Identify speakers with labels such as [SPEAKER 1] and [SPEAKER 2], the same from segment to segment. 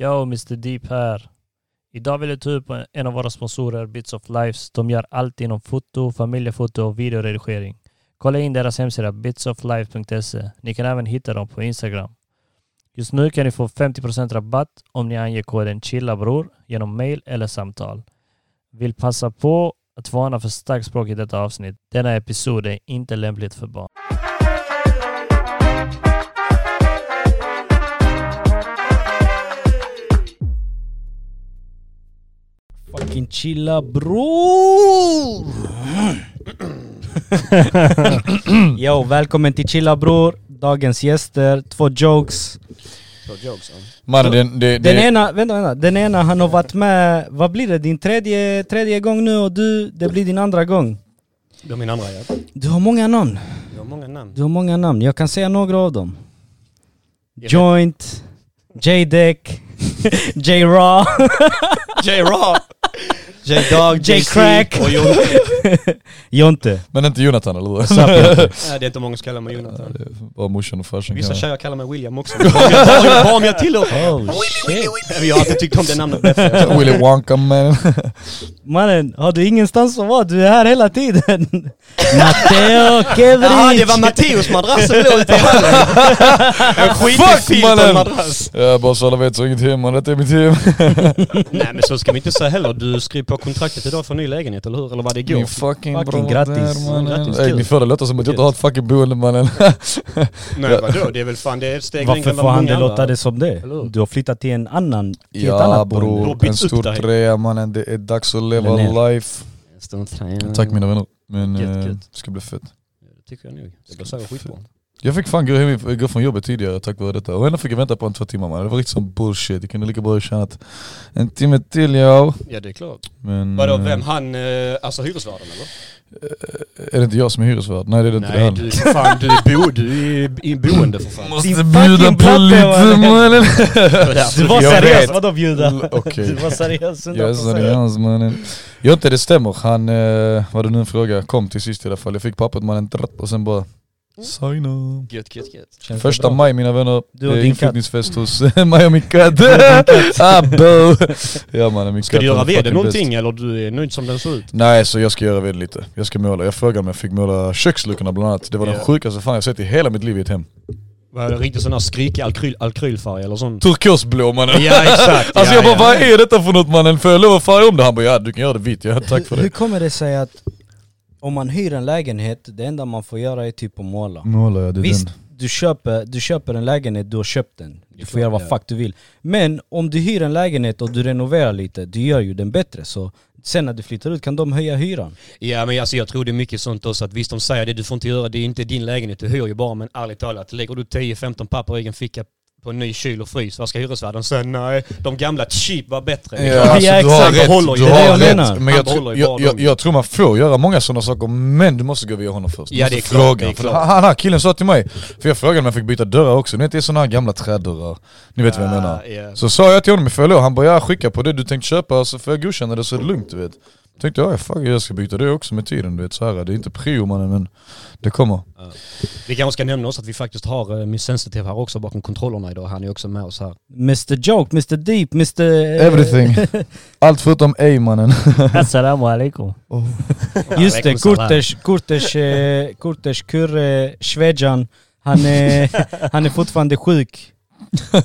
[SPEAKER 1] Yo, Mr Deep här. Idag vill jag ta upp en av våra sponsorer, Bits of Lives. De gör allt inom foto, familjefoto och videoredigering. Kolla in deras hemsida bitsoflife.se. Ni kan även hitta dem på Instagram. Just nu kan ni få 50% rabatt om ni anger koden CHILLABROR genom mail eller samtal. Vill passa på att varna för starkt språk i detta avsnitt. Denna episod är inte lämpligt för barn.
[SPEAKER 2] Fucking chilla bror! Yo, välkommen till chilla bror. Dagens gäster, två jokes.
[SPEAKER 3] Mannen den, det,
[SPEAKER 2] Den
[SPEAKER 3] det,
[SPEAKER 2] ena, vänta, vänta. Den ena han har varit med, vad blir det? Din tredje, tredje gång nu och du, det blir din andra gång.
[SPEAKER 4] Det var min andra ja.
[SPEAKER 2] Du har många namn.
[SPEAKER 4] Det var många namn.
[SPEAKER 2] Du har många namn. Jag kan säga några av dem.
[SPEAKER 4] vet.
[SPEAKER 2] Joint, J-Deck, J-Raw,
[SPEAKER 3] J-Raw! J-Dog,
[SPEAKER 2] J-Crack,
[SPEAKER 3] och Jon-
[SPEAKER 2] Jonte.
[SPEAKER 3] Men inte Jonathan eller hur?
[SPEAKER 2] What's up, Jonte?
[SPEAKER 4] Nej, det är inte många som kallar mig Jonathan.
[SPEAKER 3] Det är Bara morsan och farsan
[SPEAKER 4] Vissa
[SPEAKER 3] kan-
[SPEAKER 4] tjejer kallar mig William också. Bara om jag- bara om- Bara om jag tillåter.
[SPEAKER 2] Oh shit.
[SPEAKER 4] Jag har alltid tyckt om det namnet bättre.
[SPEAKER 3] Willy Wonka man.
[SPEAKER 2] Mannen, har du ingenstans att vara? Du är här hela tiden. Matteo Kevric!
[SPEAKER 4] Jaha, det var Matteos madrass som låg ute i hallen. En skitig
[SPEAKER 3] Fuck
[SPEAKER 4] filter
[SPEAKER 3] mannen!
[SPEAKER 4] madrass.
[SPEAKER 3] Jag bara så alla vet så inget hem, och detta är mitt hem.
[SPEAKER 4] Nej men så ska vi inte säga heller. Du skrev på kontraktet idag för en ny lägenhet, eller hur? Eller vad det går.
[SPEAKER 3] Min fucking,
[SPEAKER 2] Fucking
[SPEAKER 3] bror
[SPEAKER 2] grattis.
[SPEAKER 3] där, mannen.
[SPEAKER 4] Grattis,
[SPEAKER 3] Ey,
[SPEAKER 4] kul.
[SPEAKER 3] ni får det låta som att jag inte har ett fucking boende mannen.
[SPEAKER 4] Nej vadå, det är väl fan det är ett steg längre
[SPEAKER 2] Varför
[SPEAKER 4] än
[SPEAKER 2] får
[SPEAKER 4] vad
[SPEAKER 2] han det
[SPEAKER 4] många
[SPEAKER 2] låta
[SPEAKER 4] andra.
[SPEAKER 2] det som det?
[SPEAKER 4] Eller hur?
[SPEAKER 2] Du har flyttat till en annan, till ett
[SPEAKER 3] ja
[SPEAKER 2] annat boende.
[SPEAKER 4] Du har
[SPEAKER 3] bror, en
[SPEAKER 4] bytt upp
[SPEAKER 3] stor
[SPEAKER 4] dig.
[SPEAKER 3] trea mannen. Det är dags att leva
[SPEAKER 2] Den är- Mm.
[SPEAKER 3] life. Tack mina vänner. Men
[SPEAKER 1] Gött,
[SPEAKER 3] eh,
[SPEAKER 1] gött.
[SPEAKER 3] det ska bli fett.
[SPEAKER 4] Det tycker jag nog. Det blir så skitbra.
[SPEAKER 3] Jag fick fan gå, hem, gå från jobbet tidigare tack vare detta. Och ändå fick jag vänta på en två timmar mannen. Det var riktigt som bullshit. Jag kunde lika bra ha tjänat en timme till jag.
[SPEAKER 4] Ja det är klart.
[SPEAKER 3] Men,
[SPEAKER 4] Mm. Vadå,
[SPEAKER 3] eh,
[SPEAKER 4] vem? Han, eh, alltså hyresvärden eller?
[SPEAKER 3] Är det inte jag som är hyresvärd? Nej det är det inte. det är
[SPEAKER 4] Nej
[SPEAKER 3] han.
[SPEAKER 4] du, fan du är bo, du är i boende för fan.
[SPEAKER 3] Måste
[SPEAKER 2] Din
[SPEAKER 3] bjuda
[SPEAKER 2] fucking
[SPEAKER 3] på
[SPEAKER 2] platta,
[SPEAKER 3] lite
[SPEAKER 2] mannen.
[SPEAKER 3] mannen.
[SPEAKER 2] Du var
[SPEAKER 3] Jag
[SPEAKER 2] seriös,
[SPEAKER 3] vet.
[SPEAKER 2] vadå bjuda? Du
[SPEAKER 3] Okej.
[SPEAKER 2] var seriös
[SPEAKER 3] Jag är
[SPEAKER 2] 100%.
[SPEAKER 3] seriös mannen. Jo inte det stämmer. Han, eh, vad det nu en fråga, kom till sist i alla fall. Jag fick pappret mannen trrrt, och sen bara Signa.
[SPEAKER 4] Gött, gött, gött.
[SPEAKER 2] Känns det
[SPEAKER 3] Första
[SPEAKER 2] bra?
[SPEAKER 3] maj mina vänner,
[SPEAKER 2] Du och
[SPEAKER 3] Det är
[SPEAKER 2] din katt.
[SPEAKER 3] inflyttningsfest hos mig och min katt. ah, bo. ja mannen min
[SPEAKER 4] Ska
[SPEAKER 3] katt
[SPEAKER 4] du
[SPEAKER 3] är
[SPEAKER 4] göra
[SPEAKER 3] fucking
[SPEAKER 4] veden
[SPEAKER 3] bäst.
[SPEAKER 4] någonting eller du är nöjd som den ser ut?
[SPEAKER 3] Nej så jag ska göra veden lite. Jag ska måla. Jag frågade om jag fick måla köksluckorna bland annat. Det var
[SPEAKER 4] Ja.
[SPEAKER 3] den sjukaste fan jag sett i hela mitt liv i ett hem.
[SPEAKER 4] Var det riktigt sån här skrikig alkryl, alkrylfärg eller sån?
[SPEAKER 3] Turkosblå mannen.
[SPEAKER 4] Ja exakt!
[SPEAKER 3] Alltså
[SPEAKER 4] ja,
[SPEAKER 3] jag bara,
[SPEAKER 4] ja.
[SPEAKER 3] vad är detta för något mannen? Får jag lov att färga om det? Han bara, ja du kan göra det vitt, ja tack för
[SPEAKER 2] Hur
[SPEAKER 3] det.
[SPEAKER 2] kommer det sig att om man hyr en lägenhet, det enda man får göra är typ att måla?
[SPEAKER 3] Målar jag, det
[SPEAKER 2] Visst, du köper, du köper en lägenhet, du har köpt den. Du får göra vad fuck du vill. Men om du hyr en lägenhet och du renoverar lite, du gör ju den bättre. Så sen när du flyttar ut kan de höja hyran.
[SPEAKER 4] Ja men alltså jag tror det är mycket sånt också att visst de säger det du får inte göra, det är inte din lägenhet, du hyr ju bara men ärligt talat, lägger du 10-15 papper i egen ficka på en ny kyl och frys, vad ska hyresvärden säga? Nej, de gamla cheap var bättre. liksom.
[SPEAKER 3] Ja, alltså,
[SPEAKER 2] Ja,
[SPEAKER 3] du har
[SPEAKER 2] exakt.
[SPEAKER 3] rätt,
[SPEAKER 4] Behåller ju
[SPEAKER 3] du
[SPEAKER 4] det.
[SPEAKER 2] Det är det
[SPEAKER 3] har
[SPEAKER 2] jag
[SPEAKER 3] rätt.
[SPEAKER 2] menar.
[SPEAKER 3] Men
[SPEAKER 4] Han
[SPEAKER 3] jag,
[SPEAKER 4] behåller
[SPEAKER 3] tror,
[SPEAKER 4] ju
[SPEAKER 3] jag,
[SPEAKER 4] bara
[SPEAKER 3] jag,
[SPEAKER 4] dem.
[SPEAKER 3] jag tror man får göra många sådana saker, men du måste gå via honom först. Du
[SPEAKER 4] Ja,
[SPEAKER 3] måste
[SPEAKER 4] det är klart,
[SPEAKER 3] fråga.
[SPEAKER 4] det är
[SPEAKER 3] För
[SPEAKER 4] klart.
[SPEAKER 3] han- Han, här killen sa till mig, för jag frågade om jag fick byta dörrar också, ni vet det är sådana här gamla trädörrar. Ni vet vad jag menar.
[SPEAKER 4] Ja,
[SPEAKER 3] Så sa jag till honom, får jag lov? Han bara, ja skicka på det du tänkte köpa så får jag godkänna det så är det lugnt du vet. Tänkte jag, fuck jag ska byta det också med tiden du vet så här. det är inte prio mannen men det kommer.
[SPEAKER 4] Vi kanske ska nämna också att vi faktiskt har eh, Miss Sensitive här också bakom kontrollerna idag, han är också med oss här.
[SPEAKER 2] Mr Joke, Mr Deep, eh, Mr...
[SPEAKER 3] Everything. Allt förutom ej mannen.
[SPEAKER 1] Assalamu alaikum.
[SPEAKER 2] Just det,
[SPEAKER 4] Alaikum salam.
[SPEAKER 2] Kurters, Kurters, eh, Kurters kurre, Svedjan. Han är, han är fortfarande sjuk.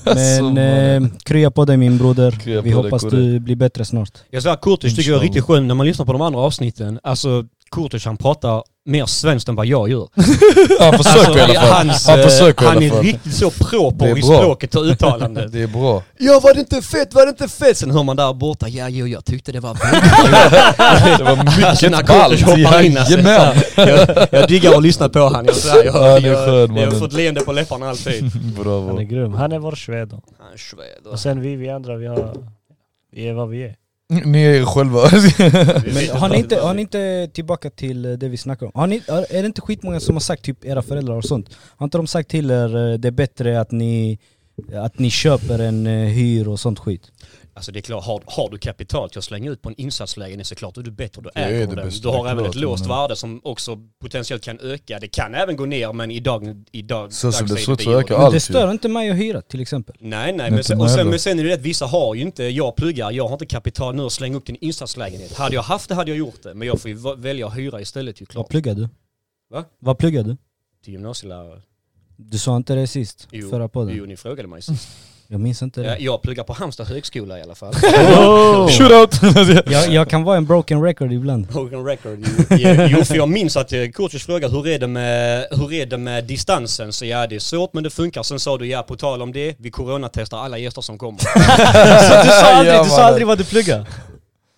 [SPEAKER 2] Men eh, krya på dig min
[SPEAKER 3] Krya
[SPEAKER 2] broder. Vi
[SPEAKER 3] på dig,
[SPEAKER 2] hoppas
[SPEAKER 3] kurre.
[SPEAKER 2] du blir bättre snart.
[SPEAKER 4] Jag svär, Kurtis tycker jag är riktigt skön när man lyssnar på de andra avsnitten. Alltså Kurtis han pratar mer svenskt än vad jag gör.
[SPEAKER 3] Han försöker
[SPEAKER 2] Alltså,
[SPEAKER 3] i alla fall.
[SPEAKER 4] Hans,
[SPEAKER 3] han
[SPEAKER 4] eh,
[SPEAKER 3] försöker
[SPEAKER 4] han
[SPEAKER 3] i
[SPEAKER 4] är
[SPEAKER 3] alla fall.
[SPEAKER 4] riktigt så
[SPEAKER 3] Det
[SPEAKER 4] proper
[SPEAKER 3] är
[SPEAKER 4] i
[SPEAKER 3] bra.
[SPEAKER 4] språket och uttalandet.
[SPEAKER 3] Det är bra.
[SPEAKER 4] ja var det inte fett, var det inte fett? Sen hör man där borta, ja jo jag tyckte det var fett.
[SPEAKER 3] Det var
[SPEAKER 4] Alltså, när
[SPEAKER 3] mycket
[SPEAKER 4] Kurtis
[SPEAKER 3] ballt.
[SPEAKER 4] hoppar in alltså.
[SPEAKER 3] Jajamän.
[SPEAKER 4] jag, jag diggar att lyssna på han, jag svär. Jag,
[SPEAKER 3] Ja, det är skön,
[SPEAKER 4] jag, jag har
[SPEAKER 3] mannen.
[SPEAKER 4] fått leende på läpparna alltid.
[SPEAKER 1] Han är
[SPEAKER 3] Bravo.
[SPEAKER 1] grym. Han är vår sved.
[SPEAKER 4] Han är sved. alltså.
[SPEAKER 1] Och sen vi, vi andra, vi har... Vi är vad vi är.
[SPEAKER 3] Ni är er själva.
[SPEAKER 2] Men har ni, inte, har ni inte, tillbaka till eh, det vi snackade om, har ni, har- är det inte skitmånga som har sagt typ era föräldrar och sånt? Har inte de sagt till er eh, det är bättre att ni Att ni köper en eh, hyr och sånt skit.
[SPEAKER 4] Alltså det är klart, har, har du kapital till att slänga ut på en insatslägenhet så klart är du bättre, du
[SPEAKER 3] Det
[SPEAKER 4] äger
[SPEAKER 3] är det
[SPEAKER 4] den.
[SPEAKER 3] bästa,
[SPEAKER 4] du har
[SPEAKER 3] det är
[SPEAKER 4] även
[SPEAKER 3] klart,
[SPEAKER 4] ett låst
[SPEAKER 3] men-
[SPEAKER 4] värde som också potentiellt kan öka. Det kan även gå ner men idag, idag
[SPEAKER 3] Så som det
[SPEAKER 4] dagsläget
[SPEAKER 3] ser ut så
[SPEAKER 4] är
[SPEAKER 3] ökar
[SPEAKER 4] ju-
[SPEAKER 2] Men
[SPEAKER 3] Allt ju.
[SPEAKER 2] det stör inte mig att hyra till exempel.
[SPEAKER 4] Nej nej, men
[SPEAKER 3] Inte
[SPEAKER 4] sen,
[SPEAKER 3] mig
[SPEAKER 4] och sen,
[SPEAKER 3] heller.
[SPEAKER 4] men sen är det det att vissa har ju inte, jag pluggar, jag har inte kapital nu att slänga upp till en insatslägenhet. Hade jag haft det hade jag gjort det, men jag får ju va- välja att hyra istället ju
[SPEAKER 2] Vad
[SPEAKER 4] klart.
[SPEAKER 2] pluggar du?
[SPEAKER 4] Va?
[SPEAKER 2] Vad pluggar du?
[SPEAKER 4] Till gymnasielärare.
[SPEAKER 2] Du sa inte det sist,
[SPEAKER 4] Jo,
[SPEAKER 2] förra podden.
[SPEAKER 4] jo ni frågade mig.
[SPEAKER 2] Jag minns inte
[SPEAKER 4] Ja,
[SPEAKER 2] det.
[SPEAKER 4] jag pluggar på Halmstad högskola i alla fall.
[SPEAKER 3] Shootout!
[SPEAKER 2] Jag, jag kan vara en broken record ibland.
[SPEAKER 4] Broken record. Jo, Jo, jo, för jag minns att eh, coaches frågade hur är, det med, hur är det med distansen? Så ja, det är svårt men det funkar. Sen sa du ja, på tal om det, vi coronatestar alla gäster som kommer.
[SPEAKER 2] Så du sa aldrig,
[SPEAKER 3] Ja,
[SPEAKER 2] du
[SPEAKER 3] mannen.
[SPEAKER 2] sa aldrig vad du pluggar?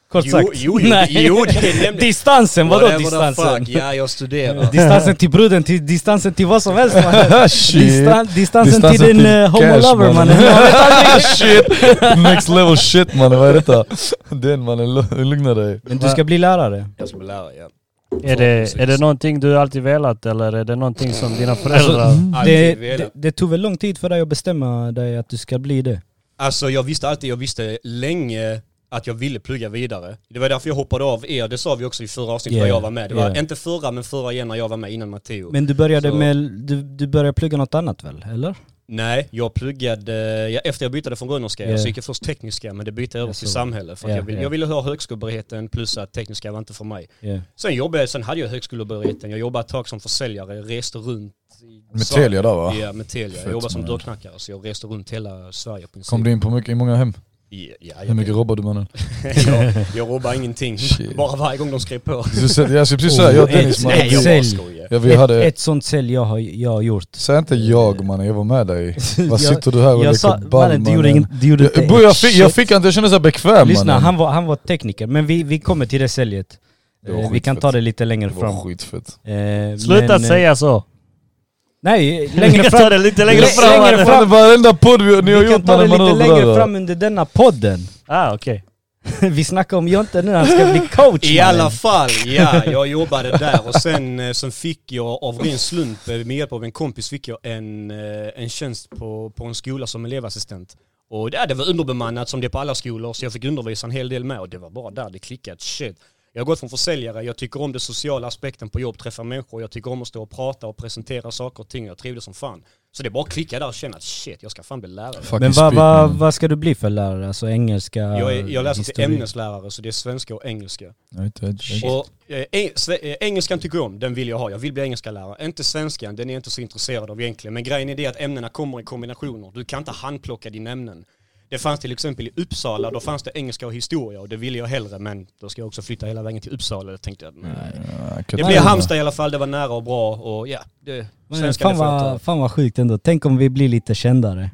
[SPEAKER 2] Kort
[SPEAKER 4] Jo,
[SPEAKER 2] sagt.
[SPEAKER 4] jo, jo,
[SPEAKER 2] Nej.
[SPEAKER 4] jo, det är nämligen-
[SPEAKER 2] Distansen, vadå
[SPEAKER 4] Whatever the
[SPEAKER 2] distansen? Mm.
[SPEAKER 4] fuck, Ja, jag studerar.
[SPEAKER 2] Distansen till bruden, till distansen till vad som helst mannen.
[SPEAKER 3] Shit.
[SPEAKER 2] Distan, distansen,
[SPEAKER 3] Distansen
[SPEAKER 2] till din
[SPEAKER 3] till
[SPEAKER 2] uh,
[SPEAKER 3] cash,
[SPEAKER 2] homolover
[SPEAKER 3] mannen.
[SPEAKER 2] mannen.
[SPEAKER 3] shit! Next level shit mannen, vad är detta? Den mannen, lu- lugna dig.
[SPEAKER 2] Men du ska bli lärare.
[SPEAKER 4] Jag ska bli lärare, ja.
[SPEAKER 1] Är det, är det någonting du alltid velat eller är det någonting som dina föräldrar...
[SPEAKER 4] mm.
[SPEAKER 2] Det,
[SPEAKER 4] Alltid velat.
[SPEAKER 2] det, det tog väl lång tid för dig att bestämma dig att du ska bli det?
[SPEAKER 4] Alltså jag visste alltid, jag visste länge att jag ville plugga vidare. Det var därför jag hoppade av er, det sa vi också i förra avsnittet
[SPEAKER 2] Yeah,
[SPEAKER 4] när jag var med. Det var
[SPEAKER 2] yeah.
[SPEAKER 4] inte förra, men förra igen när jag var med innan Matteo.
[SPEAKER 2] Men du började,
[SPEAKER 4] Så-
[SPEAKER 2] med, du, du började plugga något annat väl, eller?
[SPEAKER 4] Nej, jag pluggade, ja, efter jag bytte från Rönnerska,
[SPEAKER 2] Yeah.
[SPEAKER 4] så gick jag först tekniska men det bytte jag över
[SPEAKER 2] Jag
[SPEAKER 4] till
[SPEAKER 2] såg.
[SPEAKER 4] samhälle. För att
[SPEAKER 2] Yeah,
[SPEAKER 4] jag, ville,
[SPEAKER 2] yeah.
[SPEAKER 4] jag ville ha högskolebehörigheten plus att tekniska var inte för mig. Sen jobbade jag, sen hade jag högskolebehörigheten, jag jobbade ett tag som försäljare, reste runt. i-
[SPEAKER 3] Med
[SPEAKER 4] så-
[SPEAKER 3] Telia där va?
[SPEAKER 4] Ja, med Telia.
[SPEAKER 3] Fett,
[SPEAKER 4] Jag jobbade som
[SPEAKER 3] man.
[SPEAKER 4] dörrknackare så jag reste runt hela Sverige i princip.
[SPEAKER 3] Kom du in på mycket, i många hem?
[SPEAKER 4] Ja, ja,
[SPEAKER 3] Hur
[SPEAKER 4] jag,
[SPEAKER 3] mycket robbar du mannen?
[SPEAKER 4] jag, jag robbade ingenting.
[SPEAKER 3] Shit.
[SPEAKER 4] Bara varje gång de skrev på.
[SPEAKER 3] Du ser- Jag ser precis såhär, jag och Dennis
[SPEAKER 2] Nej,
[SPEAKER 3] mannen.
[SPEAKER 4] jag bara
[SPEAKER 2] sälj.
[SPEAKER 4] skojar.
[SPEAKER 3] Ja, vi
[SPEAKER 2] Ett,
[SPEAKER 3] hade,
[SPEAKER 2] ett sånt sälj jag har jag har gjort.
[SPEAKER 3] säg inte jag mannen, jag var med dig. Vad
[SPEAKER 2] Jag-
[SPEAKER 3] sitter du här och
[SPEAKER 2] Jag sa,
[SPEAKER 3] leker ball
[SPEAKER 2] mannen du gjorde,
[SPEAKER 3] mannen?
[SPEAKER 2] ingen, du gjorde
[SPEAKER 3] Jag,
[SPEAKER 2] inte
[SPEAKER 3] bro, jag, fick, jag
[SPEAKER 2] shit.
[SPEAKER 3] fick inte, jag kände såhär bekväm
[SPEAKER 2] Lyssna,
[SPEAKER 3] mannen.
[SPEAKER 2] han var, han var tekniker, men vi, vi kommer till det säljet.
[SPEAKER 3] Det var
[SPEAKER 2] Eh, Vi kan
[SPEAKER 3] skitfett.
[SPEAKER 2] ta det lite längre
[SPEAKER 3] Det var
[SPEAKER 2] fram.
[SPEAKER 3] skitfett.
[SPEAKER 2] Eh,
[SPEAKER 1] Sluta
[SPEAKER 2] men, eh,
[SPEAKER 1] säga så!
[SPEAKER 2] Nej,
[SPEAKER 1] Vi
[SPEAKER 2] längre
[SPEAKER 1] kan ta
[SPEAKER 2] fram.
[SPEAKER 1] det lite längre
[SPEAKER 2] Lä-
[SPEAKER 1] fram!
[SPEAKER 2] längre
[SPEAKER 1] mannen.
[SPEAKER 2] fram.
[SPEAKER 3] Fan, Varenda podd vi- ni har
[SPEAKER 2] Vi
[SPEAKER 3] gjort
[SPEAKER 2] kan ta det
[SPEAKER 3] mannen, man
[SPEAKER 2] lite längre
[SPEAKER 3] undrar.
[SPEAKER 2] fram under denna podden.
[SPEAKER 1] Ah okej.
[SPEAKER 2] Vi snackar om Jonte nu, han ska bli coach
[SPEAKER 4] I
[SPEAKER 2] mannen.
[SPEAKER 4] alla fall, ja. Jag jobbade där och sen, eh, sen fick jag av ren slump, eh, med hjälp av en kompis, fick jag en, eh, en tjänst på, på en skola som elevassistent. Och där, det var underbemannat som det är på alla skolor, så jag fick undervisa en hel del med och det var bara där det klickade. Shit. Jag har gått från försäljare, jag tycker om den sociala aspekten på jobb, träffa människor, jag tycker om att stå och prata och presentera saker och ting, jag trivdes som fan. Så det är bara att klicka där och känna att shit, jag ska fan bli lärare.
[SPEAKER 2] Men
[SPEAKER 3] Fucking
[SPEAKER 2] vad
[SPEAKER 3] spit,
[SPEAKER 2] va,
[SPEAKER 3] mannen.
[SPEAKER 2] va ska du bli för lärare? Alltså engelska?
[SPEAKER 4] Mm. Jag, är, jag läser till
[SPEAKER 2] historik.
[SPEAKER 4] ämneslärare, så det är svenska och engelska.
[SPEAKER 3] Jag vet inte, jag vet inte.
[SPEAKER 4] Och, eh, eng- sve- eh, engelskan tycker jag om, den vill jag ha. Jag vill bli engelskalärare. Inte svenskan, den är jag inte så intresserad av egentligen. Men grejen är det att ämnena kommer i kombinationer. Du kan inte handplocka dina ämnen. Det fanns till exempel i Uppsala, då fanns det engelska och historia och det ville jag hellre men då ska jag också flytta hela vägen till Uppsala. Då tänkte jag, nej.
[SPEAKER 3] Ja, jag kan
[SPEAKER 4] Det
[SPEAKER 3] inte
[SPEAKER 4] blev
[SPEAKER 3] tro
[SPEAKER 4] Halmstad i alla fall, det var nära och bra och ja, det,
[SPEAKER 2] Men
[SPEAKER 4] svenskan
[SPEAKER 2] fan,
[SPEAKER 4] är skönt.
[SPEAKER 2] vad, fan vad sjukt ändå, tänk om vi blir lite kändare.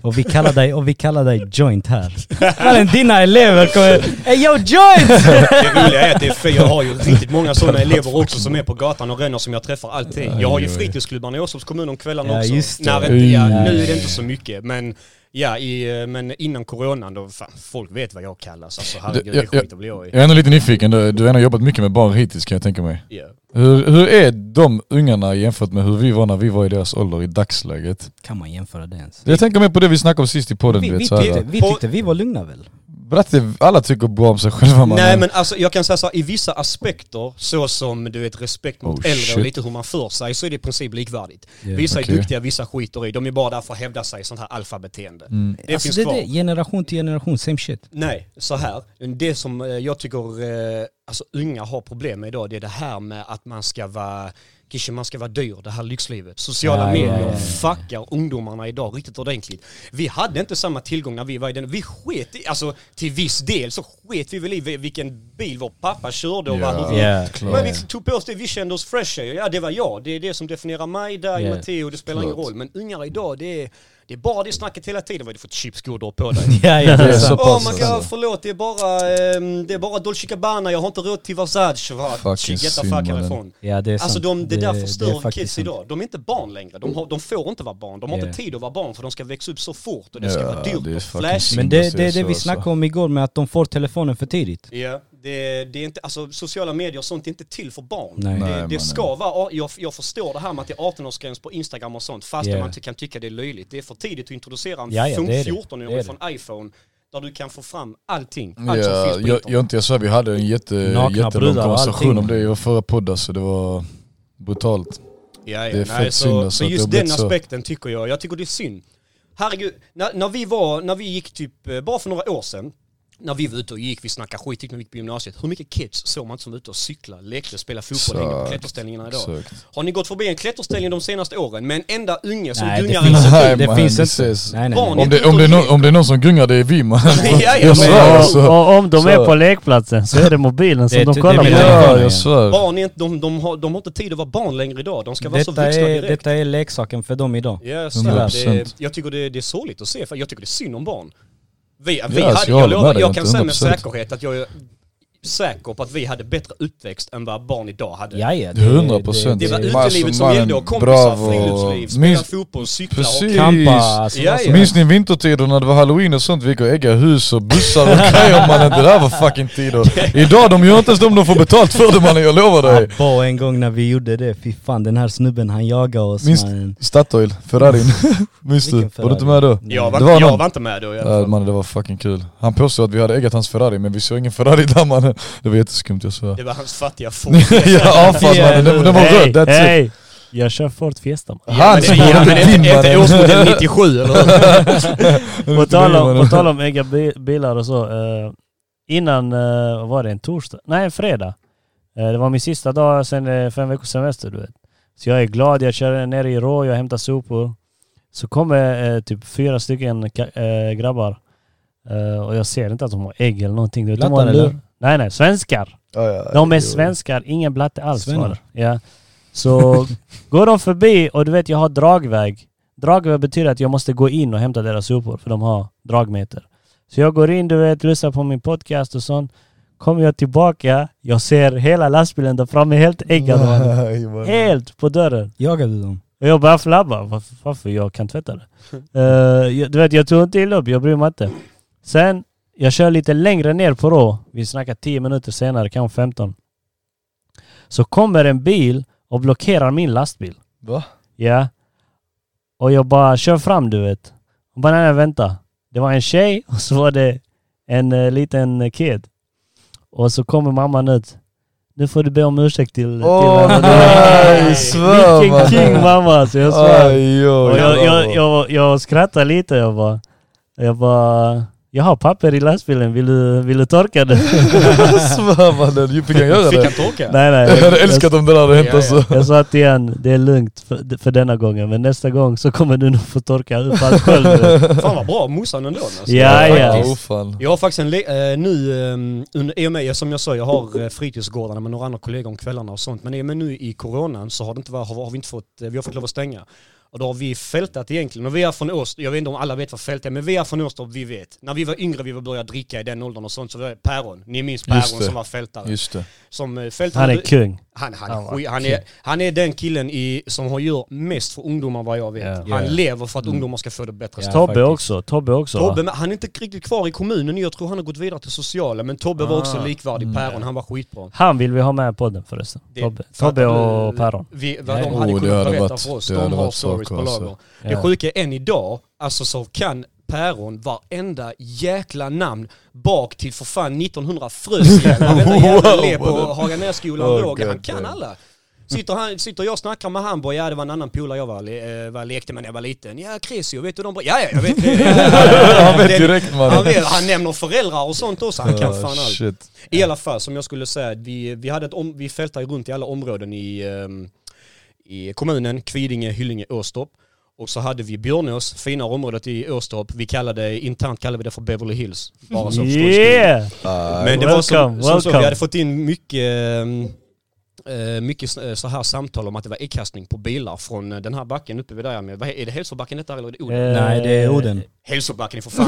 [SPEAKER 2] Och vi kallar dig, och vi kallar dig joint här. Mannen dina elever kommer, ey yo joint!
[SPEAKER 4] Det roliga är att det är fel. jag har ju riktigt många sådana elever också som är på gatan och ränner som jag träffar alltid. Jag har ju fritidsklubbarna i Åstorps kommun om kvällarna
[SPEAKER 2] Ja,
[SPEAKER 4] också.
[SPEAKER 2] just det.
[SPEAKER 4] När inte, ja,
[SPEAKER 2] Mm.
[SPEAKER 4] nu är det inte så mycket men, ja, i, eh, men innan coronan då, fan, folk vet vad jag kallas. Alltså herregud,
[SPEAKER 3] Det-
[SPEAKER 4] det
[SPEAKER 3] jag- jag-
[SPEAKER 4] skit att bli jag i.
[SPEAKER 3] Jag är ändå lite nyfiken, du, du har ändå jobbat mycket med barn hittills kan jag tänka mig.
[SPEAKER 4] Ja.
[SPEAKER 3] Hur, hur är de ungarna jämfört med hur vi var när vi var i deras ålder i dagsläget?
[SPEAKER 2] Kan man jämföra det ens?
[SPEAKER 3] Jag tänker mer på det vi snackade om sist i podden,
[SPEAKER 2] Vi,
[SPEAKER 3] du vet
[SPEAKER 2] vi,
[SPEAKER 3] såhär.
[SPEAKER 2] tyckte, vi tyckte vi var lugna väl?
[SPEAKER 3] Bratte, alla tycker bra om sig själva mannen.
[SPEAKER 4] Nej men alltså jag kan säga så här, i vissa aspekter, så som du vet respekt mot
[SPEAKER 3] Oh,
[SPEAKER 4] äldre och
[SPEAKER 3] shit.
[SPEAKER 4] lite hur man för sig, så är det i princip likvärdigt.
[SPEAKER 2] Yeah.
[SPEAKER 4] Vissa
[SPEAKER 3] Okej.
[SPEAKER 4] är duktiga, vissa skiter i. De är bara där för att hävda sig i sånt här alfabeteende.
[SPEAKER 3] Mm.
[SPEAKER 4] Det
[SPEAKER 2] alltså
[SPEAKER 4] finns
[SPEAKER 2] det, är
[SPEAKER 4] kvar.
[SPEAKER 2] det, generation till generation, same shit.
[SPEAKER 4] Nej, så här. Det som eh, jag tycker eh, alltså, unga har problem med idag, det är det här med att man ska vara Kishe, man ska vara dyr, det här lyxlivet. Sociala
[SPEAKER 2] Ja,
[SPEAKER 4] medier
[SPEAKER 2] ja, ja, ja.
[SPEAKER 4] fuckar ungdomarna idag riktigt ordentligt. Vi hade inte samma tillgång när vi var i den. Vi sket i, alltså till viss del så sket vi väl i vil- vilken bil vår pappa körde och vad, hur vi
[SPEAKER 2] Ja,
[SPEAKER 3] klart.
[SPEAKER 4] men vi tog på oss det, vi kände oss fresh. Ja, det var jag. Det är det som definierar mig, där
[SPEAKER 2] Ja.
[SPEAKER 4] Matteo, det spelar ingen
[SPEAKER 3] Klart.
[SPEAKER 4] roll. Men ungar idag, det är, det är bara det snacket hela tiden. Vad är det för chips du har på dig?
[SPEAKER 2] Ja, ja, det är
[SPEAKER 3] Det är
[SPEAKER 2] sant.
[SPEAKER 3] så-
[SPEAKER 4] Åh,
[SPEAKER 3] pass,
[SPEAKER 4] man kan,
[SPEAKER 3] alltså.
[SPEAKER 4] förlåt, det är bara, ehm, det är bara Dolce Gabbana, jag har inte råd till Versace. Va?
[SPEAKER 3] Fucking
[SPEAKER 4] Shit, Get the
[SPEAKER 3] synd,
[SPEAKER 4] fuck
[SPEAKER 3] mannen.
[SPEAKER 4] härifrån.
[SPEAKER 2] ja det är sant.
[SPEAKER 4] Alltså de, det, där
[SPEAKER 2] är
[SPEAKER 4] förstör
[SPEAKER 2] faktiskt
[SPEAKER 4] kids
[SPEAKER 2] sant.
[SPEAKER 4] idag. De är inte barn längre. De, har, de får inte vara barn. De har
[SPEAKER 2] Ja.
[SPEAKER 4] inte tid att vara barn för de ska växa upp så fort och det ska
[SPEAKER 3] Ja,
[SPEAKER 4] vara
[SPEAKER 3] det är
[SPEAKER 4] dyrt och
[SPEAKER 3] fucking
[SPEAKER 4] flashigt.
[SPEAKER 2] Men
[SPEAKER 3] synd
[SPEAKER 2] det,
[SPEAKER 3] att
[SPEAKER 2] det är
[SPEAKER 3] se alltså.
[SPEAKER 2] det vi
[SPEAKER 3] så,
[SPEAKER 2] snackade om igår med att de får telefonen för tidigt.
[SPEAKER 4] Ja, Det, det är inte, alltså sociala medier och sånt är inte till för barn.
[SPEAKER 2] Nej.
[SPEAKER 3] Nej,
[SPEAKER 4] det det
[SPEAKER 3] mannen.
[SPEAKER 4] ska vara, jag, jag förstår det här med att det är 18-årsgräns på Instagram och sånt, fast
[SPEAKER 2] Ja.
[SPEAKER 4] man ty- kan tycka det är löjligt. Det är för tidigt att introducera en
[SPEAKER 2] Ja, ja, det är det.
[SPEAKER 4] 14-åring
[SPEAKER 2] Det är
[SPEAKER 4] från iPhone där du kan få fram allting. Allt som
[SPEAKER 3] Ja,
[SPEAKER 4] finns på
[SPEAKER 3] jag,
[SPEAKER 4] internet.
[SPEAKER 3] jag inte jag svär, vi hade en jätte,
[SPEAKER 2] Nakna
[SPEAKER 3] jättelång
[SPEAKER 2] brudar och
[SPEAKER 3] konversation
[SPEAKER 2] allting.
[SPEAKER 3] om det i vår förra podd alltså, det var brutalt.
[SPEAKER 4] Ja, ja.
[SPEAKER 3] Det är
[SPEAKER 4] Nej,
[SPEAKER 3] fett
[SPEAKER 4] så,
[SPEAKER 3] synd alltså
[SPEAKER 4] så
[SPEAKER 3] att det
[SPEAKER 4] just
[SPEAKER 3] har blivit
[SPEAKER 4] den
[SPEAKER 3] så.
[SPEAKER 4] aspekten tycker jag, jag tycker det är synd. Herregud, när, när vi var, när vi gick typ, eh, bara för några år sedan, när vi var ute och gick, vi snackade skit när vi gick på gymnasiet. Hur mycket kids såg man inte som var ute och cyklade, lekte, spelade fotboll, hängde på
[SPEAKER 3] Exakt.
[SPEAKER 4] klätterställningarna idag?
[SPEAKER 3] Exakt.
[SPEAKER 4] Har ni gått förbi en klätterställning de senaste åren med en enda unge som
[SPEAKER 2] Nej, det
[SPEAKER 4] gungar
[SPEAKER 2] finns
[SPEAKER 4] i
[SPEAKER 3] Nej,
[SPEAKER 2] inte. Det
[SPEAKER 3] man,
[SPEAKER 2] finns
[SPEAKER 3] det
[SPEAKER 2] inte.
[SPEAKER 3] ses.
[SPEAKER 2] Nej, nej,
[SPEAKER 4] Barn.
[SPEAKER 2] nej.
[SPEAKER 3] Om det, om, det är någon, om det är någon som gungar det är vi man.
[SPEAKER 4] ja, men-
[SPEAKER 3] Jag svär alltså.
[SPEAKER 1] Och om de är på
[SPEAKER 3] Så.
[SPEAKER 1] lekplatsen så är det mobilen som
[SPEAKER 2] Det är
[SPEAKER 1] de
[SPEAKER 2] ty-
[SPEAKER 1] kollar
[SPEAKER 2] det är
[SPEAKER 1] på.
[SPEAKER 2] menar
[SPEAKER 3] Ja,
[SPEAKER 2] jag.
[SPEAKER 3] jag svär.
[SPEAKER 4] Barn är inte, de, de, har, de har inte tid att vara barn längre idag. De ska vara så
[SPEAKER 2] Detta
[SPEAKER 4] vuxna
[SPEAKER 2] är,
[SPEAKER 4] direkt.
[SPEAKER 2] detta är leksaken för dem idag.
[SPEAKER 4] Ja,
[SPEAKER 3] Hundra
[SPEAKER 4] snälla. Det,
[SPEAKER 3] procent.
[SPEAKER 4] jag tycker det, det är sorgligt att se, för jag tycker det är synd om barn. Vi, vi
[SPEAKER 3] så
[SPEAKER 4] hade,
[SPEAKER 3] alltså, jag
[SPEAKER 4] jag,
[SPEAKER 3] håller
[SPEAKER 4] lovar,
[SPEAKER 3] med dig
[SPEAKER 4] jag
[SPEAKER 3] inte,
[SPEAKER 4] kan säga med
[SPEAKER 3] 100%.
[SPEAKER 4] säkerhet att jag är säker på att vi hade bättre uppväxt än vad barn idag hade.
[SPEAKER 2] Ja, ja, det-
[SPEAKER 3] 100%.
[SPEAKER 4] Det var
[SPEAKER 3] Det-
[SPEAKER 4] utelivet som
[SPEAKER 3] mannen,
[SPEAKER 4] gällde och kompisar,
[SPEAKER 3] bravo.
[SPEAKER 4] friluftsliv, spela
[SPEAKER 3] Minst-
[SPEAKER 4] fotboll, cykla och...
[SPEAKER 3] Precis.
[SPEAKER 2] Kampa, alltså,
[SPEAKER 4] Ja,
[SPEAKER 2] alltså,
[SPEAKER 4] ja.
[SPEAKER 3] Minns ni vintertider när det var halloween och sånt? Vi gick och äggade hus och bussar och grejer mannen. Det där var fucking tider. Idag de gör inte ens de de får betalt för det mannen, jag lovar dig.
[SPEAKER 2] Abba en gång när vi gjorde det, fy fan den här snubben han jagade oss
[SPEAKER 3] Minst-
[SPEAKER 2] mannen.
[SPEAKER 3] Statoil, Ferrarin. Minns du?
[SPEAKER 2] Vilken
[SPEAKER 3] Var du inte med då?
[SPEAKER 4] Jag var,
[SPEAKER 3] Det var
[SPEAKER 4] jag
[SPEAKER 3] någon-
[SPEAKER 4] var inte med då i alla
[SPEAKER 3] Ja,
[SPEAKER 4] fall.
[SPEAKER 3] mannen det var fucking kul. Han påstod att vi hade äggat hans Ferrari men vi såg ingen Ferrari där mannen. Det var jätteskumt jag svär.
[SPEAKER 4] Det var hans fattiga fot.
[SPEAKER 3] ja avfall mannen, den, den var
[SPEAKER 1] Hej,
[SPEAKER 3] röd, that's it.
[SPEAKER 1] hej! Jag kör Ford Fiesta. man.
[SPEAKER 3] Hans
[SPEAKER 4] Ja, men-
[SPEAKER 3] var
[SPEAKER 4] ja, men
[SPEAKER 3] inte
[SPEAKER 4] efter-
[SPEAKER 3] din
[SPEAKER 4] Efter årsmodell
[SPEAKER 3] mannen.
[SPEAKER 4] 97 eller hur?
[SPEAKER 1] På tal om, på tal om egna bi- bilar och så. eh, innan, eh, vad var det en torsdag? Nej, en fredag. Eh, det var min sista dag sen eh, fem veckors semester, du vet. Så jag är glad, jag kör ner i Rå, jag hämtar sopor. Så kommer eh, typ fyra stycken ka- eh, grabbar. Eh, och jag ser inte att de har ägg eller någonting. du vet. De har
[SPEAKER 2] Blattar,
[SPEAKER 1] en lur-
[SPEAKER 2] eller?
[SPEAKER 1] Nej, nej, svenskar.
[SPEAKER 3] Ja, ja,
[SPEAKER 1] De är
[SPEAKER 3] jo.
[SPEAKER 1] svenskar, ingen blatte alls. var
[SPEAKER 2] Svennar.
[SPEAKER 1] det. Ja. Så går de förbi och du vet jag har dragväg. Dragväg betyder att jag måste gå in och hämta deras sopor för de har dragmeter. Så jag går in, du vet, lyssnar på min podcast och sånt. Kommer jag tillbaka, jag ser hela lastbilen där framme helt äggad. man.
[SPEAKER 3] Nej, mannen.
[SPEAKER 1] Helt på dörren.
[SPEAKER 2] Jagade du dem?
[SPEAKER 1] Och jag bara flabbar. Varför, varför? Jag kan tvätta det. Eh, jag, du vet, jag tog inte illa upp. Jag bryr mig inte. Sen, jag kör lite längre ner på Rå. Vi snackar 10 minuter senare, kanske 15. Så kommer en bil och blockerar min lastbil.
[SPEAKER 3] Va?
[SPEAKER 1] Ja. Och jag bara kör fram, du vet. Hon bara, nej, nej, vänta. Det var en tjej och så var det en eh, liten kid. Och så kommer mamman ut. Nu får du be om ursäkt till,
[SPEAKER 3] Åh,
[SPEAKER 1] till henne.
[SPEAKER 3] nej, svär,
[SPEAKER 1] Vilken
[SPEAKER 3] mannen.
[SPEAKER 1] king mamma, så jag svär.
[SPEAKER 3] Aj, oj,
[SPEAKER 1] Och jag, jag,
[SPEAKER 3] jävlar.
[SPEAKER 1] jag, jag skrattar lite, jag bara... Jag bara... Jag har papper i lastbilen, vill du, vill du torka det?
[SPEAKER 3] Svär mannen, ju fick han göra
[SPEAKER 4] Fick
[SPEAKER 3] det?
[SPEAKER 4] han torka?
[SPEAKER 1] nej nej.
[SPEAKER 3] Jag hade
[SPEAKER 1] Jag,
[SPEAKER 3] älskat om det där hade hänt
[SPEAKER 4] Ja, ja.
[SPEAKER 3] alltså.
[SPEAKER 1] jag sa till han, det är lugnt för, för denna gången, men nästa gång så kommer du nog få torka upp allt själv. du vet.
[SPEAKER 4] Fan vad bra morsan ändå. Alltså.
[SPEAKER 1] Ja, ja.
[SPEAKER 3] Ja,
[SPEAKER 1] Faktiskt.
[SPEAKER 3] oh, fan.
[SPEAKER 4] Jag har faktiskt en, le- eh, nu, eh, under, i och med, som jag sa, jag har eh, fritidsgårdarna med några andra kollegor om kvällarna och sånt. Men i och med nu i coronan så har, det inte varit, har, har vi inte fått, eh, vi har fått lov att stänga. Och då har vi fältat egentligen. Och vi är från Åstorp, jag vet inte om alla vet vad fält är, men vi är från Åstorp, vi vet. När vi var yngre, vi var började dricka i den åldern och sånt, så var det päron. Ni minns päron
[SPEAKER 3] Just det.
[SPEAKER 4] som var fältare.
[SPEAKER 3] Just det.
[SPEAKER 4] Som eh, fältare.
[SPEAKER 1] Han är kung.
[SPEAKER 4] Han, han,
[SPEAKER 1] Han var
[SPEAKER 4] han, han, är, han är den killen i, som har gjort mest för ungdomar vad jag vet.
[SPEAKER 1] Ja.
[SPEAKER 4] Han
[SPEAKER 2] Ja.
[SPEAKER 4] lever för att ungdomar ska få det bättre.
[SPEAKER 2] Ja,
[SPEAKER 1] Tobbe
[SPEAKER 2] faktiskt.
[SPEAKER 1] också, Tobbe också va?
[SPEAKER 4] Tobbe, men han är inte riktigt kvar i kommunen Jag tror han har gått vidare till sociala. Men Tobbe var också likvärdig Päron. Han var skitbra.
[SPEAKER 1] Han vill vi ha med i podden förresten.
[SPEAKER 4] Det-
[SPEAKER 1] Tobbe,
[SPEAKER 4] fattar
[SPEAKER 1] Tobbe
[SPEAKER 4] du?
[SPEAKER 1] och Päron.
[SPEAKER 4] Vi, vad de
[SPEAKER 3] Oh,
[SPEAKER 4] hade
[SPEAKER 3] det
[SPEAKER 4] kunnat
[SPEAKER 3] hade
[SPEAKER 4] berätta
[SPEAKER 3] varit-
[SPEAKER 4] för oss.
[SPEAKER 3] det
[SPEAKER 4] De
[SPEAKER 3] hade
[SPEAKER 4] har
[SPEAKER 3] varit
[SPEAKER 4] stories på
[SPEAKER 3] saker, alltså.
[SPEAKER 4] lager. Det
[SPEAKER 1] Ja.
[SPEAKER 4] sjuka är än idag, alltså så kan Päron varenda jäkla namn bak till för fan 1900 Frösjäl. Varenda jävla elev på Haganässkolan
[SPEAKER 3] Oh,
[SPEAKER 4] låg. Han
[SPEAKER 3] God,
[SPEAKER 4] kan
[SPEAKER 3] God.
[SPEAKER 4] alla. Sitter, han, sitter jag och snackar med han bara, ja det var en annan polare jag var, le, eh, var, lekte med när jag var liten. Ja, Cresio, vet du de bara, ja ja jag vet det.
[SPEAKER 3] Han vet
[SPEAKER 4] Den-
[SPEAKER 3] direkt
[SPEAKER 4] han,
[SPEAKER 3] mannen.
[SPEAKER 4] vet, han nämner föräldrar och sånt också, han kan fan allt.
[SPEAKER 3] Shit.
[SPEAKER 4] I alla fall, som jag skulle säga, vi, vi, hade ett om, vi fältade runt i alla områden i, ehm, i kommunen, Kvidinge, Hyllinge, Åstorp. Och så hade vi Björnås, finare området i Åstorp. Vi kallade, internt kallade vi det för Beverly Hills. Bara så för skojs skull.
[SPEAKER 1] Yeah!
[SPEAKER 4] Men det var
[SPEAKER 1] Welcome,
[SPEAKER 4] som, som så, vi
[SPEAKER 1] welcome.
[SPEAKER 4] hade fått in mycket, ehm, eh, mycket sn- eh, så här samtal om att det var äggkastning på bilar från eh, den här backen uppe vid där. Vad he- Är det Hälsobacken detta eller är det Oden?
[SPEAKER 1] Eh,
[SPEAKER 2] Nej det är Oden.
[SPEAKER 4] Hälsobacken är för fan...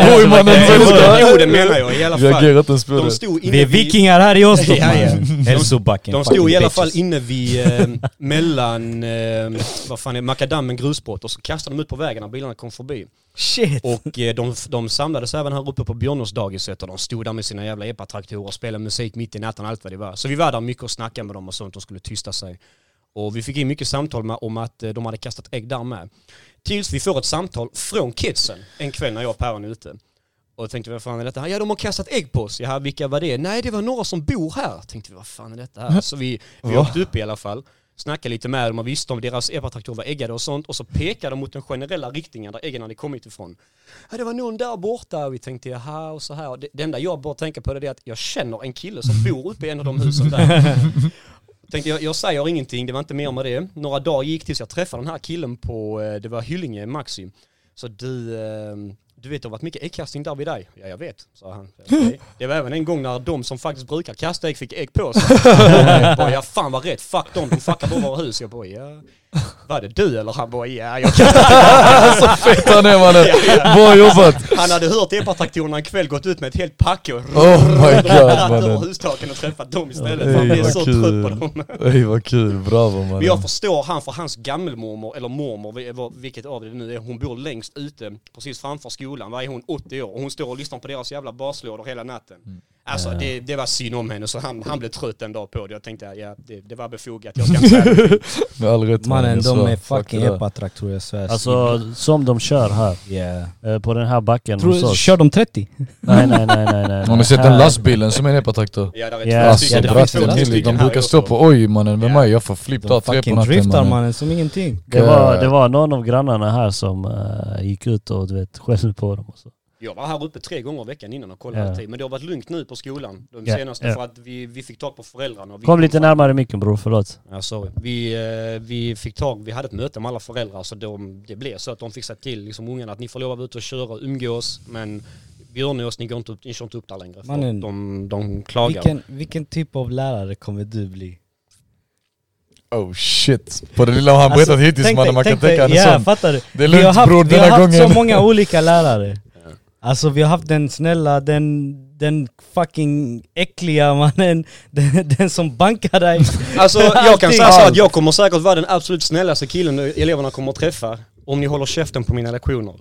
[SPEAKER 1] Alltså,
[SPEAKER 4] Jo det menar jag i alla fall.
[SPEAKER 3] Reagerar inte ens på
[SPEAKER 4] De
[SPEAKER 3] det.
[SPEAKER 4] stod inne
[SPEAKER 2] Vi är vikingar här i Åstorp
[SPEAKER 4] Ja.
[SPEAKER 2] mannen! Hälsobacken.
[SPEAKER 4] De stod i alla
[SPEAKER 2] fucking
[SPEAKER 4] fall
[SPEAKER 2] bitches.
[SPEAKER 4] inne vid, eh, mellan, eh, vad fan är det, makadammen grusbrott och så kastade de ut på vägen när bilarna kom förbi.
[SPEAKER 2] Shit!
[SPEAKER 4] Och eh, de, de samlades även här uppe på Björnåsdagiset och de stod där med sina jävla epatraktorer och spelade musik mitt i natten allt vad det var. Så vi var där mycket och snackade med dem och sånt, de skulle tysta sig. Och vi fick in mycket samtal med, om att eh, de hade kastat ägg där med. Tills vi får ett samtal från kidsen en kväll när jag och Päron är ute. Och tänkte vad fan är detta? här? Ja de har kastat ägg på oss. Ja vilka var det? Nej det var några som bor här. Tänkte vi vad fan är detta här? Så vi, vi
[SPEAKER 3] Va?
[SPEAKER 4] åkte upp i alla fall. Snackade lite med dem och visste om deras epatraktorer var äggade och sånt. Och så pekade de mot den generella riktningen där äggen hade kommit ifrån. Ja det var någon där borta. Och vi tänkte jaha och så här. Och det, det enda jag bara tänker på det är att jag känner en kille som bor uppe i en av de husen där. Tänkte jag, jag säger ingenting, det var inte mer med det. Några dagar gick tills jag träffade den här killen på, eh, det var Hyllinge, Maxi. Så du, eh, du vet det har varit mycket äggkastning där vid dig? Ja jag vet, sa han. Okej. Det var även en gång när de som faktiskt brukar kasta ägg fick ägg på sig. Jag bara, ja fan vad rätt, fuck dem, de fuckar bara våra hus. Jag bara ja. Var det du eller? Han bara ja, jag kan
[SPEAKER 3] Så fett han är mannen! Bra jobbat!
[SPEAKER 4] Han hade hört epatraktorerna en kväll, gått ut med ett helt packe och
[SPEAKER 3] Oh my god
[SPEAKER 4] rattat över
[SPEAKER 3] mannen!
[SPEAKER 4] hustaken och träffat dem istället.
[SPEAKER 3] Ey,
[SPEAKER 4] Fan, jag är
[SPEAKER 3] vad
[SPEAKER 4] så
[SPEAKER 3] kul.
[SPEAKER 4] trött på dem.
[SPEAKER 3] Ey vad kul, bravo
[SPEAKER 4] Men jag
[SPEAKER 3] mannen!
[SPEAKER 4] förstår han för hans gammelmormor, eller mormor, vi- vad- vilket av det nu är, hon bor längst ute, precis framför skolan. Vad är hon, 80 år? Och hon står och lyssnar på deras jävla baslådor hela natten. Alltså det, det var synd om henne, så han, han blev trött en dag på det. Jag tänkte, ja det, det var befogat, jag ska inte säga det.
[SPEAKER 3] Med all rätt
[SPEAKER 2] Mannen
[SPEAKER 3] jag
[SPEAKER 2] de
[SPEAKER 3] svär.
[SPEAKER 2] är
[SPEAKER 3] Fuck
[SPEAKER 2] fucking
[SPEAKER 3] det där.
[SPEAKER 2] epatraktorer, jag svär.
[SPEAKER 1] Alltså som de kör här,
[SPEAKER 2] yeah.
[SPEAKER 1] eh, på den här backen hos
[SPEAKER 2] Tror,
[SPEAKER 1] oss.
[SPEAKER 2] kör de 30? Mm.
[SPEAKER 1] Nej, nej, nej, nej, nej.
[SPEAKER 3] Har ni sett den lastbilen som är en epatraktor?
[SPEAKER 4] Ja, där är
[SPEAKER 1] Ja,
[SPEAKER 4] två
[SPEAKER 3] Alltså
[SPEAKER 4] stycken.
[SPEAKER 2] det
[SPEAKER 4] finns
[SPEAKER 2] finns
[SPEAKER 3] bratten
[SPEAKER 4] två
[SPEAKER 2] två
[SPEAKER 3] till,
[SPEAKER 4] stycken
[SPEAKER 3] de
[SPEAKER 4] här
[SPEAKER 3] brukar
[SPEAKER 4] uppe.
[SPEAKER 3] stå på oj mannen, med
[SPEAKER 4] Ja.
[SPEAKER 3] mig jag får flipp där
[SPEAKER 2] De
[SPEAKER 3] tre på
[SPEAKER 2] fucking
[SPEAKER 3] natten
[SPEAKER 2] driftar
[SPEAKER 3] mannen.
[SPEAKER 2] mannen som ingenting.
[SPEAKER 1] Det var,
[SPEAKER 3] eh,
[SPEAKER 1] det var någon av grannarna här som eh, gick ut och du vet, skällde på dem och så.
[SPEAKER 4] Jag var här uppe tre gånger i veckan innan och kollade
[SPEAKER 1] Ja.
[SPEAKER 4] alltid. Men det har varit lugnt nu på skolan, de
[SPEAKER 1] Ja,
[SPEAKER 4] senaste,
[SPEAKER 1] ja.
[SPEAKER 4] för att vi, vi fick tag på föräldrarna. och vi
[SPEAKER 1] Kom lite
[SPEAKER 4] fram-
[SPEAKER 1] närmare micken bror, förlåt.
[SPEAKER 4] Ja, sorry. Vi, eh, vi fick tag, vi hade ett möte med alla föräldrar så de, det blev så att de fixade till liksom ungarna att ni får lov att vara ute och köra och umgås men Björnås, ni, går inte upp, ni kör inte upp där längre. För
[SPEAKER 2] Mannen.
[SPEAKER 4] de, de klagar.
[SPEAKER 2] Vilken, vilken typ av lärare kommer du bli?
[SPEAKER 3] Oh shit. På det lilla han berättat
[SPEAKER 2] Alltså,
[SPEAKER 3] hittills
[SPEAKER 2] tänk
[SPEAKER 3] mannen,
[SPEAKER 2] dig-
[SPEAKER 3] man kan
[SPEAKER 2] tänk dig-
[SPEAKER 3] tänka han
[SPEAKER 2] ja,
[SPEAKER 3] är sån.
[SPEAKER 2] fattar du?
[SPEAKER 3] Det är
[SPEAKER 2] vi har
[SPEAKER 3] lugnt
[SPEAKER 2] haft,
[SPEAKER 3] bror
[SPEAKER 2] vi har
[SPEAKER 3] denna
[SPEAKER 2] haft så
[SPEAKER 3] gången.
[SPEAKER 2] många olika lärare. Alltså vi har haft den snälla, den, den fucking äckliga mannen, den, den som bankar dig.
[SPEAKER 4] Alltså jag kan
[SPEAKER 2] Allting.
[SPEAKER 4] säga så att jag kommer säkert vara den absolut snällaste killen eleverna kommer att träffa om ni håller käften på mina lektioner.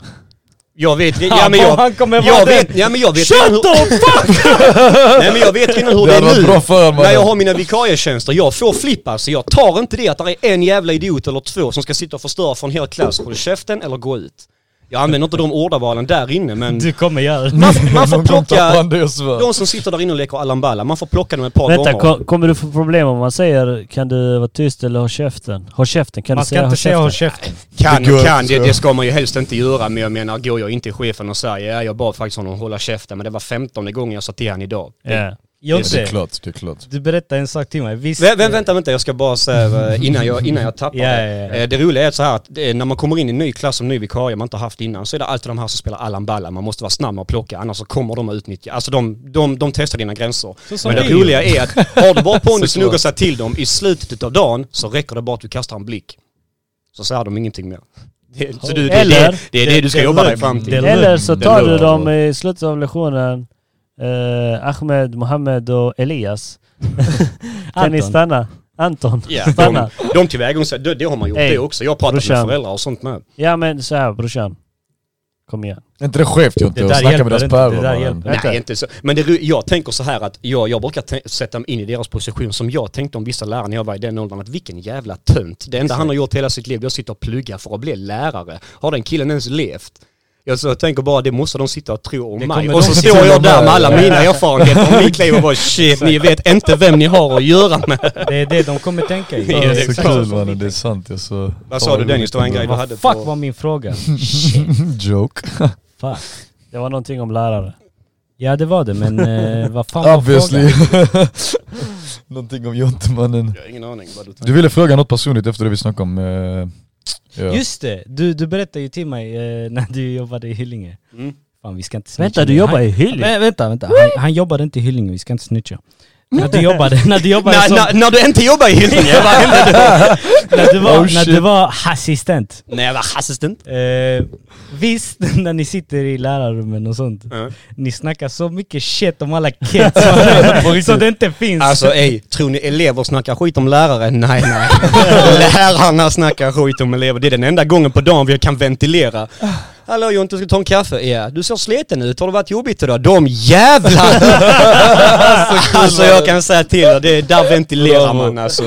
[SPEAKER 4] Jag vet, ja men jag,
[SPEAKER 2] Han kommer vara
[SPEAKER 4] jag
[SPEAKER 2] den.
[SPEAKER 4] vet, ja men jag vet
[SPEAKER 2] Shut
[SPEAKER 4] redan hur, nej men jag vet redan hur
[SPEAKER 3] Det
[SPEAKER 4] det är
[SPEAKER 3] hade varit
[SPEAKER 4] nu.
[SPEAKER 3] bra för
[SPEAKER 4] När jag
[SPEAKER 3] mannen.
[SPEAKER 4] har mina vikarietjänster, jag får flippa så jag tar inte det att det är en jävla idiot eller två som ska sitta och förstöra för en hel klass. Håll käften eller gå ut. Jag använder inte de ordavalen där inne men
[SPEAKER 2] Du kommer göra det.
[SPEAKER 4] man, man får
[SPEAKER 3] Någon gång tappar
[SPEAKER 4] plocka,
[SPEAKER 3] han det jag svär.
[SPEAKER 4] de som sitter där inne och leker Allan Balla, man får plocka dem ett par
[SPEAKER 1] Vänta,
[SPEAKER 4] gånger.
[SPEAKER 1] ko- kommer du få problem om man säger kan du vara tyst eller ha käften? Ha käften, kan
[SPEAKER 2] Man
[SPEAKER 1] du
[SPEAKER 2] ska
[SPEAKER 1] säga
[SPEAKER 2] inte säga
[SPEAKER 1] ha
[SPEAKER 2] håll
[SPEAKER 1] käften?
[SPEAKER 2] käften.
[SPEAKER 4] Kan
[SPEAKER 3] Det går
[SPEAKER 4] och kan,
[SPEAKER 3] inte,
[SPEAKER 4] det,
[SPEAKER 3] så.
[SPEAKER 4] det ska man ju helst inte göra men jag menar går jag in till chefen och säger ja jag bad faktiskt honom hålla käften men det var femtonde gången jag sa till han idag.
[SPEAKER 1] Ja.
[SPEAKER 3] Det är
[SPEAKER 2] Jonte,
[SPEAKER 3] klart, det är klart.
[SPEAKER 2] du berättade en sak till mig. Visst,
[SPEAKER 4] Vä- vä- vänta, vänta, jag ska bara säga eh, innan jag, innan jag tappar
[SPEAKER 2] Ja,
[SPEAKER 4] det.
[SPEAKER 2] ja, ja.
[SPEAKER 4] Eh, Det roliga är så här att eh, när man kommer in i en ny klass som ny vikarie man inte har haft innan så är det alltid de här som spelar Allan Balla. Man måste vara snabb med att plocka annars så kommer de att utnyttja. Alltså de, de, de testar dina gränser.
[SPEAKER 2] Så som
[SPEAKER 4] Men det
[SPEAKER 2] vi gjorde.
[SPEAKER 4] roliga är att har du bara pondus nog
[SPEAKER 3] Såklart.
[SPEAKER 4] att säga till dem i slutet av dagen så räcker det bara att du kastar en blick. Så säger de ingenting mer. Det, så du, det,
[SPEAKER 1] Eller-
[SPEAKER 4] det, det är det du ska
[SPEAKER 2] det-
[SPEAKER 4] jobba
[SPEAKER 2] det-
[SPEAKER 4] dig fram till.
[SPEAKER 2] det-
[SPEAKER 1] Eller så
[SPEAKER 3] Det
[SPEAKER 1] tar du
[SPEAKER 3] lugnar.
[SPEAKER 1] dem i slutet av lektionen, eh, Ahmed, Mohammed och Elias. kan ni
[SPEAKER 2] Anton.
[SPEAKER 1] stanna? Anton,
[SPEAKER 4] Ja, de,
[SPEAKER 1] stanna.
[SPEAKER 4] de tillvägagångssätt, det, det har man gjort
[SPEAKER 1] Ey,
[SPEAKER 4] det också. Jag har pratat med
[SPEAKER 1] brorsan.
[SPEAKER 4] föräldrar och sånt med.
[SPEAKER 1] Ja men så här brorsan. Kom igen.
[SPEAKER 3] Är inte det skevt Jonte?
[SPEAKER 2] Det
[SPEAKER 3] att
[SPEAKER 2] där
[SPEAKER 3] Snacka
[SPEAKER 2] hjälper
[SPEAKER 3] med deras
[SPEAKER 2] inte, det
[SPEAKER 3] päron
[SPEAKER 2] där
[SPEAKER 3] mannen.
[SPEAKER 2] hjälper.
[SPEAKER 1] Vänta.
[SPEAKER 4] Nej, inte så. Men det, ro- jag tänker så här att jag, jag brukar te- sätta mig in i deras position som jag tänkte om vissa lärare när jag var i den åldern. Att vilken jävla tönt. Det enda han har gjort hela sitt liv, jag sitter och pluggar för att bli lärare. Har den killen ens levt? Jag så tänker bara det måste de sitta och tro om
[SPEAKER 2] Det
[SPEAKER 4] mig.
[SPEAKER 2] kommer
[SPEAKER 4] Och
[SPEAKER 2] de
[SPEAKER 4] så
[SPEAKER 2] sitta
[SPEAKER 4] står jag
[SPEAKER 3] och
[SPEAKER 4] där med
[SPEAKER 3] med.
[SPEAKER 4] alla mina erfarenheter och mitt liv och bara shit, ni vet inte vem ni har att göra med.
[SPEAKER 2] Det är det de kommer tänka i.
[SPEAKER 4] Ja,
[SPEAKER 3] Ja, det
[SPEAKER 4] exakt.
[SPEAKER 3] är så kul mannen, det är sant. Jag så...
[SPEAKER 4] Vad sa du Dennis? Det var en grej du hade
[SPEAKER 2] Fuck
[SPEAKER 4] på...
[SPEAKER 2] var min fråga.
[SPEAKER 3] Joke.
[SPEAKER 2] Fuck.
[SPEAKER 1] Det var någonting om lärare.
[SPEAKER 2] Ja det var det men eh, vad fan var
[SPEAKER 3] Obviously.
[SPEAKER 2] frågan?
[SPEAKER 3] Någonting om Jonte mannen.
[SPEAKER 4] Jag har ingen aning vad du
[SPEAKER 3] Du ville fråga något personligt efter det vi snackade om... eh, ja.
[SPEAKER 2] Just det, du, du berättade ju till mig eh, när du jobbade i Hyllinge.
[SPEAKER 4] Mm.
[SPEAKER 2] Fan vi ska inte snitcha.
[SPEAKER 1] Vänta, du jobbar i Hyllie?
[SPEAKER 2] Hyllinge? Vänta, vänta. Han, han jobbade inte i Hyllinge, vi ska inte snitcha. När du jobbade, när du jobbade
[SPEAKER 4] När,
[SPEAKER 2] som,
[SPEAKER 4] när, när du inte jobbar i Hylton, jag bara hände då?
[SPEAKER 2] när du var,
[SPEAKER 3] Oh,
[SPEAKER 2] när du
[SPEAKER 3] shit.
[SPEAKER 2] var assistent.
[SPEAKER 4] Nej jag var assistent.
[SPEAKER 2] Eh, visst, när ni sitter i lärarrummen och sånt. Ni snackar så mycket shit om alla kids så det inte finns.
[SPEAKER 4] Alltså ey, tror ni elever snackar skit om lärare? Nej nej. Lärarna snackar skit om elever. Det är den enda gången på dagen vi kan ventilera. Hallå Jonte, ska du ta en kaffe? Ja. Du ser sliten ut, har det varit jobbigt idag? De jävlarna! alltså jag kan säga till er, det är där ventilerar man alltså.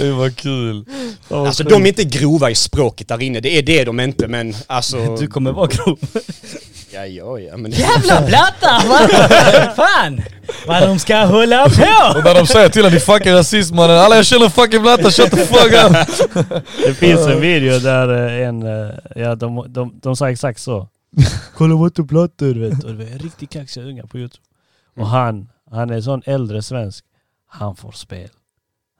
[SPEAKER 3] Det var kul.
[SPEAKER 4] Alltså de är inte grova i språket där inne, det är det de inte men alltså...
[SPEAKER 2] du kommer vara grov.
[SPEAKER 4] Ja ja ja men...
[SPEAKER 2] Jävla platta! Vad fan! Vad de ska hålla på!
[SPEAKER 3] Och när de säger till en, din fucking rasist mannen. Alla jag känner fucking blatta, shut the fuck up.
[SPEAKER 1] Det finns en video där eh, en, eh, ja de, de, de sa exakt så. Kolla vad du plattor vet du. Och det är Riktigt kaxiga unga på youtube.
[SPEAKER 2] Mm.
[SPEAKER 1] Och han, han är en sån äldre svensk. Han får spel.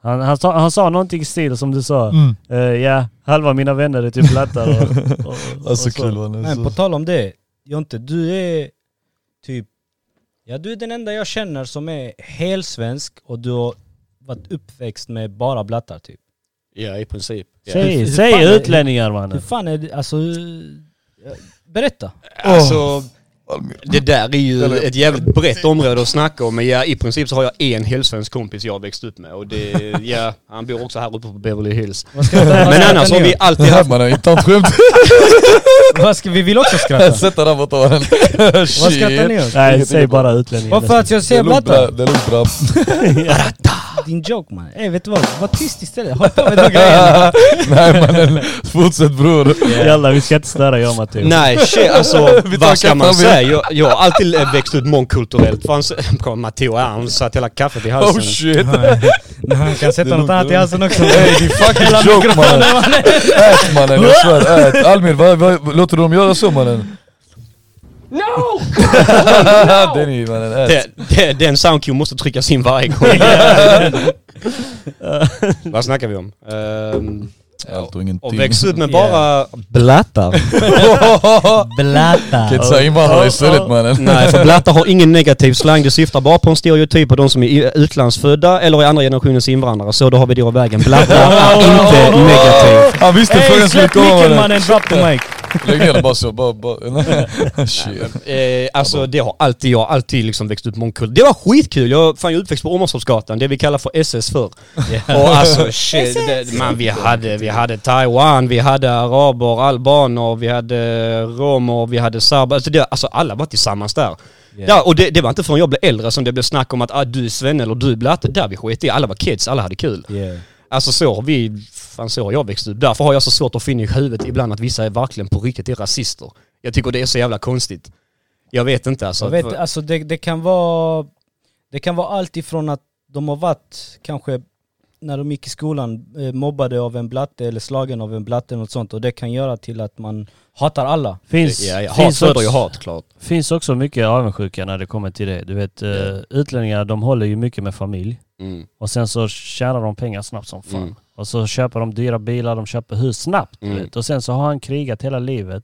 [SPEAKER 1] Han, han, sa, han sa någonting i stil som du sa.
[SPEAKER 2] Mm.
[SPEAKER 1] Eh, ja, halva mina vänner är typ plattar och, och, och,
[SPEAKER 3] Alltså
[SPEAKER 1] och
[SPEAKER 3] kul
[SPEAKER 1] så.
[SPEAKER 3] mannen.
[SPEAKER 2] Men på
[SPEAKER 3] Alltså.
[SPEAKER 2] tal om det, Jonte, du är typ... Ja, du är den enda jag känner som är helsvensk och du har varit uppväxt med bara blattar typ.
[SPEAKER 4] Ja i princip. Ja.
[SPEAKER 2] Hur-
[SPEAKER 1] Säg,
[SPEAKER 2] hur fan
[SPEAKER 1] säg
[SPEAKER 2] är-
[SPEAKER 1] utlänningar
[SPEAKER 2] Hur
[SPEAKER 1] mannen.
[SPEAKER 2] fan är det, alltså... ja, Berätta!
[SPEAKER 4] Alltså, det där är ju ett jävligt brett område att snacka om. Men ja, i princip så har jag en helsvensk kompis jag har växt upp med. Och det, ja, han bor också här uppe på Beverly Hills.
[SPEAKER 2] Vad ska, vad
[SPEAKER 4] Men
[SPEAKER 2] ska
[SPEAKER 4] annars har
[SPEAKER 2] ni
[SPEAKER 4] vi
[SPEAKER 2] göra?
[SPEAKER 4] alltid
[SPEAKER 3] Det här
[SPEAKER 4] haft...
[SPEAKER 3] mannen, inte han skämt.
[SPEAKER 2] Vad ska, vi vill också skratta.
[SPEAKER 3] Sätt den där borta mannen.
[SPEAKER 2] Vad skrattar ni åt?
[SPEAKER 1] Nej, säg bara utlänningar.
[SPEAKER 2] Varför att jag
[SPEAKER 3] Det är
[SPEAKER 2] säger
[SPEAKER 3] lugnt
[SPEAKER 2] blattar?
[SPEAKER 3] bra- det är lugnt bra.
[SPEAKER 2] Din joke man. Ey vet du vad? Var tyst istället. Hoppa med de grejerna.
[SPEAKER 3] Nej mannen, fortsätt bror. Oh,
[SPEAKER 1] Jalla, vi ska inte störa jag och Matteo.
[SPEAKER 4] Nej, shit, alltså
[SPEAKER 3] Vi tar
[SPEAKER 4] vad ska man
[SPEAKER 3] kaffe.
[SPEAKER 4] säga? Jag, jag har alltid eh, växt upp mångkulturellt. Fanns, kom, Matteo, ja, han satt hela kaffet i halsen.
[SPEAKER 2] Alltså.
[SPEAKER 3] Oh shit.
[SPEAKER 2] Han kan
[SPEAKER 3] Det
[SPEAKER 2] sätta
[SPEAKER 3] är
[SPEAKER 2] något
[SPEAKER 3] lugnt,
[SPEAKER 2] annat i halsen också.
[SPEAKER 3] Ey din fucking joke mannen. Ät mannen, jag svär. Ät. Almir, vad, vad, låter du dem göra så mannen? No! Denny mannen, ät.
[SPEAKER 4] det, det, den soundcue måste tryckas in varje gång. vad snackar vi om? Ehm,
[SPEAKER 3] Allt och ingenting.
[SPEAKER 4] och växt upp med bara blattar.
[SPEAKER 2] Blatta.
[SPEAKER 3] Kan inte säga invandrare istället
[SPEAKER 1] Oh,
[SPEAKER 3] mannen.
[SPEAKER 4] Nej, för blattar har ingen negativ slang. Det syftar bara på en stereotyp av de som är i- utlandsfödda eller är andra generationens invandrare. Så då har vi det av vägen. Blattar är inte negativ.
[SPEAKER 3] Han visste frågan skulle komma mannen.
[SPEAKER 2] drop the mic.
[SPEAKER 3] Lägg ner den bara så, bara, bara. Shit.
[SPEAKER 4] Eh, alltså det har alltid, jag har alltid liksom växt upp mångkultur. Det var skitkul! Jag fan jag är uppväxt på Åmålstorpsgatan, det vi kallar för SS förr. Och alltså shit, det, man, vi, hade, vi hade Taiwan, vi hade araber, albaner, vi hade romer, vi hade serber. Alltså, det, alltså alla var tillsammans där. Ja, och det, det var inte förrän jag blev äldre som det blev snack om att ah, du är svenne eller du är blatte. Där vi sket i, alla var kids, alla hade kul.
[SPEAKER 2] Yeah.
[SPEAKER 4] Alltså så har vi, fan så har jag växt upp. Därför har jag så svårt att finna i huvudet ibland att vissa är verkligen på riktigt är rasister. Jag tycker det är så jävla konstigt. Jag vet inte alltså.
[SPEAKER 2] Jag vet, alltså det, det kan vara... Det kan vara allt ifrån att de har varit, kanske när de gick i skolan, eh, mobbade av en blatte eller slagen av en blatte eller något sånt och det kan göra till att man hatar alla.
[SPEAKER 1] Finns,
[SPEAKER 4] ja, ja. Hat
[SPEAKER 1] finns
[SPEAKER 4] föder ju
[SPEAKER 1] också-
[SPEAKER 4] hat klart.
[SPEAKER 1] finns också mycket avundsjuka när det kommer till det. Du vet, eh, utlänningar de håller ju mycket med familj.
[SPEAKER 4] Mm.
[SPEAKER 1] Och sen så tjänar de pengar snabbt som fan.
[SPEAKER 4] Mm.
[SPEAKER 1] Och så köper de dyra bilar, de köper hus snabbt. du
[SPEAKER 4] Mm.
[SPEAKER 1] Vet. Och sen så har han krigat hela livet.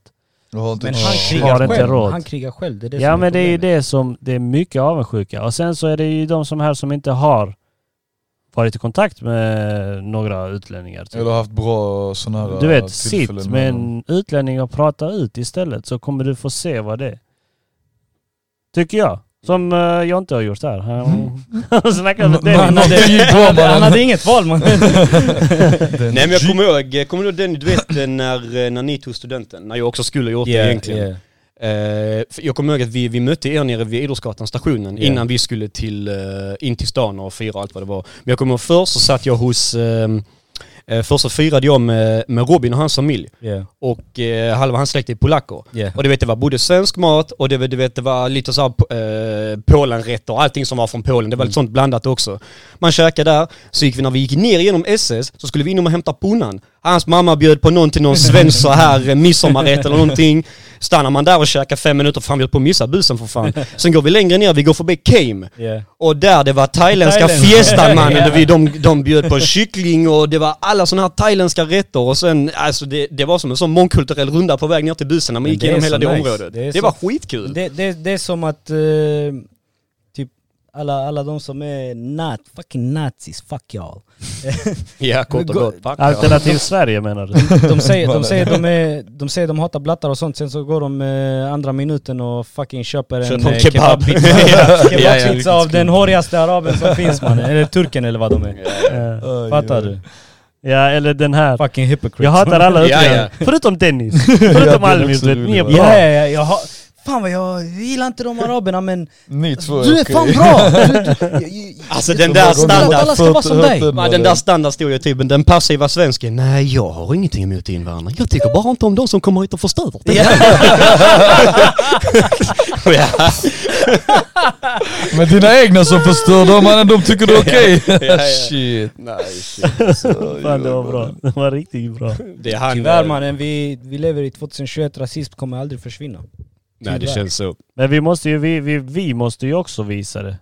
[SPEAKER 3] Jag har inte-
[SPEAKER 2] Men han
[SPEAKER 3] Åh.
[SPEAKER 1] har
[SPEAKER 2] krigar
[SPEAKER 1] inte
[SPEAKER 2] själv.
[SPEAKER 1] råd.
[SPEAKER 2] Han krigar själv, det är det som
[SPEAKER 1] ja men det är ju
[SPEAKER 2] problemet.
[SPEAKER 1] det som, det är mycket avundsjuka. Och sen så är det ju de som här som inte har varit i kontakt med några utlänningar. Typ.
[SPEAKER 3] Eller haft bra sådana här äh,
[SPEAKER 1] Du vet,
[SPEAKER 3] tillfällen
[SPEAKER 1] sitt
[SPEAKER 3] med
[SPEAKER 1] med en utlänning och prata ut istället så kommer du få se vad det är. Tycker jag. Som eh, jag inte har gjort här. Han
[SPEAKER 3] Mm.
[SPEAKER 1] han snackade med dig.
[SPEAKER 2] Han hade,
[SPEAKER 3] Någonting gick bra,
[SPEAKER 2] han hade, han
[SPEAKER 3] mannen.
[SPEAKER 2] hade inget val man.
[SPEAKER 3] den.
[SPEAKER 4] Nej men jag kommer ihåg, kommer du ihåg den, du vet eh, när, eh, när ni tog studenten? När jag också skulle ha gjort det egentligen.
[SPEAKER 2] yeah.
[SPEAKER 4] Eh, för jag kommer ihåg att vi, vi mötte er nere vid Idrottsgatan stationen
[SPEAKER 2] Ja.
[SPEAKER 4] innan vi skulle till, eh, in till stan och fira allt vad det var. Men jag kommer ihåg först så satt jag hos, eh, eh, först så firade jag med, med Robin och hans familj.
[SPEAKER 2] Yeah.
[SPEAKER 4] och eh, halva hans släkt är polacker.
[SPEAKER 2] Yeah.
[SPEAKER 4] Och du vet det var både svensk mat och det, var- du vet, det var lite så här, eh, Polenrätter och allting som var från Polen. Det var lite sånt blandat också. Man käkade där, så gick vi när vi gick ner genom SS så skulle vi in och hämta punnan. Hans mamma bjöd på någon till någon svensk så här eh, midsommarrätt eller någonting. Stannar man där och käkar fem minuter, fan vi höll på att missa busen för fan. Sen går vi längre ner, vi går förbi Came.
[SPEAKER 2] Yeah.
[SPEAKER 4] Och där det var thailändska
[SPEAKER 2] Thailändska.
[SPEAKER 4] fiestan mannen,
[SPEAKER 2] Ja.
[SPEAKER 4] vi- de, de bjöd på kyckling och det var alla sådana här thailändska rätter och sen, alltså det, det var som en sån mångkulturell runda på väg ner till bussen när man
[SPEAKER 2] Men
[SPEAKER 4] gick
[SPEAKER 2] det är
[SPEAKER 4] igenom hela
[SPEAKER 2] så
[SPEAKER 4] det
[SPEAKER 2] nice.
[SPEAKER 4] området.
[SPEAKER 2] Det är
[SPEAKER 4] Det,
[SPEAKER 2] så-
[SPEAKER 4] var skitkul.
[SPEAKER 2] Det, det, det är som att eh, typ Alla, alla de som är nat, fucking nazis, fuck y'all.
[SPEAKER 4] Ja, kort och
[SPEAKER 2] Gå- Alltså,
[SPEAKER 4] gott. Fuck, ja.
[SPEAKER 1] Alternativ Sverige menar du?
[SPEAKER 2] De säger, de, säger de, är, de säger de hatar blattar och sånt, sen så går de eh, andra minuten och fucking köper en
[SPEAKER 4] Köper en
[SPEAKER 2] eh,
[SPEAKER 4] kebab.
[SPEAKER 2] kebabbit.
[SPEAKER 4] Ja, ja,
[SPEAKER 2] Kebabbpizza
[SPEAKER 4] ja, liksom.
[SPEAKER 2] av den hårigaste araben som finns man, eller turken eller vad de är.
[SPEAKER 1] Eh,
[SPEAKER 2] Fattar du?
[SPEAKER 1] Ja, eller den här.
[SPEAKER 2] Fucking hypocrite.
[SPEAKER 1] Jag hatar alla
[SPEAKER 4] Ja,
[SPEAKER 1] uttryck. Förutom Dennis. Förutom
[SPEAKER 3] det är
[SPEAKER 1] Almis,
[SPEAKER 3] också
[SPEAKER 1] du vet. Ni är
[SPEAKER 3] roligt.
[SPEAKER 1] bra.
[SPEAKER 2] Ja, ja, ja, jag har... Fan vad jag gillar inte de araberna men
[SPEAKER 3] Ni två
[SPEAKER 2] du är fan bra! Du, du, jag, jag,
[SPEAKER 4] Alltså den där
[SPEAKER 2] Alla-
[SPEAKER 4] standard...
[SPEAKER 2] alla ska vara som dig.
[SPEAKER 4] Man, den där standardstereotypen, den passiva svensken. Nej, jag har ingenting emot invandrare. Jag tycker bara inte om de som kommer hit och förstör. ja.
[SPEAKER 3] Men dina egna som förstör dem mannen, de tycker du är okej.
[SPEAKER 4] Ja, ja.
[SPEAKER 3] Shit.
[SPEAKER 4] Nej, shit. alltså.
[SPEAKER 1] Fan det var bra. Det var riktigt bra.
[SPEAKER 4] Det är han.
[SPEAKER 2] Tyvärr mannen, vi, vi lever i 2021, rasism kommer aldrig försvinna.
[SPEAKER 4] Nej, det
[SPEAKER 2] tyvärr.
[SPEAKER 4] känns så.
[SPEAKER 1] Men vi måste ju, vi, vi, vi måste ju också visa det.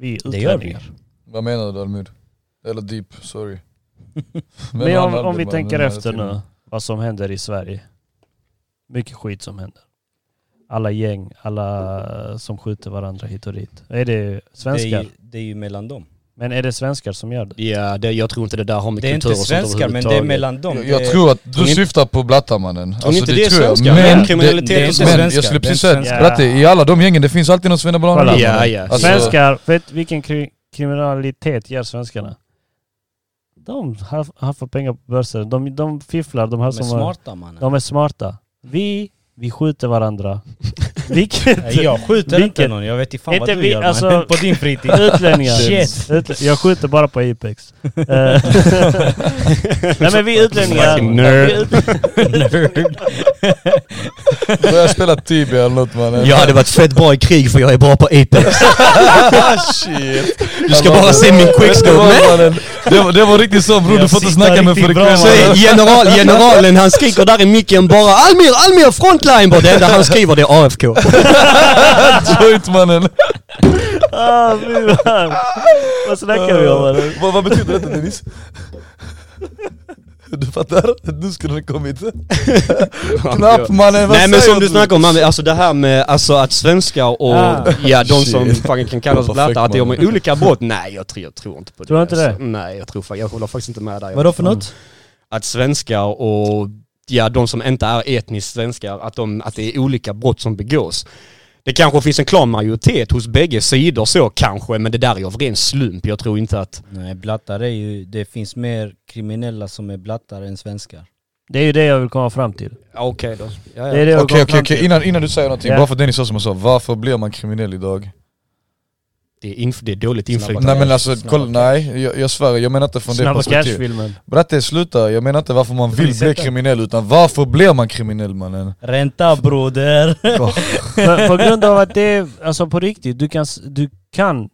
[SPEAKER 1] Vi
[SPEAKER 2] Det gör
[SPEAKER 1] utlänningar.
[SPEAKER 3] Vad menar du Almir? Eller Deep, sorry.
[SPEAKER 1] Men om,
[SPEAKER 3] han
[SPEAKER 1] om vi
[SPEAKER 3] Albin,
[SPEAKER 1] tänker
[SPEAKER 3] den här
[SPEAKER 1] efter
[SPEAKER 3] tiden.
[SPEAKER 1] nu, vad som händer i Sverige. Mycket skit som händer. Alla gäng, alla som skjuter varandra hit och dit. Är det
[SPEAKER 2] Det är,
[SPEAKER 1] svenskar?
[SPEAKER 2] ju, det är ju mellan dem.
[SPEAKER 1] Men är det svenskar som gör det?
[SPEAKER 4] Ja, det, jag tror inte det där har med
[SPEAKER 2] Det är
[SPEAKER 4] kultur
[SPEAKER 2] inte
[SPEAKER 4] och sånt
[SPEAKER 2] svenskar men det är
[SPEAKER 4] överhuvudtaget.
[SPEAKER 2] mellan dem.
[SPEAKER 3] Jag, jag
[SPEAKER 2] Det-
[SPEAKER 3] tror att du
[SPEAKER 4] ni-
[SPEAKER 3] syftar på blattarmannen.
[SPEAKER 4] Tror ni inte det är
[SPEAKER 3] tror jag.
[SPEAKER 4] svenskar?
[SPEAKER 3] Men,
[SPEAKER 4] Men
[SPEAKER 3] det-
[SPEAKER 4] kriminalitet
[SPEAKER 3] det-
[SPEAKER 4] och sånt.
[SPEAKER 3] men
[SPEAKER 2] Svenskar,
[SPEAKER 3] jag skulle
[SPEAKER 2] det är
[SPEAKER 3] precis
[SPEAKER 2] inte
[SPEAKER 3] säga
[SPEAKER 1] svenskar.
[SPEAKER 3] att Bratte, i alla de gängen det finns alltid någon
[SPEAKER 1] Kolla.
[SPEAKER 3] svennebanan.
[SPEAKER 4] Ja, ja.
[SPEAKER 3] Alltså-
[SPEAKER 1] Svenskar, vet vilken kri- kriminalitet gör svenskarna? De har, har fått pengar på börsen. De, de fifflar, de har
[SPEAKER 2] De är
[SPEAKER 1] som har,
[SPEAKER 2] smarta mannen.
[SPEAKER 1] de är smarta. Vi, vi skjuter varandra. Vilket,
[SPEAKER 2] Nej, Jag skjuter inte
[SPEAKER 1] Vilket-
[SPEAKER 2] någon, jag vet inte fan
[SPEAKER 1] Inte
[SPEAKER 2] vad du
[SPEAKER 1] vi,
[SPEAKER 2] gör
[SPEAKER 1] alltså-
[SPEAKER 2] mannen. På din fritid.
[SPEAKER 1] Utlänningar.
[SPEAKER 2] Shit.
[SPEAKER 1] Utlä- jag skjuter bara på Apex. Eh, Nej men vi utlänningar...
[SPEAKER 4] Fucking nerd.
[SPEAKER 1] Vi ut-
[SPEAKER 3] Börja spela Tibia eller något mannen.
[SPEAKER 4] Jag hade varit fett bra i krig för jag är bra på Apex.
[SPEAKER 3] Ah, Shit.
[SPEAKER 4] Ah, Du ska bara se min
[SPEAKER 3] Det
[SPEAKER 4] quickscope.
[SPEAKER 3] var, mannen, det var, det var riktigt så bror, du får inte snacka med frekvens.
[SPEAKER 4] Så general, generalen han skriker där i micken bara Almir, Almir, frontline! Det enda han skriver det är AFK.
[SPEAKER 3] Joint mannen.
[SPEAKER 1] ah, fy fan. Vad snackar vi om? eller?
[SPEAKER 3] Vad, vad betyder detta Dennis? Du fattar? Nu skulle den kommit. Knapp mannen, vad
[SPEAKER 4] Nej men
[SPEAKER 3] säger
[SPEAKER 4] som du snackar om, man, alltså det här med alltså, att svenskar och
[SPEAKER 2] Ah.
[SPEAKER 4] ja, de
[SPEAKER 3] Shit.
[SPEAKER 4] som fucking kan kallas
[SPEAKER 3] Perfekt,
[SPEAKER 4] blattar, att de
[SPEAKER 3] man.
[SPEAKER 4] gör olika brott. Nej jag tror, jag tror inte på det.
[SPEAKER 1] Tror inte det?
[SPEAKER 4] Alltså. Nej jag tror fa- jag håller faktiskt inte med dig.
[SPEAKER 2] Vadå för något?
[SPEAKER 4] Att svenskar och ja, de som inte är etniskt svenskar, att, de, att det är olika brott som begås. Det kanske finns en klar majoritet hos bägge sidor så kanske, men det där är av ren slump. Jag tror inte att...
[SPEAKER 2] Mm. Nej blattar är ju, det finns mer kriminella som är blattar än svenskar.
[SPEAKER 1] Det är ju det jag vill komma fram till.
[SPEAKER 4] Ja, Ah, Okej då. Ja, ja.
[SPEAKER 1] Det är det jag vill
[SPEAKER 3] Okej
[SPEAKER 1] komma
[SPEAKER 3] okej
[SPEAKER 1] fram
[SPEAKER 3] okej,
[SPEAKER 1] till.
[SPEAKER 3] innan, innan du säger någonting,
[SPEAKER 1] Ja.
[SPEAKER 3] bara för Dennis sa som han sa, varför blir man kriminell idag?
[SPEAKER 4] Det är, inf- det är dåligt inflytande.
[SPEAKER 3] Nej men alltså,
[SPEAKER 2] Snabba
[SPEAKER 3] kolla, nej jag, jag svär, jag menar inte från det
[SPEAKER 1] Snabba
[SPEAKER 3] perspektivet.
[SPEAKER 1] Cash-filmen.
[SPEAKER 3] Bratte sluta, jag menar inte varför man
[SPEAKER 2] Har ni
[SPEAKER 3] vill
[SPEAKER 2] sett
[SPEAKER 3] bli
[SPEAKER 2] den?
[SPEAKER 3] kriminell utan varför blir man kriminell mannen?
[SPEAKER 2] Ränta broder!
[SPEAKER 1] På, på grund av att det är, alltså på riktigt, du kan, s- du kan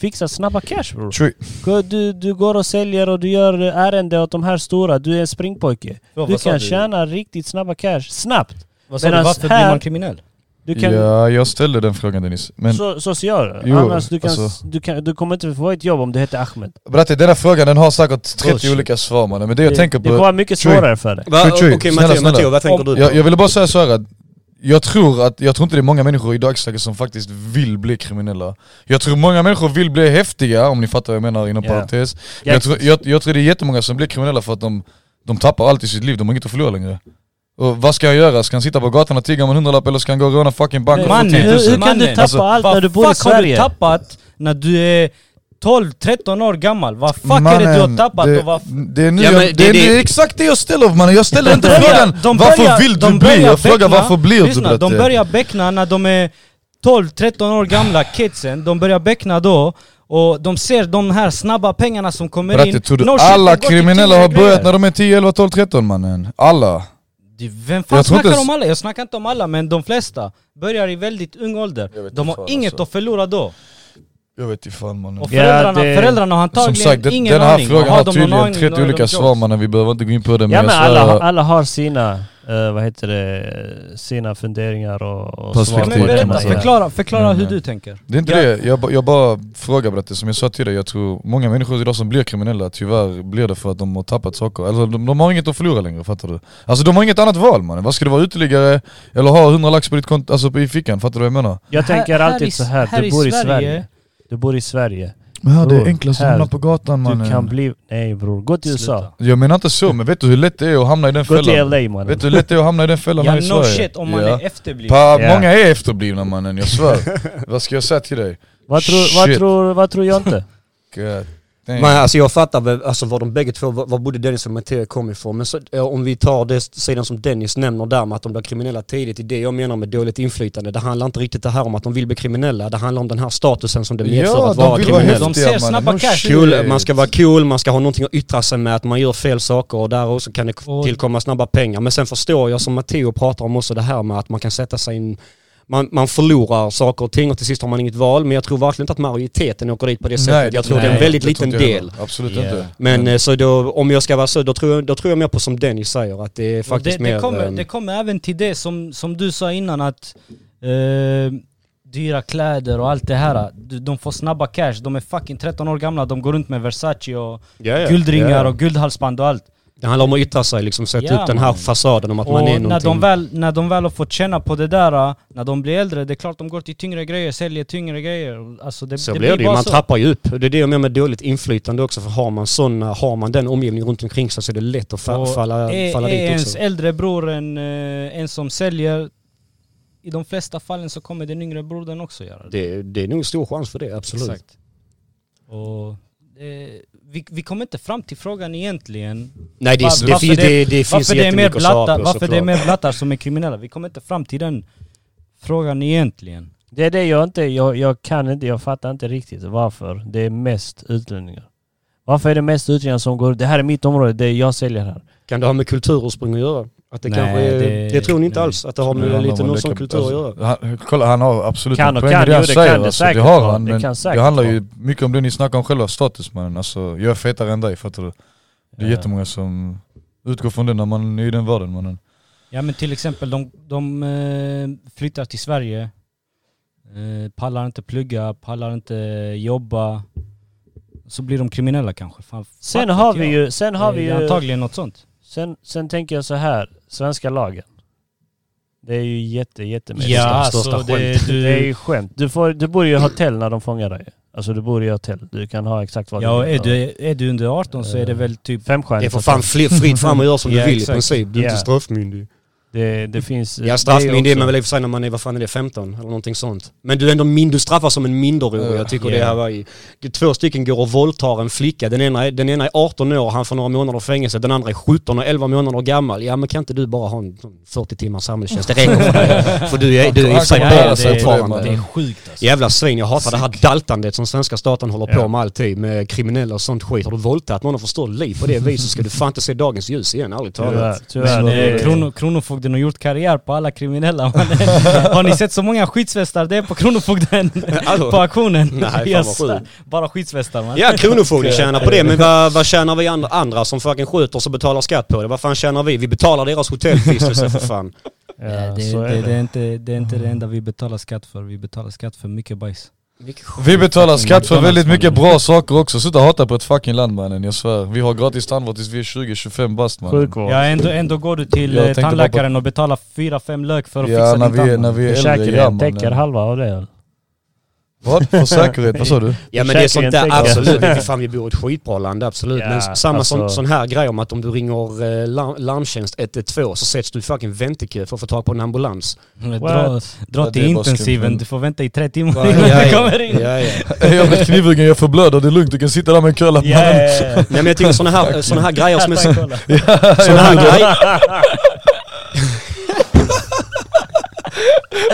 [SPEAKER 1] fixa snabba cash bror.
[SPEAKER 3] True.
[SPEAKER 1] Gå- Du, du går och säljer och du gör ärende åt de här stora, du är en springpojke.
[SPEAKER 2] Vad
[SPEAKER 1] Du
[SPEAKER 2] sa
[SPEAKER 1] kan tjäna riktigt snabba cash, snabbt!
[SPEAKER 2] Vad sa du?
[SPEAKER 1] Medans
[SPEAKER 2] Varför
[SPEAKER 1] här-
[SPEAKER 2] blir man kriminell?
[SPEAKER 1] Du kan
[SPEAKER 3] Ja, jag ställde den frågan Dennis. Men
[SPEAKER 1] Så, så ser jag det.
[SPEAKER 3] Jo,
[SPEAKER 1] Annars du, kan,
[SPEAKER 3] alltså.
[SPEAKER 1] du, kan, du kommer inte få ett jobb om du heter Ahmed.
[SPEAKER 3] Bratte, den här frågan den har säkert 30
[SPEAKER 1] Bullshit.
[SPEAKER 3] olika svar mannen, men det jag tänker
[SPEAKER 1] det kommer
[SPEAKER 3] på...
[SPEAKER 1] vara mycket
[SPEAKER 3] Tjui.
[SPEAKER 1] svårare för dig.
[SPEAKER 4] Va?
[SPEAKER 3] Tjui, tjui.
[SPEAKER 4] Okej
[SPEAKER 3] Snälla,
[SPEAKER 4] Matteo,
[SPEAKER 3] snälla.
[SPEAKER 4] Matteo, vad tänker du på?
[SPEAKER 3] Jag, jag ville bara säga så här att jag tror, att, jag tror inte det är många människor i dagsläget som faktiskt vill bli kriminella. Jag tror många människor vill bli häftiga, om ni fattar vad jag menar inom
[SPEAKER 1] Ja.
[SPEAKER 3] parentes. Jag tror, jag, jag tror det är jättemånga som blir kriminella för att de, de tappar allt i sitt liv, de har inget att förlora längre. Och vad ska jag göra? Ska han sitta på gatan och tigga om en hundralapp eller ska han gå och råna fucking bank och få
[SPEAKER 2] Mannen,
[SPEAKER 3] 10 000?
[SPEAKER 1] hur, hur kan du
[SPEAKER 2] Mannen,
[SPEAKER 1] tappa
[SPEAKER 3] alltså,
[SPEAKER 1] allt när
[SPEAKER 2] Vad
[SPEAKER 1] du bor i
[SPEAKER 2] fuck har du
[SPEAKER 1] Sverige?
[SPEAKER 2] tappat när du är 12-13 år gammal? Vad fuck är det du har tappat
[SPEAKER 3] det,
[SPEAKER 2] och vad...
[SPEAKER 3] det är nu
[SPEAKER 4] Ja, men
[SPEAKER 3] jag, det,
[SPEAKER 4] det-
[SPEAKER 3] är
[SPEAKER 4] det-
[SPEAKER 3] nu exakt det jag ställer mannen, jag ställer inte frågan varför vill du
[SPEAKER 2] de
[SPEAKER 3] bli?
[SPEAKER 2] börjar
[SPEAKER 3] Jag frågar
[SPEAKER 2] beckna-
[SPEAKER 3] varför blir du
[SPEAKER 2] lyssna,
[SPEAKER 3] Bratte?
[SPEAKER 2] De börjar beckna när de är 12-13 år gamla, kidsen. De börjar beckna då och de ser de här snabba pengarna som kommer
[SPEAKER 3] Bratte,
[SPEAKER 2] in.
[SPEAKER 3] tror du
[SPEAKER 2] No shit,
[SPEAKER 3] alla
[SPEAKER 2] det går till
[SPEAKER 3] kriminella
[SPEAKER 2] tio
[SPEAKER 3] har börjat
[SPEAKER 2] grejer.
[SPEAKER 3] när de är 10, 11, 12, 13 mannen? Alla.
[SPEAKER 2] Du, Vem fan
[SPEAKER 3] Jag tror
[SPEAKER 2] snackar
[SPEAKER 3] inte ens-
[SPEAKER 2] om alla? Jag snackar inte om alla men de flesta börjar i väldigt ung
[SPEAKER 3] Jag
[SPEAKER 2] ålder.
[SPEAKER 3] vet
[SPEAKER 2] De
[SPEAKER 3] inte
[SPEAKER 2] har
[SPEAKER 3] fan,
[SPEAKER 2] inget
[SPEAKER 3] alltså.
[SPEAKER 2] att förlora då.
[SPEAKER 3] Jag vet inte fan mannen.
[SPEAKER 2] Och
[SPEAKER 1] Ja,
[SPEAKER 2] föräldrarna,
[SPEAKER 1] det-
[SPEAKER 2] föräldrarna har
[SPEAKER 3] Som
[SPEAKER 2] antagligen
[SPEAKER 3] sagt, den,
[SPEAKER 2] ingen
[SPEAKER 3] den här
[SPEAKER 2] aning.
[SPEAKER 3] frågan
[SPEAKER 2] de
[SPEAKER 3] har
[SPEAKER 2] någon
[SPEAKER 3] tydligen
[SPEAKER 2] aning,
[SPEAKER 3] 30
[SPEAKER 2] har de
[SPEAKER 3] olika
[SPEAKER 2] jobs?
[SPEAKER 3] svar mannen, vi behöver inte gå in på det men alltså-
[SPEAKER 1] Ja men
[SPEAKER 3] jag svär-
[SPEAKER 1] alla, har- alla har sina, eh, vad heter det, sina funderingar och, och svar.
[SPEAKER 3] Perspektiv,
[SPEAKER 1] på
[SPEAKER 2] Men
[SPEAKER 3] kan
[SPEAKER 1] det.
[SPEAKER 3] man
[SPEAKER 2] berätta,
[SPEAKER 3] säga.
[SPEAKER 2] förklara, förklara
[SPEAKER 3] Mm.
[SPEAKER 2] hur du tänker.
[SPEAKER 3] Det är inte
[SPEAKER 1] Ja.
[SPEAKER 3] det, jag, ba- jag bara frågar Bratte, som jag sa till dig, jag tror många människor idag som blir kriminella tyvärr blir det för att de har tappat saker, eller de, de har inget att förlora längre, fattar du? Alltså de har inget annat val mannen, vad ska du vara uteliggare eller ha 100 lax på ditt konto, alltså på- i fickan, fattar du vad jag menar?
[SPEAKER 1] Jag tänker
[SPEAKER 2] Här-
[SPEAKER 1] alltid
[SPEAKER 2] i-
[SPEAKER 1] så här,
[SPEAKER 2] här
[SPEAKER 1] du
[SPEAKER 2] i
[SPEAKER 1] bor i Sverige. Du Du bor i Sverige.
[SPEAKER 3] Men Oh, här, det är
[SPEAKER 1] Bror,
[SPEAKER 3] enklast att
[SPEAKER 1] här.
[SPEAKER 3] hamna på gatan
[SPEAKER 1] Du
[SPEAKER 3] mannen.
[SPEAKER 1] kan bli... Nej bror, gå till USA.
[SPEAKER 5] Sluta.
[SPEAKER 3] Jag menar inte så, men vet du hur lätt det är att hamna i den
[SPEAKER 1] Gå till
[SPEAKER 3] fällan?
[SPEAKER 1] LA mannen.
[SPEAKER 3] Vet du hur lätt det är att hamna i den fällan här
[SPEAKER 2] Ja
[SPEAKER 3] i
[SPEAKER 2] no
[SPEAKER 3] Sverige?
[SPEAKER 2] shit om man
[SPEAKER 3] Ja.
[SPEAKER 2] är efterbliven.
[SPEAKER 3] Pa,
[SPEAKER 1] Ja.
[SPEAKER 3] Många är efterblivna mannen, jag svär. Vad ska jag säga till dig?
[SPEAKER 1] Vad tror, vad
[SPEAKER 3] Shit.
[SPEAKER 1] tror, vad tror jag inte?
[SPEAKER 3] God damn.
[SPEAKER 4] Men alltså jag fattar väl, alltså var de bägge två, var, var både Dennis och Matteo kom ifrån. Men så, eh, om vi tar det sidan som Dennis nämner där med att de blir kriminella tidigt, det är det jag menar med dåligt inflytande. Det handlar inte riktigt det här om att de vill bli kriminella, det handlar om den här statusen som det medför
[SPEAKER 3] ja,
[SPEAKER 4] att vara
[SPEAKER 3] de vill vara
[SPEAKER 4] kriminell.
[SPEAKER 2] De
[SPEAKER 3] häftiga
[SPEAKER 2] ser
[SPEAKER 3] mannen.
[SPEAKER 2] snabba
[SPEAKER 3] No
[SPEAKER 2] cash.
[SPEAKER 3] shit.
[SPEAKER 4] Cool, man ska vara cool, man ska ha någonting att yttra sig med, att man gör fel saker och där också kan det
[SPEAKER 2] Och-
[SPEAKER 4] tillkomma snabba pengar. Men sen förstår jag som Matteo pratar om också det här med att man kan sätta sig in man, man förlorar saker och ting och till sist har man inget val. Men jag tror verkligen inte att majoriteten åker dit på det sättet. jag tror det är en
[SPEAKER 1] nej,
[SPEAKER 4] väldigt
[SPEAKER 3] det
[SPEAKER 4] liten
[SPEAKER 3] tror inte jag
[SPEAKER 4] del.
[SPEAKER 3] heller. Absolut
[SPEAKER 1] Ja.
[SPEAKER 3] inte.
[SPEAKER 4] Men eh, så då, om jag ska vara så, då tror jag, då tror jag mer på som Dennis säger, att det är faktiskt
[SPEAKER 2] det,
[SPEAKER 4] mer...
[SPEAKER 2] det, kommer,
[SPEAKER 4] ehm,
[SPEAKER 2] det kommer även till det som, som du sa innan att eh, dyra kläder och allt det
[SPEAKER 4] Mm.
[SPEAKER 2] här. Du, de får snabba cash, de är fucking 13 år gamla, de går runt med Versace och
[SPEAKER 4] ja, ja,
[SPEAKER 2] guldringar
[SPEAKER 4] ja.
[SPEAKER 2] och guldhalsband och allt.
[SPEAKER 4] Det handlar om att yttra sig, liksom, sätta
[SPEAKER 2] Ja,
[SPEAKER 4] upp den här
[SPEAKER 2] man.
[SPEAKER 4] fasaden om att
[SPEAKER 2] och
[SPEAKER 4] man är
[SPEAKER 2] när,
[SPEAKER 4] någonting.
[SPEAKER 2] de väl, när de väl har fått känna på det där, eh, när de blir äldre, det är klart de går till tyngre grejer, säljer tyngre grejer. Alltså det,
[SPEAKER 4] så blir det ju,
[SPEAKER 2] bara
[SPEAKER 4] man
[SPEAKER 2] så.
[SPEAKER 4] trappar ju upp. Det är det jag menar med dåligt inflytande också, för har man såna, har man den omgivningen runt omkring sig så är det lätt att fa-
[SPEAKER 2] Och
[SPEAKER 4] falla,
[SPEAKER 2] är,
[SPEAKER 4] falla
[SPEAKER 2] är
[SPEAKER 4] dit
[SPEAKER 2] ens
[SPEAKER 4] också.
[SPEAKER 2] äldre bror en, eh, en som säljer, i de flesta fallen så kommer den yngre brodern också göra det.
[SPEAKER 4] Det, det är nog en stor chans för det, absolut.
[SPEAKER 2] Exakt. Och, eh, vi, vi kommer inte fram till frågan egentligen.
[SPEAKER 4] Nej, det,
[SPEAKER 2] Var-
[SPEAKER 4] är- det,
[SPEAKER 2] varför
[SPEAKER 4] fin-
[SPEAKER 2] det-
[SPEAKER 4] det, det finns
[SPEAKER 2] varför det är mer
[SPEAKER 4] jättemycket att svara
[SPEAKER 2] blattar,
[SPEAKER 4] på
[SPEAKER 2] varför det är
[SPEAKER 4] såklart.
[SPEAKER 2] mer blattar som är kriminella. Vi kommer inte fram till den frågan egentligen.
[SPEAKER 1] Det är det jag inte, jag, jag kan inte, jag fattar inte riktigt varför det är mest utlänningar. Varför är det mest utlänningar som går det här är mitt område, det är jag säljer här.
[SPEAKER 4] Kan det ha med kulturursprung att göra? Att det
[SPEAKER 2] Nej,
[SPEAKER 4] kanske är,
[SPEAKER 2] det-
[SPEAKER 4] det, tror ni inte
[SPEAKER 2] nej.
[SPEAKER 4] alls, att det har
[SPEAKER 3] Det
[SPEAKER 4] med
[SPEAKER 3] handlar
[SPEAKER 4] lite
[SPEAKER 3] om
[SPEAKER 4] någon
[SPEAKER 3] det
[SPEAKER 4] sån
[SPEAKER 3] kan-
[SPEAKER 4] kultur att göra?
[SPEAKER 3] alltså, han, kolla han har absolut
[SPEAKER 1] Kan
[SPEAKER 3] en
[SPEAKER 1] och
[SPEAKER 3] poäng
[SPEAKER 1] kan,
[SPEAKER 3] i det han
[SPEAKER 1] jo, det
[SPEAKER 3] säger
[SPEAKER 1] kan det
[SPEAKER 3] alltså, det
[SPEAKER 1] säkert
[SPEAKER 3] har
[SPEAKER 1] vara.
[SPEAKER 3] han
[SPEAKER 1] Det
[SPEAKER 3] men
[SPEAKER 1] kan
[SPEAKER 3] det,
[SPEAKER 1] säkert
[SPEAKER 3] handlar ju
[SPEAKER 1] vara.
[SPEAKER 3] mycket om det ni snackar om själva, status mannen. Alltså, jag är fetare än dig fattar du? Det är
[SPEAKER 1] Ja.
[SPEAKER 3] jättemånga som utgår från det när man är i den världen mannen.
[SPEAKER 2] Ja men till exempel de, de eh, flyttar till Sverige, eh, pallar inte plugga, pallar inte jobba. Så blir de kriminella kanske. Fan,
[SPEAKER 1] Sen
[SPEAKER 2] fuck
[SPEAKER 1] har
[SPEAKER 2] vet
[SPEAKER 1] vi
[SPEAKER 2] jag.
[SPEAKER 1] ju, sen har vi
[SPEAKER 2] Det är
[SPEAKER 1] ju,
[SPEAKER 2] Eh, Antagligen något sånt.
[SPEAKER 1] sen, sen tänker jag så här, svenska lagen. Det är ju jätte, jättemycket.
[SPEAKER 2] så det,
[SPEAKER 1] Det är ju skämt. Du, får, du borde ju ha hotell när de fångar dig. Alltså du borde ju ha hotell. Du kan ha exakt vad
[SPEAKER 2] ja,
[SPEAKER 1] vill.
[SPEAKER 2] är, du, är du under 18 så är det väl typ
[SPEAKER 1] Femstjärnigt.
[SPEAKER 4] Det är för fan fri- fritt fram att göra som
[SPEAKER 2] Ja,
[SPEAKER 4] du vill
[SPEAKER 2] exakt.
[SPEAKER 4] i princip. Du är
[SPEAKER 1] Ja.
[SPEAKER 4] inte straffmyndig.
[SPEAKER 1] Det, det finns... det är
[SPEAKER 4] Ja, straffmyndig är
[SPEAKER 1] också-
[SPEAKER 4] man väl i och för sig när man är, vad fan är det, 15 eller någonting sånt. Men du är ändå min, du straffas som en minderårig. Jag tycker det här var i... Två stycken går och våldtar en flicka. Den ena, är- den ena är 18 år, han får några månader fängelse. Den andra är 17 och 11 månader gammal. Ja men kan inte du bara ha en sån 40 timmars samhällstjänst? Det räcker för dig. För du är, du är i och för sig
[SPEAKER 3] Han kommer lära
[SPEAKER 4] barn
[SPEAKER 3] sig på det,
[SPEAKER 4] fortfarande.
[SPEAKER 3] man.
[SPEAKER 2] Det är sjukt alltså.
[SPEAKER 4] Jävla svin, jag hatar det här daltandet som svenska staten håller
[SPEAKER 1] Ja.
[SPEAKER 4] på med alltid. Med kriminella och sånt skit. Har du våldtagit någon och förstört liv på det viset ska du fan inte se dagens ljus igen, ärligt
[SPEAKER 1] Tyvärr,
[SPEAKER 4] talat.
[SPEAKER 1] tyvärr.
[SPEAKER 2] Men,
[SPEAKER 1] det-
[SPEAKER 2] eh, krono, Kronofogden har gjort karriär på alla kriminella. Man, eh, har ni sett så många skyddsvästar det är på Kronofogden?
[SPEAKER 4] Alltså.
[SPEAKER 2] på auktionen?
[SPEAKER 4] Nej, fan vad
[SPEAKER 2] Yes.
[SPEAKER 4] sjukt.
[SPEAKER 2] Bara skyddsvästar man.
[SPEAKER 4] Ja, Kronofogden tjänar på det, men vad, vad tjänar vi andra, andra som fucking skjuter och betalar skatt på det? Vad fan tjänar vi? Vi betalar deras hotellvistelse för fan.
[SPEAKER 1] Ja,
[SPEAKER 2] Nej, det,
[SPEAKER 1] så
[SPEAKER 2] det,
[SPEAKER 1] är
[SPEAKER 2] det.
[SPEAKER 1] det.
[SPEAKER 2] är inte, det är inte det enda vi betalar skatt för. Vi betalar skatt för mycket bajs.
[SPEAKER 3] Vi betalar skatt för
[SPEAKER 2] McDonald's,
[SPEAKER 3] väldigt
[SPEAKER 2] mannen.
[SPEAKER 3] mycket bra saker också, sluta hata på ett fucking land mannen, jag svär. Vi har gratis tandvård tills vi är 20-25 bast mannen.
[SPEAKER 1] Sjukvård.
[SPEAKER 2] Ja, ändå, ändå går du till
[SPEAKER 3] Jag
[SPEAKER 2] eh,
[SPEAKER 3] tänkte bara på-
[SPEAKER 2] tandläkaren och betalar 4-5 lök för att
[SPEAKER 3] Ja,
[SPEAKER 2] fixa
[SPEAKER 3] när
[SPEAKER 2] din
[SPEAKER 3] vi, är-
[SPEAKER 2] tand.
[SPEAKER 3] när
[SPEAKER 2] man.
[SPEAKER 3] vi är äldre, ja
[SPEAKER 1] Försäkringen täcker
[SPEAKER 3] mannen.
[SPEAKER 1] halva av det. eller?
[SPEAKER 3] Vad? För säkerhet, vad sa du?
[SPEAKER 4] Ja men det är sånt där,
[SPEAKER 1] Försäkringen tänker
[SPEAKER 4] absolut. Vi, fan, vi bor i ett skitbra land, absolut.
[SPEAKER 1] Ja,
[SPEAKER 4] men s- samma sån,
[SPEAKER 1] alltså.
[SPEAKER 4] sån här grej om att om du ringer eh, lar- larmtjänst 112 så sätts du i fucking väntekö för att få tag på en ambulans.
[SPEAKER 2] Dra, dra
[SPEAKER 3] Ja, det
[SPEAKER 2] till
[SPEAKER 3] är bara skumt,
[SPEAKER 2] intensiven,
[SPEAKER 3] men-
[SPEAKER 2] du får vänta i tre timmar innan du kommer in.
[SPEAKER 4] Ja, ja.
[SPEAKER 3] Ey, Jag blev knivhuggen, jag förblöder, det är lugnt, du kan sitta där med en curlad man.
[SPEAKER 4] Nej men jag tycker såna här, såna här grejer som är så...
[SPEAKER 2] Kolla.
[SPEAKER 4] Såna här grejer...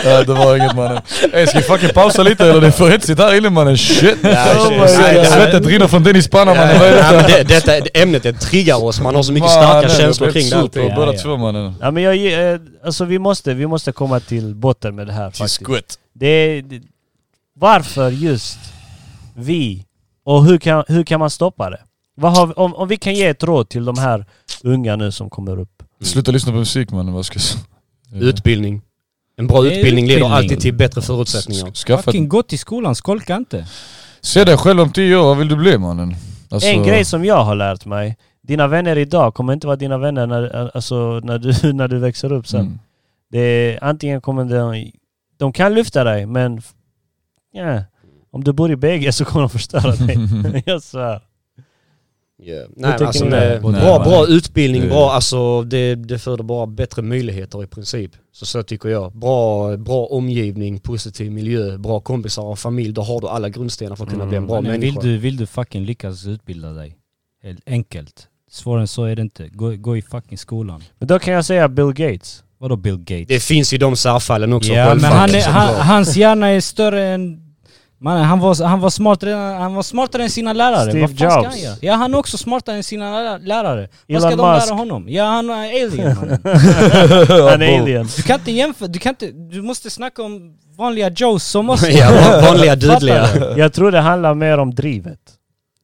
[SPEAKER 3] Nej det var inget mannen. Ey ska vi fucking pausa lite eller det är för hetsigt här inne mannen? Shit!
[SPEAKER 4] shit.
[SPEAKER 3] Oh my God. Svettet rinner från Dennis panna mannen, vad är
[SPEAKER 4] Nej, men
[SPEAKER 3] detta?
[SPEAKER 4] det, detta ämnet det triggar oss, man har så mycket
[SPEAKER 3] Mannen,
[SPEAKER 4] starka
[SPEAKER 3] jag
[SPEAKER 4] känslor
[SPEAKER 3] blev
[SPEAKER 4] kring det.
[SPEAKER 3] sur på
[SPEAKER 4] alltid.
[SPEAKER 3] Båda
[SPEAKER 2] Ja, ja.
[SPEAKER 3] två mannen.
[SPEAKER 1] Ja, men jag, eh, alltså vi måste, vi måste komma till botten med det här faktiskt. Det är, det, varför just vi? Och hur kan, hur kan man stoppa det? Vad har, vi- om, om vi kan ge ett råd till de här unga nu som kommer upp.
[SPEAKER 3] Sluta lyssna på musik mannen, vad ska jag säga?
[SPEAKER 4] Utbildning. En bra
[SPEAKER 2] Det är
[SPEAKER 4] utbildning leder
[SPEAKER 2] utbildning.
[SPEAKER 4] alltid till bättre förutsättningar.
[SPEAKER 3] Skaffa ett
[SPEAKER 2] Fucking gå till skolan, skolka inte.
[SPEAKER 3] Se dig själv om tio år, vad vill du bli mannen? Alltså,
[SPEAKER 1] En grej som jag har lärt mig, dina vänner idag kommer inte vara dina vänner när, alltså, när, du, när du växer upp sen.
[SPEAKER 3] Mm.
[SPEAKER 1] Det är, antingen kommer de... De kan lyfta dig, men... Ja. Om du bor i bägge så kommer de förstöra dig. jag svär.
[SPEAKER 4] Yeah. Nej, men
[SPEAKER 1] tycker
[SPEAKER 4] alltså,
[SPEAKER 1] ni
[SPEAKER 4] det,
[SPEAKER 1] där?
[SPEAKER 4] bra,
[SPEAKER 3] Nej, men-
[SPEAKER 4] bra utbildning,
[SPEAKER 3] Det-
[SPEAKER 4] bra, alltså, det, det föder bara bättre möjligheter i princip. Så, så tycker jag. Bra, bra omgivning, positiv miljö, bra kompisar och familj. Då har du alla grundstenar för att kunna bli en bra
[SPEAKER 2] Mm. Men vill
[SPEAKER 4] människa.
[SPEAKER 2] du, vill du fucking lyckas utbilda dig? Helt enkelt. Svårare än så är det inte. Gå, gå i fucking skolan.
[SPEAKER 1] Men då kan jag säga Bill Gates.
[SPEAKER 2] Vadå Bill Gates?
[SPEAKER 4] Det finns ju de särfallen också.
[SPEAKER 2] ja men
[SPEAKER 4] självklart,
[SPEAKER 2] han är,
[SPEAKER 4] som
[SPEAKER 2] han,
[SPEAKER 4] bra.
[SPEAKER 2] hans hjärna är större än... Man, han, var, han, var smart redan, han var smartare än sina lärare.
[SPEAKER 1] Steve
[SPEAKER 2] Vad fan ska
[SPEAKER 1] Jobs.
[SPEAKER 2] Han göra? ja han är också smartare än sina lära- lärare. Vad
[SPEAKER 1] Elon
[SPEAKER 2] ska de
[SPEAKER 1] Musk.
[SPEAKER 2] lära honom? Ja han är alien mannen.
[SPEAKER 1] Han är alien.
[SPEAKER 2] Du kan inte jämföra, du kan inte, du måste snacka om vanliga Joes som oss.
[SPEAKER 4] ja, vanliga dödliga.
[SPEAKER 2] Fattar du?
[SPEAKER 1] Jag tror det handlar mer om drivet.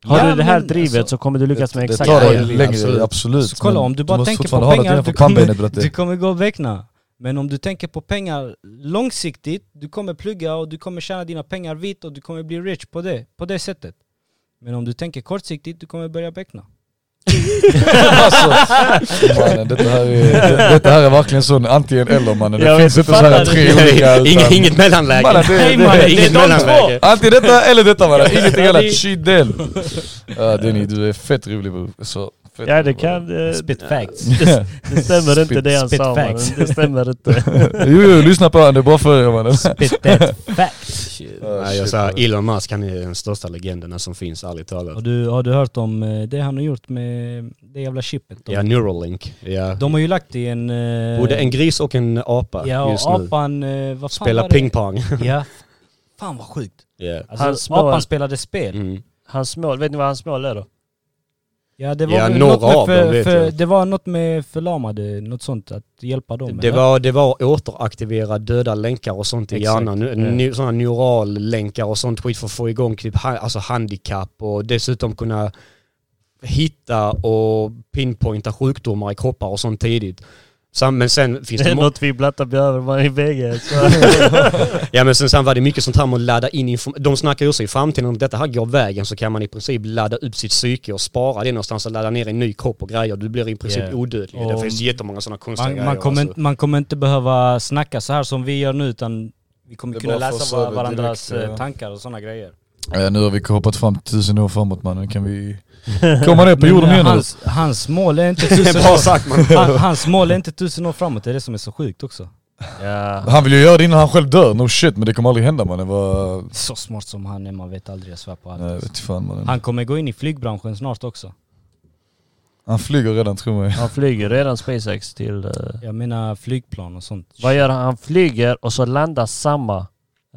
[SPEAKER 1] Har
[SPEAKER 2] Ja,
[SPEAKER 1] du det här
[SPEAKER 2] men
[SPEAKER 1] drivet
[SPEAKER 2] alltså-
[SPEAKER 1] så kommer du lyckas med
[SPEAKER 3] det
[SPEAKER 1] exakt
[SPEAKER 3] tar
[SPEAKER 1] vad
[SPEAKER 3] dig
[SPEAKER 1] du vill.
[SPEAKER 3] längre,
[SPEAKER 4] absolut.
[SPEAKER 3] absolut.
[SPEAKER 2] Så kolla,
[SPEAKER 3] men
[SPEAKER 2] om du
[SPEAKER 3] måste
[SPEAKER 2] bara tänker
[SPEAKER 3] fortfarande
[SPEAKER 2] på
[SPEAKER 3] ha det
[SPEAKER 2] pengar,
[SPEAKER 3] nedanför
[SPEAKER 2] du kommer,
[SPEAKER 3] pannbenet, bratte.
[SPEAKER 2] du kommer gå och väckna. Men om du tänker på pengar långsiktigt, du kommer plugga och du kommer tjäna dina pengar vitt och du kommer bli rich på det, på det sättet. Men om du tänker kortsiktigt, du kommer börja beckna.
[SPEAKER 3] alltså, mannen, detta, här är, detta här är verkligen sån antingen eller mannen. Det
[SPEAKER 1] Jag
[SPEAKER 3] finns
[SPEAKER 1] vet,
[SPEAKER 3] inte så här
[SPEAKER 1] fattar
[SPEAKER 3] tre
[SPEAKER 1] du?
[SPEAKER 3] olika. utan-
[SPEAKER 4] Inget, inget mellanläge.
[SPEAKER 3] Mannen, det- det-
[SPEAKER 4] inget mellanläge.
[SPEAKER 3] Antingen detta eller detta mannen. Ingenting annat. Shit del. Ja, Denny, du är fett rolig bror. Så, fett
[SPEAKER 1] Ja det
[SPEAKER 3] rolig, bror.
[SPEAKER 1] kan... eh,
[SPEAKER 2] Spit facts.
[SPEAKER 1] Det, det stämmer inte
[SPEAKER 3] Spit-
[SPEAKER 1] det han
[SPEAKER 2] spit
[SPEAKER 1] sa mannen.
[SPEAKER 2] facts.
[SPEAKER 1] Det stämmer inte.
[SPEAKER 3] Jo, jo, lyssna på honom. Det är bra för er mannen.
[SPEAKER 2] Spit that fact.
[SPEAKER 4] Nej, jag säger Elon Musk, han är den största legenderna som finns, ärligt talat.
[SPEAKER 2] Har du, har du hört om eh, det han har gjort med det jävla chippet? De,
[SPEAKER 4] Ja, Neuralink. Ja.
[SPEAKER 2] de har ju lagt i en... eh,
[SPEAKER 4] Både en gris och en apa
[SPEAKER 2] Ja, och
[SPEAKER 4] just nu.
[SPEAKER 2] apan... eh, Vad fan
[SPEAKER 4] Spelar
[SPEAKER 2] var det?
[SPEAKER 4] pingpong.
[SPEAKER 2] Ja. Fan vad sjukt.
[SPEAKER 4] Yeah.
[SPEAKER 2] Alltså,
[SPEAKER 1] Hans mål-
[SPEAKER 2] apan spelade spel.
[SPEAKER 4] Mm.
[SPEAKER 1] Hans mål, vet ni vad hans mål är då?
[SPEAKER 2] Ja det var
[SPEAKER 4] Ja,
[SPEAKER 2] väl
[SPEAKER 4] några
[SPEAKER 2] något med
[SPEAKER 4] av dem
[SPEAKER 2] för,
[SPEAKER 4] vet
[SPEAKER 2] för,
[SPEAKER 4] jag.
[SPEAKER 2] det var något med förlamade, något sånt att hjälpa dem.
[SPEAKER 4] Det,
[SPEAKER 2] eller?
[SPEAKER 4] var, det var återaktivera döda länkar och sånt i
[SPEAKER 2] Exakt.
[SPEAKER 4] hjärnan. Nu, nu, sådana neurallänkar och sånt skit för att få igång typ ha, alltså handikapp och dessutom kunna hitta och pinpointa sjukdomar i kroppar och sånt tidigt. Sam, men sen finns
[SPEAKER 1] Det
[SPEAKER 4] det,
[SPEAKER 1] är
[SPEAKER 4] må-
[SPEAKER 1] något vi blattar över man i bägge. så-
[SPEAKER 4] Ja men sen, sen var det mycket sånt här med att ladda in information. De snackar ju också i framtiden om detta här går vägen så kan man i princip ladda upp sitt psyke och spara det någonstans och ladda ner i en ny kropp och grejer. Du blir i princip
[SPEAKER 2] Yeah.
[SPEAKER 4] odödlig.
[SPEAKER 2] Och-
[SPEAKER 4] det finns jättemånga sådana konstiga
[SPEAKER 2] man,
[SPEAKER 4] grejer.
[SPEAKER 2] man, kommer,
[SPEAKER 4] alltså.
[SPEAKER 2] inte- man kommer inte behöva snacka så här som vi gör nu utan vi kommer
[SPEAKER 3] Det är
[SPEAKER 2] kunna
[SPEAKER 3] bara
[SPEAKER 2] läsa
[SPEAKER 3] forcerat
[SPEAKER 2] var, varandras
[SPEAKER 3] direkt,
[SPEAKER 2] eh,
[SPEAKER 3] ja.
[SPEAKER 2] tankar och sådana grejer.
[SPEAKER 3] Ja, nu har vi hoppat fram tusen år framåt mannen. Kan vi komma ner på jorden
[SPEAKER 2] Men, eh,
[SPEAKER 3] igen eller?
[SPEAKER 2] hans, hans mål är inte tusen
[SPEAKER 4] Bra
[SPEAKER 2] år.
[SPEAKER 4] sagt man.
[SPEAKER 2] Han, hans mål är inte tusen år framåt, det är det som är så sjukt också.
[SPEAKER 1] Ja.
[SPEAKER 3] Han vill ju göra det innan han själv dör, no shit men det kommer aldrig hända mannen. Vad...
[SPEAKER 2] Så smart som han är, man vet aldrig, jag svär på allt.
[SPEAKER 3] Nej vet fan mannen.
[SPEAKER 2] Han kommer gå in i flygbranschen snart också.
[SPEAKER 3] Han flyger redan tror jag.
[SPEAKER 1] Han flyger redan SpaceX till... eh,
[SPEAKER 2] Jag menar flygplan och sånt.
[SPEAKER 1] vad gör han? Han flyger och så landar samma,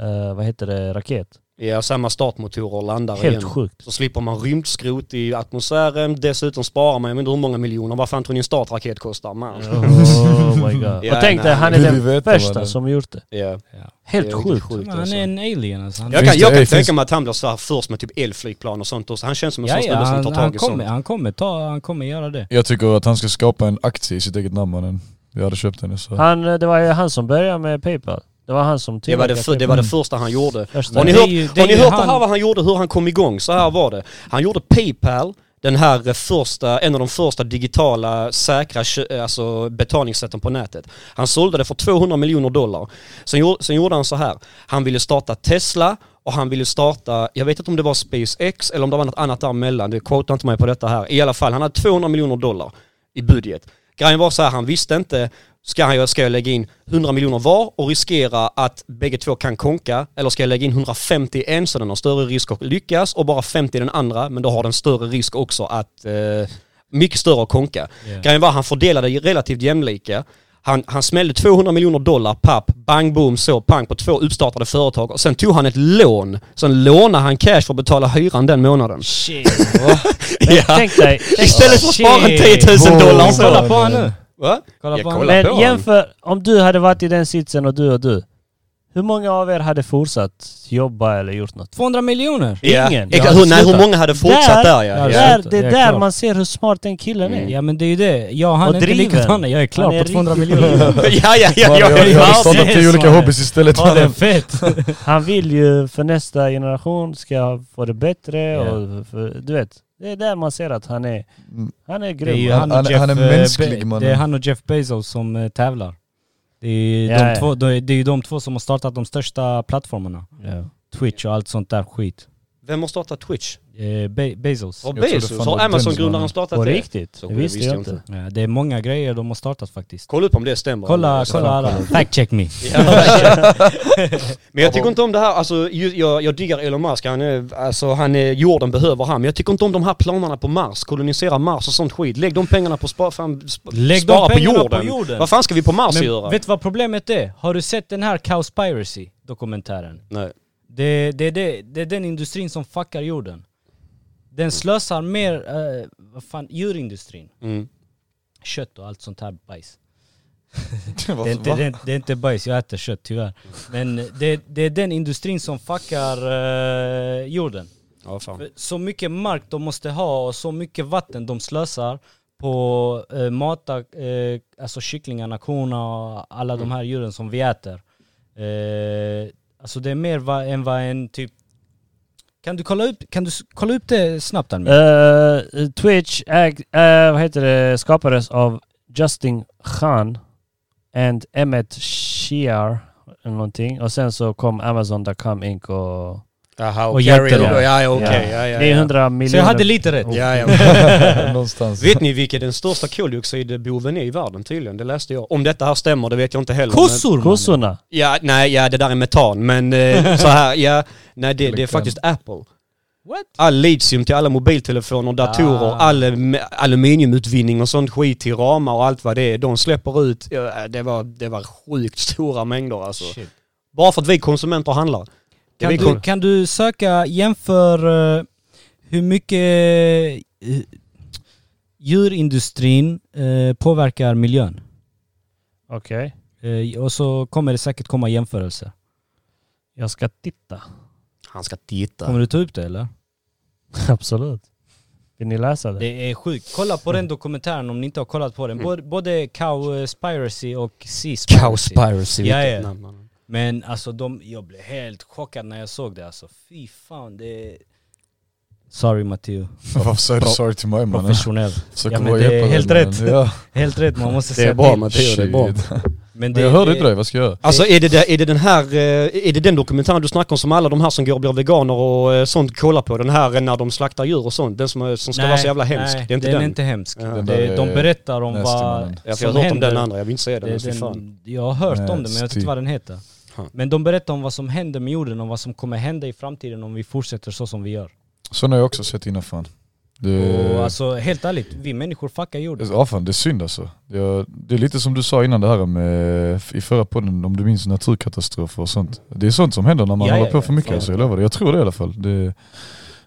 [SPEAKER 1] eh, vad heter det, raket.
[SPEAKER 4] Ja, samma startmotorer och landar
[SPEAKER 1] Helt
[SPEAKER 4] igen.
[SPEAKER 1] sjukt.
[SPEAKER 4] Så slipper man rymdskrot i atmosfären, dessutom sparar man, jag vet inte hur många miljoner, vad fan tror ni en startraket kostar? Man. Ja.
[SPEAKER 1] Oh my god.
[SPEAKER 4] Ja,
[SPEAKER 1] och tänk dig,
[SPEAKER 4] nej,
[SPEAKER 1] han är
[SPEAKER 3] gud, vi
[SPEAKER 1] den
[SPEAKER 3] vet vad
[SPEAKER 1] första
[SPEAKER 3] det-
[SPEAKER 1] som gjort det.
[SPEAKER 2] Ja.
[SPEAKER 1] Helt
[SPEAKER 4] Det är riktigt
[SPEAKER 1] sjukt.
[SPEAKER 4] sjukt
[SPEAKER 2] Men han
[SPEAKER 4] alltså.
[SPEAKER 2] är en alien alltså. Han,
[SPEAKER 4] Jag
[SPEAKER 3] Finns
[SPEAKER 4] kan,
[SPEAKER 3] det-
[SPEAKER 4] jag kan
[SPEAKER 3] finns-
[SPEAKER 4] tänka mig att han blir så här först med typ elflygplan och sånt också. Han känns som en
[SPEAKER 2] ja,
[SPEAKER 4] sån
[SPEAKER 2] ja,
[SPEAKER 4] snubbe som
[SPEAKER 2] han,
[SPEAKER 4] tar
[SPEAKER 2] han,
[SPEAKER 4] tag i sånt.
[SPEAKER 2] kommer, han, kommer ta, han kommer göra det.
[SPEAKER 3] Jag tycker att han ska skapa en aktie i sitt eget namn mannen. Jag hade köpt den så.
[SPEAKER 1] Han, eh, det var ju han som började med Paypal. Det var han som
[SPEAKER 4] Det var det,
[SPEAKER 1] tillverkade
[SPEAKER 4] för, det var det första han gjorde.
[SPEAKER 1] Första.
[SPEAKER 4] Har ni
[SPEAKER 2] Mm. Det är
[SPEAKER 4] hört,
[SPEAKER 2] ju- det
[SPEAKER 4] har ni
[SPEAKER 2] är ju
[SPEAKER 4] hört det
[SPEAKER 2] han-
[SPEAKER 4] här vad han gjorde, hur han kom igång? Så här var det. Han gjorde Paypal, den här eh, första, en av de första digitala säkra kö- eh, alltså betalningssätten på nätet. Han sålde det för 200 miljoner dollar. Sen, gjorde- sen gjorde han så här. Han ville starta Tesla och han ville starta, jag vet inte om det var SpaceX eller om det var något annat däremellan. Det quotar inte mig på detta här. I alla fall, han hade 200 miljoner dollar i budget. Grejen var så här, han visste inte, ska, han, ska jag lägga in 100 miljoner var och riskera att bägge två kan konka? Eller ska jag lägga in 150 i en så den har större risk att lyckas och bara 50 i den andra, men då har den större risk också att, eh, mycket större att konka.
[SPEAKER 2] Yeah.
[SPEAKER 4] Grejen var han fördelade ju relativt jämlika. Han, han smällde 200 miljoner dollar, papp, bang boom, så pang på två uppstartade företag. Och sen tog han ett lån. Sen lånade han cash för att betala hyran den månaden.
[SPEAKER 2] Shit.
[SPEAKER 1] Men Tänk dig... tänk-
[SPEAKER 4] Istället för att spara
[SPEAKER 2] Shit.
[SPEAKER 4] 10 000 dollar.
[SPEAKER 3] Wow.
[SPEAKER 4] och så.
[SPEAKER 2] Kolla på honom nu.
[SPEAKER 4] Va?
[SPEAKER 2] Kolla
[SPEAKER 4] Ja,
[SPEAKER 2] på honom.
[SPEAKER 4] kolla. på
[SPEAKER 1] Men
[SPEAKER 4] honom.
[SPEAKER 1] jämför, om du hade varit i den sitsen och du och du. Hur många av er hade fortsatt jobba eller gjort något?
[SPEAKER 2] 200 miljoner.
[SPEAKER 4] Ja.
[SPEAKER 1] Ingen.
[SPEAKER 4] Exakt,
[SPEAKER 1] Jag hade
[SPEAKER 4] hur, nej, hur
[SPEAKER 1] slutat.
[SPEAKER 4] många hade fortsatt där, ja.
[SPEAKER 2] Ja,
[SPEAKER 4] ja.
[SPEAKER 1] Där,
[SPEAKER 2] slutat.
[SPEAKER 1] det
[SPEAKER 2] Det
[SPEAKER 1] är där
[SPEAKER 2] är klart. Mm.
[SPEAKER 1] man ser hur smart den killen är.
[SPEAKER 2] Ja men det är ju det. Jag
[SPEAKER 1] Mm.
[SPEAKER 2] han
[SPEAKER 1] Och
[SPEAKER 2] är inte
[SPEAKER 1] driven.
[SPEAKER 2] likadana. Jag är klar
[SPEAKER 1] Han är
[SPEAKER 2] på 200
[SPEAKER 1] riktigt-
[SPEAKER 2] miljoner.
[SPEAKER 4] ja, ja, ja,
[SPEAKER 3] jag, jag, jag
[SPEAKER 1] ja,
[SPEAKER 3] hade startat
[SPEAKER 1] det är
[SPEAKER 3] tio olika
[SPEAKER 1] så.
[SPEAKER 3] hobbys istället
[SPEAKER 2] Ja det är
[SPEAKER 3] mannen.
[SPEAKER 2] fett.
[SPEAKER 1] Han vill ju för nästa generation ska få det bättre
[SPEAKER 2] Ja.
[SPEAKER 1] och för, du vet. Det är där man ser att han är,
[SPEAKER 3] Mm.
[SPEAKER 1] han är
[SPEAKER 2] Det är
[SPEAKER 1] grym.
[SPEAKER 2] ju
[SPEAKER 3] Han-
[SPEAKER 2] han och
[SPEAKER 3] han-
[SPEAKER 2] Jeff,
[SPEAKER 3] han är
[SPEAKER 2] eh,
[SPEAKER 3] mänsklig,
[SPEAKER 2] Be-
[SPEAKER 3] mannen.
[SPEAKER 2] Det är han och Jeff Bezos som eh, tävlar. Det är,
[SPEAKER 1] Ja,
[SPEAKER 2] de
[SPEAKER 1] ja.
[SPEAKER 2] Två, det är det är ju de två som har startat de största plattformarna.
[SPEAKER 1] Ja.
[SPEAKER 2] Twitch och allt sånt där skit.
[SPEAKER 4] Vem har startat Twitch?
[SPEAKER 2] Eh, Be- Bezos.
[SPEAKER 4] Har
[SPEAKER 3] Jag tror det
[SPEAKER 4] Bezos?
[SPEAKER 3] fan
[SPEAKER 4] Har
[SPEAKER 3] var
[SPEAKER 4] Amazon-grundaren
[SPEAKER 3] Dennis,
[SPEAKER 1] På
[SPEAKER 4] startat det?
[SPEAKER 1] riktigt?
[SPEAKER 4] Så
[SPEAKER 1] Det
[SPEAKER 4] det
[SPEAKER 1] visste jag inte.
[SPEAKER 2] Ja, det är många grejer de har startat faktiskt.
[SPEAKER 4] Kolla upp om det stämmer.
[SPEAKER 2] Kolla,
[SPEAKER 4] Så-
[SPEAKER 2] kolla alla. Fact check me.
[SPEAKER 4] Men jag tycker inte om det här, alltså ju- jag, jag diggar Elon Musk, han är, alltså han är, jorden behöver han. Men jag tycker inte om de här planerna på Mars, kolonisera Mars och sånt skit. Lägg de pengarna på spa, fan, sp,
[SPEAKER 2] Lägg
[SPEAKER 4] spara
[SPEAKER 2] de pengarna
[SPEAKER 4] på, jorden. Vad fan ska vi på Mars göra?
[SPEAKER 2] Men vet du vad problemet är? Har du sett den här Cowspiracy dokumentären?
[SPEAKER 4] Nej.
[SPEAKER 2] Det, det, det, det är den industrin som fuckar jorden. Den slösar mer, eh, vad fan, djurindustrin.
[SPEAKER 4] Mm.
[SPEAKER 2] Kött och allt sånt här bajs.
[SPEAKER 3] Vad-
[SPEAKER 2] Det är, inte,
[SPEAKER 3] va?
[SPEAKER 2] det, är, det är inte bajs, jag äter kött tyvärr. Men det, det är den industrin som fuckar eh, jorden.
[SPEAKER 4] Ja, fan.
[SPEAKER 2] För Eh, Så mycket mark de måste ha och så mycket vatten de slösar på eh, mata eh, alltså kycklingarna, korna och alla
[SPEAKER 1] Mm.
[SPEAKER 2] de här djuren som vi äter. Eh, alltså det är mer va, än vad en typ... Kan du kolla upp, kan du s- kolla upp det snabbt Almir?
[SPEAKER 1] Eh, Twitch äg, eh, vad heter det, skapades av Justin Khan and Emmet Shear eller någonting. Och sen så kom Amazon.com Inc. och...
[SPEAKER 4] Jaha,
[SPEAKER 2] Och
[SPEAKER 4] och
[SPEAKER 2] hjälter
[SPEAKER 4] Gary då.
[SPEAKER 1] då.
[SPEAKER 4] Ja, ja, okej.
[SPEAKER 1] Ja.
[SPEAKER 4] Ja, ja,
[SPEAKER 1] Det är
[SPEAKER 4] ja.
[SPEAKER 1] 100 miljoner.
[SPEAKER 2] Så jag hade lite rätt.
[SPEAKER 4] Ja, ja.
[SPEAKER 3] Någonstans.
[SPEAKER 4] Vet ni vilken den största koldioxidboven är i världen tydligen? Det läste jag. Om detta här stämmer, det vet jag inte heller. men-
[SPEAKER 2] Kossor! mannen.
[SPEAKER 1] Kossorna.
[SPEAKER 4] Ja, nej, ja det där är metan, men eh, så här, ja, nej det, det är faktiskt Apple.
[SPEAKER 2] What?
[SPEAKER 4] All litium till alla mobiltelefoner, datorer,
[SPEAKER 2] Ah.
[SPEAKER 4] all alum- aluminiumutvinning och sånt skit till ramar och allt vad det är. De släpper ut, ja, det, var, det var sjukt stora mängder alltså.
[SPEAKER 2] Shit.
[SPEAKER 4] Bara för att vi konsumenter handlar. Det
[SPEAKER 2] Kan
[SPEAKER 4] vi
[SPEAKER 2] du,
[SPEAKER 4] kon-
[SPEAKER 2] kan du söka, jämför eh, hur mycket eh, djurindustrin eh, påverkar miljön?
[SPEAKER 1] Okej.
[SPEAKER 2] Eh, och så kommer det säkert komma jämförelser.
[SPEAKER 1] Jag ska titta.
[SPEAKER 4] Han ska titta.
[SPEAKER 2] Kommer du ta upp det eller?
[SPEAKER 1] Absolut. Vill ni läsa det?
[SPEAKER 2] Det är sjukt. Kolla på den dokumentären om ni inte har kollat på den. Både, både Cowspiracy och Seaspiracy.
[SPEAKER 4] Cowspiracy.
[SPEAKER 2] Ja,
[SPEAKER 4] vilket
[SPEAKER 2] ja.
[SPEAKER 4] namn, mannen.
[SPEAKER 2] Men alltså de, jag blev helt chockad när jag såg det alltså. Fy fan det är... Sorry Matteo.
[SPEAKER 3] Varför säger du sorry till mig mannen?
[SPEAKER 2] Professionell.
[SPEAKER 3] Försöker
[SPEAKER 2] Ja, men
[SPEAKER 3] vara
[SPEAKER 2] det är
[SPEAKER 3] hjälpande,
[SPEAKER 2] helt
[SPEAKER 3] mannen.
[SPEAKER 2] rätt.
[SPEAKER 3] Ja.
[SPEAKER 2] Helt rätt, man måste
[SPEAKER 4] Det är
[SPEAKER 2] säga
[SPEAKER 4] bra
[SPEAKER 2] till.
[SPEAKER 4] Matteo, det är bra.
[SPEAKER 3] Shit.
[SPEAKER 2] Men
[SPEAKER 3] Men jag hörde inte dig, vad ska jag göra?
[SPEAKER 4] Alltså är det, det, är det den här, eh, är det den dokumentären du snackar om som alla de här som går och blir veganer och eh, sånt kollar på? Den här eh, när de slaktar djur och sånt, den som, är- som ska vara så jävla hemsk.
[SPEAKER 2] Nej,
[SPEAKER 4] det är inte
[SPEAKER 2] den,
[SPEAKER 4] den.
[SPEAKER 2] är eh, inte hemsk.
[SPEAKER 4] Ja.
[SPEAKER 3] Den
[SPEAKER 2] Det,
[SPEAKER 3] där
[SPEAKER 2] de
[SPEAKER 3] är
[SPEAKER 2] berättar om
[SPEAKER 3] nästa
[SPEAKER 2] vad
[SPEAKER 3] mannen.
[SPEAKER 4] Ja, för jag
[SPEAKER 2] som
[SPEAKER 4] har hört om
[SPEAKER 2] händer.
[SPEAKER 4] den andra, jag vill inte säga den.
[SPEAKER 2] Det,
[SPEAKER 4] ens, fy
[SPEAKER 2] är
[SPEAKER 4] fan.
[SPEAKER 2] den, jag har hört om
[SPEAKER 3] Nej,
[SPEAKER 2] den men jag vet inte
[SPEAKER 3] stil.
[SPEAKER 2] vad den heter.
[SPEAKER 4] Ha.
[SPEAKER 2] Men de berättar om vad som händer med jorden och vad som kommer hända i framtiden om vi fortsätter så som vi gör.
[SPEAKER 3] Sådana har jag också sett innan fan. Det,
[SPEAKER 2] Och alltså helt ärligt, vi människor fuckar jorden.
[SPEAKER 3] ja, fan, det är synd alltså. Jag, det är lite som du sa innan det här med, i förra podden, om du minns naturkatastrofer och sånt. Det är sånt som händer när man
[SPEAKER 2] Ja,
[SPEAKER 3] håller
[SPEAKER 2] ja,
[SPEAKER 3] på
[SPEAKER 2] ja,
[SPEAKER 3] för mycket
[SPEAKER 2] fan.
[SPEAKER 3] alltså, jag lovar det. Jag tror det i alla fall. Det,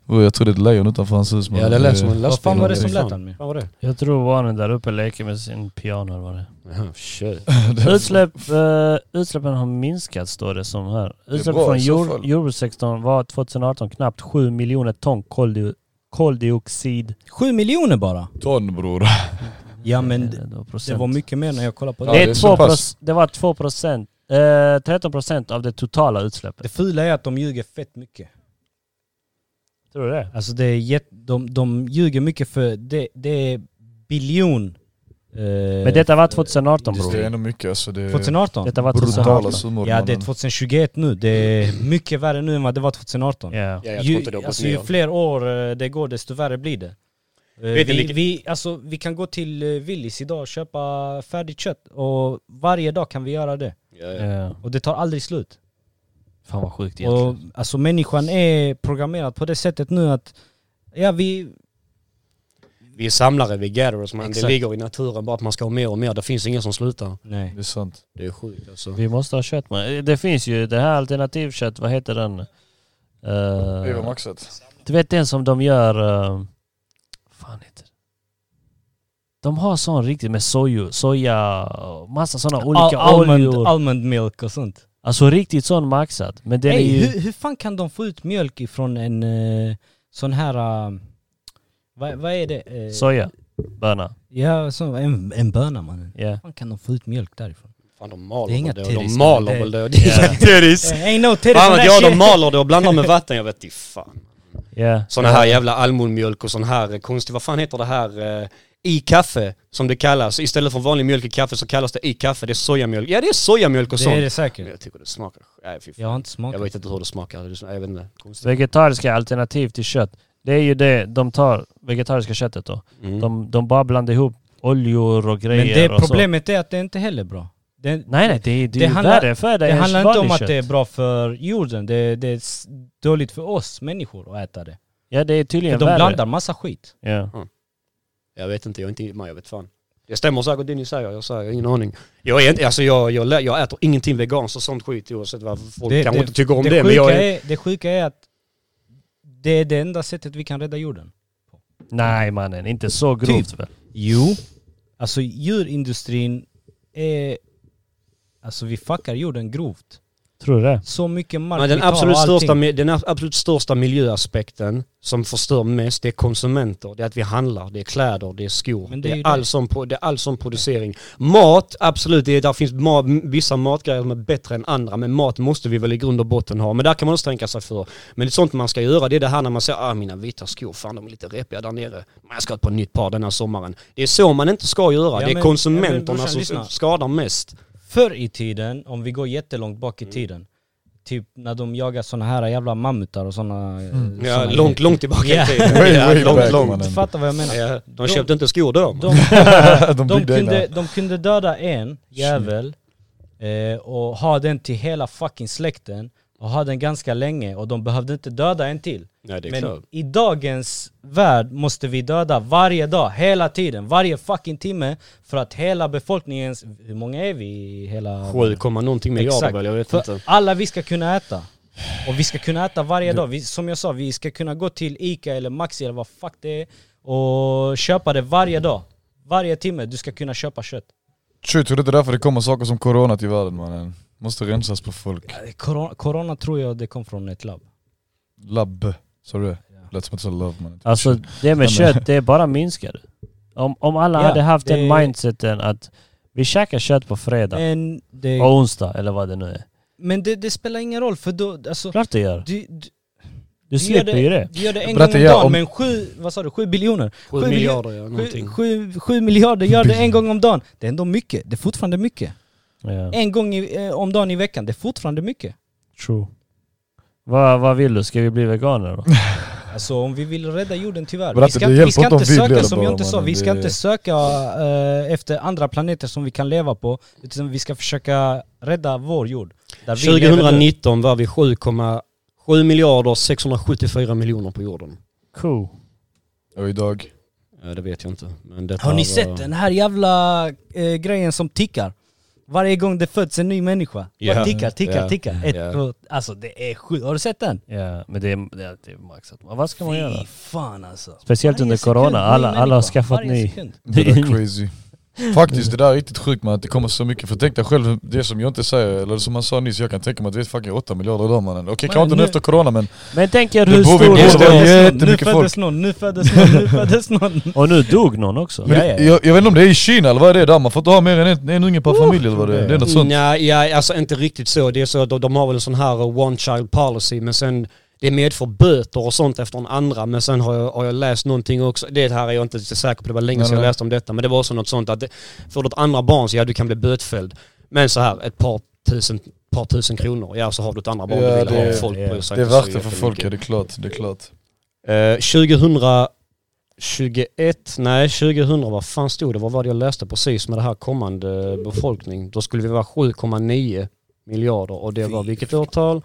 [SPEAKER 3] jag tror det är ett lejon utanför hans hus. man.
[SPEAKER 4] Ja, det lät som en lastbil.
[SPEAKER 2] Vad fan var det som lät
[SPEAKER 4] Fan.
[SPEAKER 2] Almir?
[SPEAKER 4] Vad var det?
[SPEAKER 1] Jag tror barnen där uppe leker med sin piano eller vad det är.
[SPEAKER 4] Jaha, shit.
[SPEAKER 3] det-
[SPEAKER 1] Utsläpp, eh, utsläppen har minskat står det som här. Utsläpp
[SPEAKER 3] bra
[SPEAKER 1] från
[SPEAKER 3] i så
[SPEAKER 1] jord,
[SPEAKER 3] fall.
[SPEAKER 1] jordbrukssektorn var 2018 knappt 7 miljoner ton koldio, koldioxid.
[SPEAKER 2] Sju miljoner bara?
[SPEAKER 3] Ton bror.
[SPEAKER 2] Ja men
[SPEAKER 1] eh, då
[SPEAKER 2] det
[SPEAKER 1] procent.
[SPEAKER 2] var mycket mer när jag kollade på
[SPEAKER 3] Ja,
[SPEAKER 2] det.
[SPEAKER 1] det,
[SPEAKER 3] det är
[SPEAKER 1] är
[SPEAKER 3] så
[SPEAKER 1] två
[SPEAKER 3] pass.
[SPEAKER 1] proc- det var 2 procent, eh, 13 procent av det totala utsläppet.
[SPEAKER 2] Det fula är att de ljuger fett mycket.
[SPEAKER 1] Tror du det?
[SPEAKER 2] Alltså det är jätt, de, de ljuger mycket för det, det är biljon... Eh,
[SPEAKER 1] Men detta var 2018
[SPEAKER 3] Det är
[SPEAKER 1] bror.
[SPEAKER 3] ändå mycket alltså. Det är
[SPEAKER 2] 2018?
[SPEAKER 1] Detta var
[SPEAKER 3] brutala
[SPEAKER 1] 2018.
[SPEAKER 3] summor.
[SPEAKER 2] Ja det är
[SPEAKER 3] mannen.
[SPEAKER 2] 2021 nu, det är mycket värre nu än vad det var 2018.
[SPEAKER 1] Ja.
[SPEAKER 4] Ja, jag tror inte det
[SPEAKER 2] ju,
[SPEAKER 4] har gått
[SPEAKER 2] alltså,
[SPEAKER 4] ner.
[SPEAKER 2] ju fler år eh, det går desto värre blir det. Eh,
[SPEAKER 4] Vet ni
[SPEAKER 2] vi,
[SPEAKER 4] vilket-
[SPEAKER 2] vi, alltså, vi kan gå till eh, Willys idag och köpa färdigt kött och varje dag kan vi göra det.
[SPEAKER 1] Ja.
[SPEAKER 2] Och det tar aldrig slut.
[SPEAKER 1] Fan vad sjukt egentligen.
[SPEAKER 2] Och, alltså människan är programmerad på det sättet nu att ja, vi,
[SPEAKER 4] Vi är samlare, vi är gatherers man. Det
[SPEAKER 2] Exakt.
[SPEAKER 4] ligger i naturen bara att man ska ha mer och mer. Det finns ingen som slutar.
[SPEAKER 2] nej.
[SPEAKER 3] Det är sant.
[SPEAKER 4] Det är sjukt alltså.
[SPEAKER 1] Vi måste ha kött man. Det finns ju det här alternativkött, vad heter den? Eh,
[SPEAKER 3] Det var maxat.
[SPEAKER 1] Du vet den som de gör... Uh, fan heter det? De har sån riktigt med soju, soja, massa såna olika
[SPEAKER 2] Al- almond,
[SPEAKER 1] oljor.
[SPEAKER 2] almond milk och sånt.
[SPEAKER 1] alltså riktigt sån maxad. Men den
[SPEAKER 2] Ey,
[SPEAKER 1] är ju...
[SPEAKER 2] hur, hur fan kan de få ut mjölk ifrån en eh, sån här... eh, vad, vad är det? Eh,
[SPEAKER 1] Soja, böna.
[SPEAKER 2] Ja, så, en, en böna mannen. Hur
[SPEAKER 1] Yeah.
[SPEAKER 2] fan kan de få ut mjölk därifon?
[SPEAKER 4] Fan de maler
[SPEAKER 2] Det är inga
[SPEAKER 4] väl det. och
[SPEAKER 2] titties,
[SPEAKER 4] De maler
[SPEAKER 2] men det-
[SPEAKER 4] väl det. och Det är inga titties.
[SPEAKER 2] Ain't no titty
[SPEAKER 4] Fan
[SPEAKER 2] from
[SPEAKER 4] vet
[SPEAKER 2] that
[SPEAKER 4] jag, de
[SPEAKER 2] shit.
[SPEAKER 4] maler det och blandar med vatten. Jag vet inte fan.
[SPEAKER 1] Yeah.
[SPEAKER 4] Såna här jävla allmonmjölk och sån här eh, konstig, vad fan heter det här? eh, i kaffe, som det kallas. Istället för vanlig mjölk i kaffe så kallas det i kaffe. Det är sojamjölk. Ja, det är sojamjölk och
[SPEAKER 2] Det
[SPEAKER 4] sånt.
[SPEAKER 2] är det säkert.
[SPEAKER 4] Jag tycker det smakar... Nej, fy fan.
[SPEAKER 2] Jag har inte
[SPEAKER 4] Jag
[SPEAKER 2] smakat.
[SPEAKER 4] vet inte hur det smakar. Det smakar jag vet inte. Konstigt.
[SPEAKER 1] Vegetariska alternativ till kött. Det är ju det de tar, vegetariska köttet då.
[SPEAKER 4] Mm.
[SPEAKER 1] De, de bara blandar ihop oljor och grejer
[SPEAKER 2] Men det
[SPEAKER 1] och så.
[SPEAKER 2] problemet är att det inte heller är bra. Det,
[SPEAKER 1] Nej nej, det, det,
[SPEAKER 2] Det
[SPEAKER 1] är ju
[SPEAKER 2] handlar-
[SPEAKER 1] värre för dig
[SPEAKER 2] det
[SPEAKER 1] än
[SPEAKER 2] handlar inte om
[SPEAKER 1] vanligt
[SPEAKER 2] att det är
[SPEAKER 1] kött.
[SPEAKER 2] bra för jorden, det, det är s- dåligt för oss människor att äta det.
[SPEAKER 1] Ja det är tydligen
[SPEAKER 2] För de
[SPEAKER 1] värre.
[SPEAKER 2] blandar massa skit.
[SPEAKER 1] Ja.
[SPEAKER 4] Jag vet inte, jag är inte med, jag vet fan. Det stämmer säkert det ni säger, jag säger ingen aning. Jag, är inte, alltså jag, jag, lä- jag äter ingenting veganskt och sånt skit oavsett vad folk
[SPEAKER 2] Det-
[SPEAKER 4] kanske
[SPEAKER 2] det-
[SPEAKER 4] inte tycker om
[SPEAKER 2] det,
[SPEAKER 4] det, men jag
[SPEAKER 2] sjuka
[SPEAKER 4] är...
[SPEAKER 2] är, det sjuka är att det är det enda sättet vi kan rädda jorden.
[SPEAKER 1] Nej mannen, inte så grovt
[SPEAKER 2] Typ.
[SPEAKER 1] väl?
[SPEAKER 2] Jo. Alltså djurindustrin är... Alltså vi fuckar jorden grovt.
[SPEAKER 1] Tror du det?
[SPEAKER 2] Så mycket mark
[SPEAKER 4] Men
[SPEAKER 2] vi
[SPEAKER 4] den
[SPEAKER 2] tar och
[SPEAKER 4] absolut,
[SPEAKER 2] allting.
[SPEAKER 4] största, mi- den ab- absolut största miljöaspekten som förstör mest, det är konsumenter. Det är att vi handlar, det är kläder, det är skor.
[SPEAKER 2] Men
[SPEAKER 4] det,
[SPEAKER 2] det är
[SPEAKER 4] är
[SPEAKER 2] ju
[SPEAKER 4] all
[SPEAKER 2] det.
[SPEAKER 4] Sån, pro- det är all sån producering. Mat, absolut, det är, där finns ma vissa matgrejer som är bättre än andra, men mat måste vi väl i grund och botten ha. Men där kan man också tänka sig för. Men det är sånt man ska göra, det är det här när man säger ah mina vita skor, fan de är lite repiga där nere. Men jag ska ha ett par nytt par den här sommaren. Det är så man inte ska göra.
[SPEAKER 2] Ja,
[SPEAKER 4] det är
[SPEAKER 2] men- ja, men
[SPEAKER 4] konsumenterna
[SPEAKER 2] brorsan,
[SPEAKER 4] som
[SPEAKER 2] lyssna.
[SPEAKER 4] skadar mest.
[SPEAKER 2] Förr i tiden, om vi går jättelångt bak
[SPEAKER 4] Mm.
[SPEAKER 2] i tiden, typ när de jagar såna här jävla mammutar och såna... eh,
[SPEAKER 4] Ja,
[SPEAKER 2] såna
[SPEAKER 4] långt, långt tillbaka
[SPEAKER 2] Ja.
[SPEAKER 4] i tiden.
[SPEAKER 3] Way,
[SPEAKER 4] Ja,
[SPEAKER 3] way back,
[SPEAKER 4] långt, långt.
[SPEAKER 3] mannen.
[SPEAKER 2] Du fattar vad jag menar?
[SPEAKER 4] Ja, Eh, de
[SPEAKER 2] De-
[SPEAKER 4] köpte inte skor då.
[SPEAKER 2] De, de,
[SPEAKER 3] de byggde egna.
[SPEAKER 2] kunde, de kunde döda en jävel eh, och ha den till hela fucking släkten och ha den ganska länge och de behövde inte döda en till.
[SPEAKER 4] Nej, det är klart.
[SPEAKER 2] Men i dagens värld måste vi döda varje dag, hela tiden, varje fucking timme för att hela befolkningens... Hur många är vi i hela...
[SPEAKER 4] 7, komma någonting miljarder
[SPEAKER 2] Exakt.
[SPEAKER 4] väl, jag vet
[SPEAKER 2] För
[SPEAKER 4] inte.
[SPEAKER 2] alla vi ska kunna äta. Och vi ska kunna äta varje dag. Vi, som jag sa, vi ska kunna gå till Ica eller Maxi eller vad fuck det är och köpa det varje dag. Varje timme du ska kunna köpa kött.
[SPEAKER 3] Tjur, tror du inte därför det kommer saker som corona till världen mannen? Måste rensas på folk.
[SPEAKER 2] Corona, corona tror jag det kom från ett labb.
[SPEAKER 3] Labb, sa du det? Lät som att du sa love mannen.
[SPEAKER 1] Alltså det med
[SPEAKER 3] Nej, men-
[SPEAKER 1] kött, det bara minskar. Om, om alla
[SPEAKER 2] Ja,
[SPEAKER 1] hade haft den
[SPEAKER 2] det-
[SPEAKER 1] mindseten att vi käkar kött på fredag
[SPEAKER 2] Men, det,
[SPEAKER 1] och onsdag eller vad det nu är.
[SPEAKER 2] men det, det spelar ingen roll för då, alltså,
[SPEAKER 1] Klart det gör.
[SPEAKER 2] du, du,
[SPEAKER 1] Du
[SPEAKER 2] du, gör
[SPEAKER 1] slipper ju
[SPEAKER 2] det,
[SPEAKER 1] det.
[SPEAKER 2] du gör det en
[SPEAKER 3] Berätta,
[SPEAKER 2] gång om
[SPEAKER 3] ja,
[SPEAKER 2] dagen
[SPEAKER 3] om-
[SPEAKER 2] men sju, vad sa du, sju biljoner?
[SPEAKER 4] 7
[SPEAKER 2] miljo-
[SPEAKER 4] miljarder, ja, någonting.
[SPEAKER 2] Sju, sju, sju miljarder gör det en gång om dagen. Det är ändå mycket, det är fortfarande mycket.
[SPEAKER 1] Ja.
[SPEAKER 2] En gång i, eh, om dagen i veckan, det är fortfarande mycket.
[SPEAKER 1] True. Vad, vad vill du? Ska vi bli veganer då?
[SPEAKER 2] Alltså om vi vill rädda jorden tyvärr.
[SPEAKER 3] Bratte,
[SPEAKER 2] Vi ska,
[SPEAKER 3] det
[SPEAKER 2] vi
[SPEAKER 3] hjälper
[SPEAKER 2] ska
[SPEAKER 3] inte om
[SPEAKER 2] inte
[SPEAKER 3] vi blir
[SPEAKER 2] söka,
[SPEAKER 3] det
[SPEAKER 2] som jag
[SPEAKER 3] bara,
[SPEAKER 2] inte sa,
[SPEAKER 3] mannen.
[SPEAKER 2] vi ska
[SPEAKER 3] Det-
[SPEAKER 2] inte söka eh, efter andra planeter som vi kan leva på. Utan vi ska försöka rädda vår jord. Där vi lever nu.
[SPEAKER 4] 2019 var vi 7,7 miljarder 674 miljoner på jorden.
[SPEAKER 1] Cool.
[SPEAKER 3] Och idag,
[SPEAKER 4] Ja, det vet jag inte. Men detta
[SPEAKER 2] Har ni
[SPEAKER 4] var-
[SPEAKER 2] sett den här jävla eh, grejen som tickar? Varje gång det föds en ny människa.
[SPEAKER 4] Ja.
[SPEAKER 2] Bara tickar, tickar,
[SPEAKER 4] Ja.
[SPEAKER 2] tickar. Ett,
[SPEAKER 4] Ja.
[SPEAKER 2] två, alltså det är sjukt. Har du sett den?
[SPEAKER 1] Ja, men det är, det är, det är maxat. Men Vad ska man göra?
[SPEAKER 2] Fy fan alltså.
[SPEAKER 1] Speciellt
[SPEAKER 2] Varje
[SPEAKER 1] under
[SPEAKER 2] sekund,
[SPEAKER 1] corona.
[SPEAKER 2] ny
[SPEAKER 1] Alla, alla har
[SPEAKER 2] människa.
[SPEAKER 1] skaffat
[SPEAKER 2] Varje
[SPEAKER 1] ny.
[SPEAKER 2] sekund.
[SPEAKER 3] det där är crazy. Faktiskt det där är riktigt sjukt man, att det kommer så mycket. För tänk dig själv, det som jag inte säger, eller som man sa nyss, jag kan tänka mig att vi är fucking 8 miljarder idag mannen. Okej kanske inte nu
[SPEAKER 2] nu-
[SPEAKER 3] efter corona men
[SPEAKER 1] Men tänk er
[SPEAKER 3] Det
[SPEAKER 1] hur
[SPEAKER 3] beror vi
[SPEAKER 1] stor...
[SPEAKER 3] på
[SPEAKER 2] Nu föddes någon,
[SPEAKER 3] Det var
[SPEAKER 2] Nu
[SPEAKER 3] jättemycket
[SPEAKER 2] föddes någon, nu föddes någon, nu föddes någon.
[SPEAKER 1] Och nu dog någon också.
[SPEAKER 3] Men
[SPEAKER 2] Ja,
[SPEAKER 3] det-
[SPEAKER 2] ja, ja.
[SPEAKER 3] Jag, jag vet inte om det är i Kina eller vad är det där? Man får inte ha mer än en, en unge per familj eller vad det är. Det är något sånt.
[SPEAKER 4] Nej, ja, alltså inte riktigt så. Det är så att de, de har väl en sån här eh, one child policy, men sen det medför böter och sånt efter en andra, men sen har jag, har jag läst någonting också. Det här är jag inte så säker på, det var länge
[SPEAKER 3] Nej,
[SPEAKER 4] sedan jag
[SPEAKER 3] nej.
[SPEAKER 4] läste om detta, men det var också något sånt att det, för ditt andra barn så ja, du kan bli bötfälld. Men så här, ett par tusen, par tusen kronor, ja så har du ett andra barn
[SPEAKER 3] Ja,
[SPEAKER 4] du vill
[SPEAKER 3] det-
[SPEAKER 4] ha. Folk
[SPEAKER 2] ja.
[SPEAKER 4] bryr sig
[SPEAKER 3] Det är
[SPEAKER 4] inte så
[SPEAKER 3] värt det för folk,
[SPEAKER 4] jättemycket.
[SPEAKER 3] ja det är klart. Det är klart.
[SPEAKER 4] Eh, 2021, nej 2000, vad fan stod det? Vad var det jag läste precis med det här kommande befolkning? Då skulle vi vara 7,9 miljarder och det var vilket årtal?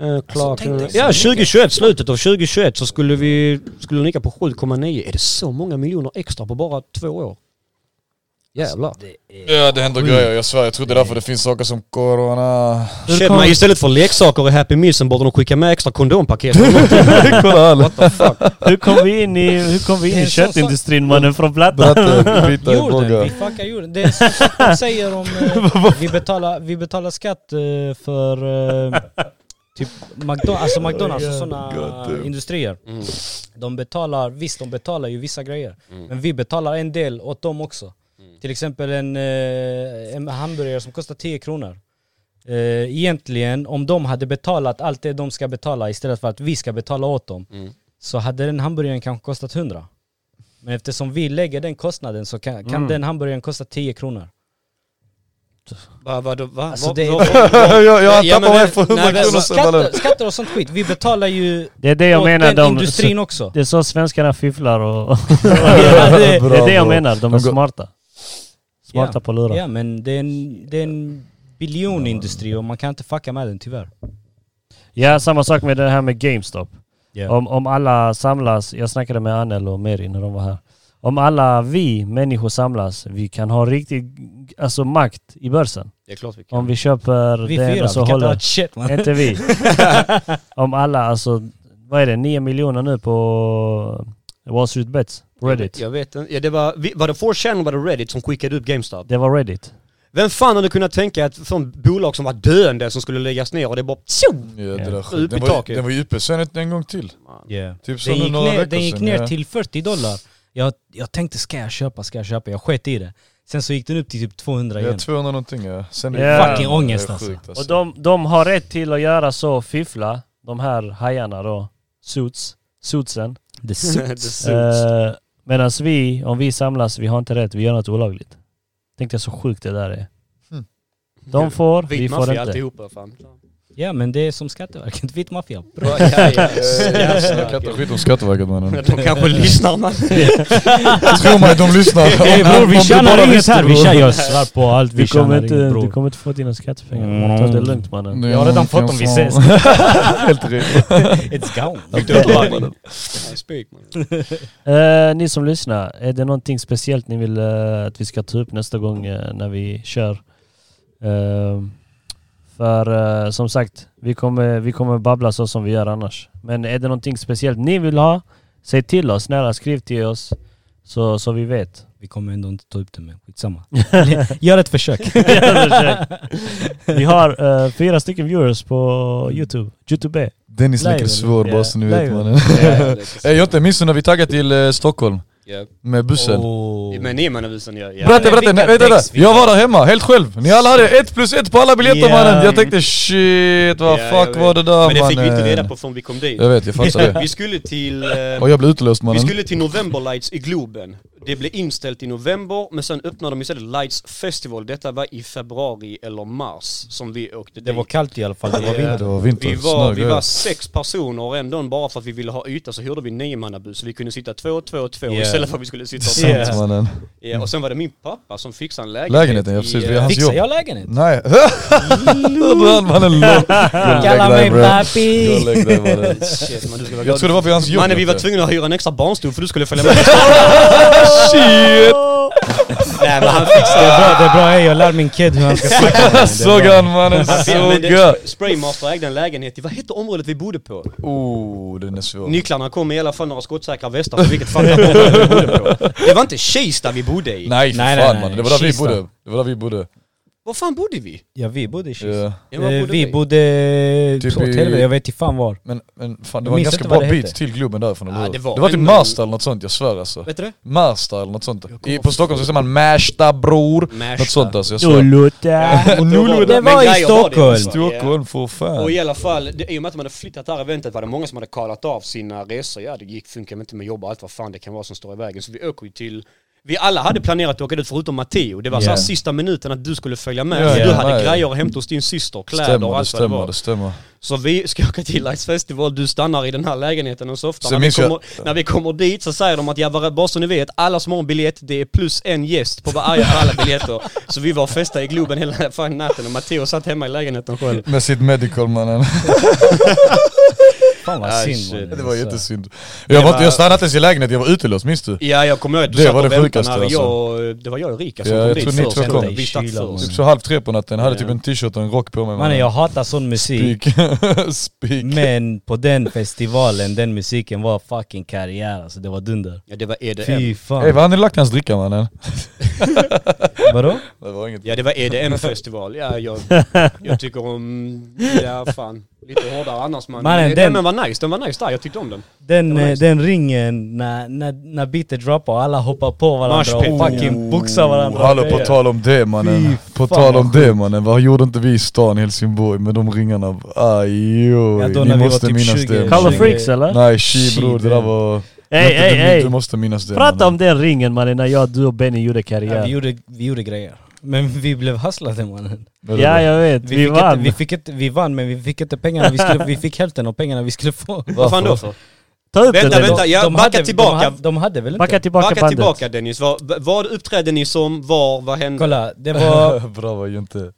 [SPEAKER 4] Eh,
[SPEAKER 2] Alltså,
[SPEAKER 4] klart, ja 2021, slutet av 2021 så skulle vi skulle ligga på 7,9. Är det så många miljoner extra på bara två år? Jävlar.
[SPEAKER 2] Alltså,
[SPEAKER 3] Ja det händer grejer, jag svär. Jag tror det är därför det finns saker som corona...
[SPEAKER 4] Köp man istället för leksaker och Happy Mealsen borde de skicka med extra kondompaket.
[SPEAKER 3] Kolla all...
[SPEAKER 1] Hur kom vi in i, hur kom vi in
[SPEAKER 2] Det är
[SPEAKER 1] i
[SPEAKER 2] en sån
[SPEAKER 1] köttindustrin mannen från Plattan?
[SPEAKER 3] Bratte, bita i
[SPEAKER 2] Jorden, vi
[SPEAKER 3] bågar.
[SPEAKER 2] fuckar jorden. Det är så som de säger om... Eh, vi, betalar, vi betalar skatt eh, för eh, typ McDonald's, alltså McDonalds och sådana industrier. De betalar, visst de betalar ju vissa grejer. Men vi betalar en del åt dem också. Till exempel en, eh, en hamburgare som kostar 10 kronor. Eh, Egentligen, om de hade betalat allt det de ska betala istället för att vi ska betala åt dem, så hade den hamburgaren kanske kostat 100. Men eftersom vi lägger den kostnaden så kan, kan
[SPEAKER 4] Mm.
[SPEAKER 2] den hamburgaren kosta 10 kronor.
[SPEAKER 5] Va, va, va, va,
[SPEAKER 2] Alltså,
[SPEAKER 5] va,
[SPEAKER 2] det-
[SPEAKER 5] va, va,
[SPEAKER 3] jag jag
[SPEAKER 5] Ja, men
[SPEAKER 3] tappar mig
[SPEAKER 5] vem-
[SPEAKER 3] för
[SPEAKER 5] nej,
[SPEAKER 3] 100
[SPEAKER 5] vem-
[SPEAKER 3] kronor sen
[SPEAKER 2] Skatter,
[SPEAKER 3] ballen.
[SPEAKER 2] skatter och sånt skit, vi betalar ju
[SPEAKER 1] Det är det jag
[SPEAKER 2] åt
[SPEAKER 1] menar.
[SPEAKER 2] den
[SPEAKER 1] De,
[SPEAKER 2] industrin också.
[SPEAKER 1] det är så svenskarna fifflar och...
[SPEAKER 2] det-
[SPEAKER 1] det är det jag
[SPEAKER 3] Bra, bra.
[SPEAKER 1] menar. De är
[SPEAKER 3] De går-
[SPEAKER 1] smarta. Smarta på lurar.
[SPEAKER 2] Ja men det är en, det är en biljonindustri och man kan inte fucka med den tyvärr.
[SPEAKER 1] Ja, samma sak med det här med GameStop.
[SPEAKER 2] Ja.
[SPEAKER 1] Om, om alla samlas, jag snackade med Anel och Meri när de var här. Om alla vi människor samlas, vi kan ha riktig alltså, makt i börsen.
[SPEAKER 4] Det är klart vi
[SPEAKER 1] Om vi köper
[SPEAKER 2] Vi
[SPEAKER 1] den
[SPEAKER 2] fyra,
[SPEAKER 1] och
[SPEAKER 2] vi
[SPEAKER 1] så
[SPEAKER 2] kan inte ha
[SPEAKER 1] håller...
[SPEAKER 2] ett shit man.
[SPEAKER 1] Inte vi. om alla, alltså, vad är det, 9 miljoner nu på Wall Street Bets? Reddit.
[SPEAKER 4] Jag vet inte. Ja, det var, vi- var det 4chan var det Reddit som skickade upp GameStop?
[SPEAKER 1] Det var Reddit.
[SPEAKER 4] Vem fan hade kunnat tänka att från bolag som var döende som skulle läggas ner och det bara tjo!
[SPEAKER 3] Ja, det där skit.
[SPEAKER 4] Upp i
[SPEAKER 3] Den var ju-
[SPEAKER 4] taket.
[SPEAKER 3] Den var ju uppe sen ett- en gång till.
[SPEAKER 2] Yeah.
[SPEAKER 3] Typ som
[SPEAKER 2] Den
[SPEAKER 3] nu
[SPEAKER 2] gick
[SPEAKER 3] några
[SPEAKER 2] ner,
[SPEAKER 3] veckor
[SPEAKER 2] den gick
[SPEAKER 3] sedan,
[SPEAKER 2] ner
[SPEAKER 3] ja.
[SPEAKER 2] till 40 dollar. Jag, jag tänkte ska jag köpa, ska jag köpa? Jag sket i det. Sen så gick den upp till typ 200
[SPEAKER 3] Ja,
[SPEAKER 2] igen.
[SPEAKER 3] 200 någonting ja. Sen
[SPEAKER 1] Ja.
[SPEAKER 2] Fucking ångest,
[SPEAKER 3] Det är
[SPEAKER 2] alltså.
[SPEAKER 3] sjukt,
[SPEAKER 1] Och de, de har rätt till att göra så, fiffla, de här hajarna då, suits, suitsen.
[SPEAKER 2] The
[SPEAKER 4] Det
[SPEAKER 2] suits.
[SPEAKER 4] suits.
[SPEAKER 1] Medan vi, om vi samlas, vi har inte rätt, vi gör något olagligt. Tänkte jag så sjukt det där är.
[SPEAKER 3] Mm.
[SPEAKER 1] De får, vi
[SPEAKER 4] Vit
[SPEAKER 1] får
[SPEAKER 4] maffia
[SPEAKER 1] inte.
[SPEAKER 4] alltihopa fan.
[SPEAKER 2] ja men det är som Skatteverket, vit maffia.
[SPEAKER 4] Bra, ja, ja.
[SPEAKER 3] Eh, Snacka inte skit om Skatteverket mannen.
[SPEAKER 4] De kanske lyssnar man.
[SPEAKER 3] Tro mig, de lyssnar.
[SPEAKER 2] Hey,
[SPEAKER 3] Om-
[SPEAKER 2] bror
[SPEAKER 3] om
[SPEAKER 2] vi
[SPEAKER 3] du bara
[SPEAKER 2] tjänar inget
[SPEAKER 3] visste,
[SPEAKER 2] här, vi
[SPEAKER 3] bror.
[SPEAKER 2] tjänar, jag svär på allt vi
[SPEAKER 1] Du kommer,
[SPEAKER 2] tjänar
[SPEAKER 1] inte,
[SPEAKER 2] inget
[SPEAKER 1] du
[SPEAKER 2] bror.
[SPEAKER 1] kommer inte få dina skattepengar.
[SPEAKER 2] Mm.
[SPEAKER 1] Ta det lugnt mannen.
[SPEAKER 3] Det är
[SPEAKER 2] Jag har redan
[SPEAKER 3] någonting
[SPEAKER 2] fått dem, vi
[SPEAKER 3] som-
[SPEAKER 2] ses.
[SPEAKER 3] Helt rätt.
[SPEAKER 2] It's gone.
[SPEAKER 3] Typ.
[SPEAKER 1] Eh, ni som lyssnar, är det någonting speciellt ni vill eh, att vi ska ta upp nästa gång eh, när vi kör? Eh, för eh, som sagt, vi kommer, vi kommer babbla så som vi gör annars. Men är det någonting speciellt ni vill ha, säg till oss. Snälla skriv till oss så, så vi vet.
[SPEAKER 2] Vi kommer ändå inte ta upp det men skitsamma. Gör ett försök.
[SPEAKER 1] vi har eh, fyra stycken viewers på Youtube. Youtube.
[SPEAKER 3] Dennis leker
[SPEAKER 1] Live.
[SPEAKER 3] svår bara så ni
[SPEAKER 1] Ja,
[SPEAKER 3] vet
[SPEAKER 1] live.
[SPEAKER 3] mannen. Eh, Jag är inte minns när vi taggade till eh, Stockholm med bussen.
[SPEAKER 2] Oh.
[SPEAKER 4] Men ni manavisen gör... ja.
[SPEAKER 3] Berätta, berätta, nej, vänta, vänta.
[SPEAKER 2] däcks vi
[SPEAKER 3] Jag var där hemma, helt själv. Ni alla hade ett plus ett på alla biljetter
[SPEAKER 2] Ja.
[SPEAKER 3] mannen. Jag tänkte shit, vad
[SPEAKER 4] Ja, jag
[SPEAKER 3] fuck
[SPEAKER 4] vet.
[SPEAKER 3] var det där
[SPEAKER 4] Men det fick vi inte
[SPEAKER 3] mannen?
[SPEAKER 4] reda på förrän vi kom dit.
[SPEAKER 3] Jag vet, jag fattar det.
[SPEAKER 4] Vi skulle till... eh,
[SPEAKER 3] Och jag blev utelöst
[SPEAKER 4] Vi
[SPEAKER 3] mannen.
[SPEAKER 4] skulle till November Lights i Globen. Det blev inställt i november, men sen öppnade de istället Lights Festival. Detta var i februari eller mars som vi åkte
[SPEAKER 2] Det var kallt i alla fall, det var
[SPEAKER 4] Ja.
[SPEAKER 2] vinter.
[SPEAKER 3] Det var vinter,
[SPEAKER 4] vi var,
[SPEAKER 3] snö,
[SPEAKER 4] vi var
[SPEAKER 3] grejer.
[SPEAKER 4] sex personer och ändå bara för att vi ville ha yta så hyrde vi en niomannabuss. Så vi kunde sitta två, två, två
[SPEAKER 2] Yeah.
[SPEAKER 4] istället för att vi skulle sitta
[SPEAKER 3] Sant
[SPEAKER 4] tillsammans.
[SPEAKER 3] mannen.
[SPEAKER 4] Ja, och sen var det min pappa som fixade en lägenhet.
[SPEAKER 3] Lägenheten, ja
[SPEAKER 4] i,
[SPEAKER 3] precis.
[SPEAKER 4] eh,
[SPEAKER 3] Vi har hans jobb.
[SPEAKER 2] Fixar jag lägenhet?
[SPEAKER 3] Nej. Brand mannen lång.
[SPEAKER 2] Kalla mig pappi!
[SPEAKER 4] Shit, man, du ska vara
[SPEAKER 3] Jag
[SPEAKER 4] glad.
[SPEAKER 3] tror det var för hans jobb.
[SPEAKER 4] Mannen vi var
[SPEAKER 3] Jeppe.
[SPEAKER 4] tvungna att hyra en extra barnstol för du skulle följa med.
[SPEAKER 3] Shit!
[SPEAKER 4] Nej men han fixade...
[SPEAKER 2] Det är bra, det är bra. Hey, jag lär min kid hur han ska snacka. med mig. Det är
[SPEAKER 3] Såg
[SPEAKER 2] bra.
[SPEAKER 3] han mannen,
[SPEAKER 4] Han fick-
[SPEAKER 3] såg
[SPEAKER 4] men det-
[SPEAKER 3] jag!
[SPEAKER 4] Spraymaster ägde en lägenhet i, vad hette området vi bodde på?
[SPEAKER 3] Oh, den är svår.
[SPEAKER 4] Nycklarna kom i alla fall några skottsäkra västar, för vilket fattar område vi bodde på. Det var inte Kista vi bodde i.
[SPEAKER 3] Nej för
[SPEAKER 2] Nej, nej,
[SPEAKER 3] fan
[SPEAKER 2] nej.
[SPEAKER 3] mannen, det var där vi
[SPEAKER 2] Kista.
[SPEAKER 3] bodde. Det var där vi bodde.
[SPEAKER 4] Var fan bodde vi?
[SPEAKER 2] Ja vi bodde i Kista.
[SPEAKER 3] Ja.
[SPEAKER 4] Ja, var
[SPEAKER 2] Eh,
[SPEAKER 4] bodde
[SPEAKER 2] vi bodde...
[SPEAKER 3] Typ
[SPEAKER 2] Åt
[SPEAKER 3] i-
[SPEAKER 2] helvete, jag vet inte fan var.
[SPEAKER 3] Men, men fan det
[SPEAKER 2] Jag
[SPEAKER 3] var en
[SPEAKER 2] minns
[SPEAKER 3] ganska
[SPEAKER 2] inte
[SPEAKER 3] bra
[SPEAKER 2] vad det
[SPEAKER 3] bit
[SPEAKER 2] hette.
[SPEAKER 3] till klubben där från
[SPEAKER 4] Ja,
[SPEAKER 3] eller
[SPEAKER 4] det
[SPEAKER 3] hur?
[SPEAKER 4] var
[SPEAKER 3] Det var typ
[SPEAKER 4] ändå-
[SPEAKER 3] Märsta eller något sånt, jag svär alltså.
[SPEAKER 4] Vet du det?
[SPEAKER 3] Märsta eller något sånt.
[SPEAKER 4] kommer
[SPEAKER 3] I, på Stockholm så säger man Märsta bror.
[SPEAKER 4] Märsta.
[SPEAKER 3] Något sånt alltså, jag svär.
[SPEAKER 1] Uluta.
[SPEAKER 4] Och då
[SPEAKER 2] det
[SPEAKER 4] men
[SPEAKER 2] var i
[SPEAKER 4] grejer
[SPEAKER 2] Stockholm.
[SPEAKER 4] också.
[SPEAKER 3] Stockholm för
[SPEAKER 4] Ja. Och
[SPEAKER 3] fan.
[SPEAKER 4] i alla fall, det, i och med att man hade flyttat det här eventet var det många som hade kallat av sina resor. Ja, det gick, funkar inte med jobb och allt vad fan det kan vara som står i vägen. Så vi åker ju till... Vi alla hade planerat att åka dit förutom Matteo. Det var så här
[SPEAKER 2] Ja.
[SPEAKER 4] sista minuten att du skulle följa med.
[SPEAKER 3] Ja,
[SPEAKER 4] så
[SPEAKER 3] ja,
[SPEAKER 4] du hade
[SPEAKER 3] ja, ja.
[SPEAKER 4] grejer att hämta hos din syster, kläder och
[SPEAKER 3] Stämmer, det
[SPEAKER 4] allt vad det
[SPEAKER 3] stämmer,
[SPEAKER 4] var.
[SPEAKER 3] det stämmer.
[SPEAKER 4] Så vi ska åka till Lights Festival, du stannar i den här lägenheten och så ofta.
[SPEAKER 3] Så
[SPEAKER 4] när, vi
[SPEAKER 3] minns jag-
[SPEAKER 4] kommer, när vi kommer dit så säger de att ja, bara bara så ni vet, alla som har en biljett, det är plus en gäst på varje alla biljetter. Så vi var och festade i Globen hela fan natten och Matteo satt hemma i lägenheten själv.
[SPEAKER 3] Med sitt medical mannen.
[SPEAKER 2] Fan vad
[SPEAKER 4] Ah,
[SPEAKER 2] synd
[SPEAKER 4] shit.
[SPEAKER 2] mannen,
[SPEAKER 3] Det var
[SPEAKER 2] alltså.
[SPEAKER 3] jättesynd. Jag, var, inte- jag stannade inte ens i lägenheten, jag var utelåst minns du?
[SPEAKER 4] Ja, jag kommer ihåg att du
[SPEAKER 3] Det
[SPEAKER 4] satt
[SPEAKER 3] var
[SPEAKER 4] och
[SPEAKER 3] det
[SPEAKER 4] väntade
[SPEAKER 3] sjukaste,
[SPEAKER 4] när
[SPEAKER 3] alltså.
[SPEAKER 4] jag, det var jag och Rika som
[SPEAKER 3] Ja,
[SPEAKER 4] kom
[SPEAKER 3] jag
[SPEAKER 4] dit
[SPEAKER 3] tror ni
[SPEAKER 4] först.
[SPEAKER 3] två kom.
[SPEAKER 4] Vi stack
[SPEAKER 2] Kylan,
[SPEAKER 4] först.
[SPEAKER 3] Typ så halv tre på natten, hade typ en t-shirt och en rock på mig
[SPEAKER 2] Mannen jag hatar sån musik.
[SPEAKER 3] Spik. Spik.
[SPEAKER 2] Men på den festivalen, den musiken var fucking karriär alltså. Det var dunder.
[SPEAKER 4] Ja, det var E EDM.
[SPEAKER 2] Fy fan.
[SPEAKER 3] Ey vad hade ni lagt i hans dricka mannen?
[SPEAKER 2] Vadå?
[SPEAKER 3] Det var inget.
[SPEAKER 4] Ja, det var E EDM-festival. Ja, jag, jag tycker om... Ja, fan. Lite hårdare annars man.
[SPEAKER 2] Mannen,
[SPEAKER 4] den,
[SPEAKER 2] den-
[SPEAKER 4] men var nice. Den var nice där. Jag tyckte om den.
[SPEAKER 2] Den,
[SPEAKER 4] Det var
[SPEAKER 2] eh,
[SPEAKER 4] nice.
[SPEAKER 2] den ringen när, när, när beatet droppar och alla hoppar på varandra
[SPEAKER 4] Moshpit.
[SPEAKER 2] och fucking boxar varandra.
[SPEAKER 3] Oh, hallå på tal om det mannen.
[SPEAKER 2] Fy
[SPEAKER 3] På
[SPEAKER 2] fan,
[SPEAKER 3] tal
[SPEAKER 2] vad
[SPEAKER 3] om det mannen, vad gjorde inte vi i stan i Helsingborg med de ringarna? Aj, oj.
[SPEAKER 2] Ja, då när
[SPEAKER 3] ni
[SPEAKER 2] vi var
[SPEAKER 3] måste
[SPEAKER 2] typ
[SPEAKER 3] minnas
[SPEAKER 2] 20.
[SPEAKER 3] det.
[SPEAKER 1] Color
[SPEAKER 3] mannen.
[SPEAKER 1] freaks eller?
[SPEAKER 3] Nej, shi bror,
[SPEAKER 2] Shit,
[SPEAKER 3] det där
[SPEAKER 2] ja.
[SPEAKER 3] var...
[SPEAKER 1] Ey,
[SPEAKER 3] Jonte,
[SPEAKER 1] ey,
[SPEAKER 3] du,
[SPEAKER 1] ey.
[SPEAKER 3] du måste minnas det.
[SPEAKER 1] Prata
[SPEAKER 3] mannen.
[SPEAKER 1] om den ringen mannen, när jag, du och Benny gjorde
[SPEAKER 2] Ja, vi,
[SPEAKER 1] karriär.
[SPEAKER 2] gjorde, vi gjorde grejer. Men vi blev hustlade mannen.
[SPEAKER 3] Vadå?
[SPEAKER 1] Ja, jag vet. Vi
[SPEAKER 2] Vi, fick Inte,
[SPEAKER 1] vann.
[SPEAKER 2] vi, fick inte, vi vann men vi fick inte pengarna, vi, skulle, vi fick hälften av pengarna vi skulle få.
[SPEAKER 4] Vad fan då för?
[SPEAKER 1] Ta upp det
[SPEAKER 4] Vänta,
[SPEAKER 1] Dennis.
[SPEAKER 4] vänta. Ja, backa tillbaka.
[SPEAKER 2] De hade, de hade väl inte?
[SPEAKER 1] Backa tillbaka
[SPEAKER 4] Backa
[SPEAKER 1] bandet.
[SPEAKER 4] tillbaka Dennis. Vad, vad uppträdde ni som? Var? Vad hände?
[SPEAKER 2] Kolla, det var
[SPEAKER 3] Bravo Jonte.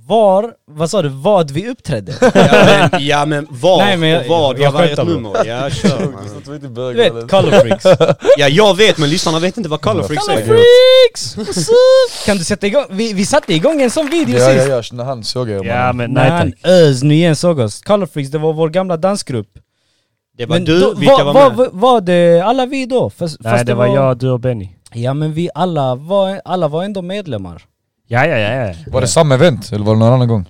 [SPEAKER 2] var, vad sa du, vad vi uppträdde?
[SPEAKER 4] Ja men, ja, men var
[SPEAKER 2] Nej, men jag-
[SPEAKER 4] och vad?
[SPEAKER 2] jag
[SPEAKER 4] Jag var ett
[SPEAKER 2] skämtar bara.
[SPEAKER 4] nummer. Ja, kör man.
[SPEAKER 2] Du vet, color freaks.
[SPEAKER 4] Ja, jag vet men lyssnarna vet inte vad Color Freaks
[SPEAKER 2] Color
[SPEAKER 4] är.
[SPEAKER 2] freaks! What's up? Kan du sätta igång? Vi, vi satte igång en sån video
[SPEAKER 3] Ja,
[SPEAKER 2] sist.
[SPEAKER 3] ja, ja. När han såg er
[SPEAKER 1] Ja
[SPEAKER 3] mannen.
[SPEAKER 1] men
[SPEAKER 2] När
[SPEAKER 1] nej
[SPEAKER 2] han
[SPEAKER 1] tack.
[SPEAKER 2] Öz Nguyen såg oss. Color freaks, det var vår gamla dansgrupp.
[SPEAKER 4] Det var
[SPEAKER 2] då-
[SPEAKER 4] du, vilka var med?
[SPEAKER 2] Var, var det alla vi då? Fast,
[SPEAKER 1] Nej
[SPEAKER 2] fast
[SPEAKER 1] det var jag, du och Benny.
[SPEAKER 2] Ja men vi alla var, alla var ändå medlemmar.
[SPEAKER 1] Ja ja ja ja.
[SPEAKER 3] Var det samma event eller var det någon annan gång?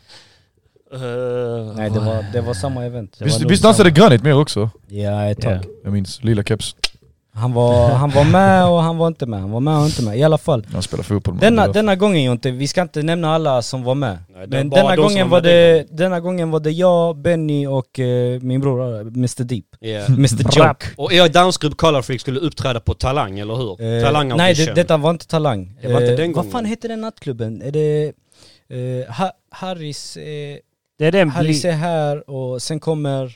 [SPEAKER 2] Nej det var,
[SPEAKER 1] Ah.
[SPEAKER 2] det var samma event.
[SPEAKER 3] Visst, visst dansade Granit med också?
[SPEAKER 2] Ja ett tag.
[SPEAKER 1] Ja.
[SPEAKER 3] Jag minns, lila keps.
[SPEAKER 2] Han, var, han var med och han var inte med, han var med och inte med. I alla fall.
[SPEAKER 3] Han spelar fotboll. mannen.
[SPEAKER 2] Denna,
[SPEAKER 3] Det var-
[SPEAKER 2] denna gången Jonte, vi ska inte nämna alla som var med.
[SPEAKER 4] Nej, det
[SPEAKER 2] Men
[SPEAKER 4] var bara
[SPEAKER 2] denna
[SPEAKER 4] de som
[SPEAKER 2] gången,
[SPEAKER 4] var
[SPEAKER 2] var
[SPEAKER 4] med
[SPEAKER 2] det, denna gången var det jag, Benny och eh, min bror eh, Mr Deep.
[SPEAKER 4] Ja.
[SPEAKER 2] Mr Joke.
[SPEAKER 4] Och er dansgrupp Color Freaks skulle uppträda på Talang, eller hur?
[SPEAKER 2] Eh,
[SPEAKER 4] Talang
[SPEAKER 2] nej
[SPEAKER 4] audition.
[SPEAKER 2] det, detta var inte Talang.
[SPEAKER 4] Det var inte
[SPEAKER 2] Eh,
[SPEAKER 4] den
[SPEAKER 2] vad
[SPEAKER 4] gången.
[SPEAKER 2] fan heter den nattklubben? Är det eh, ha, Harris, eh,
[SPEAKER 1] Det är den
[SPEAKER 2] Harris
[SPEAKER 1] bli...
[SPEAKER 2] är här och sen kommer...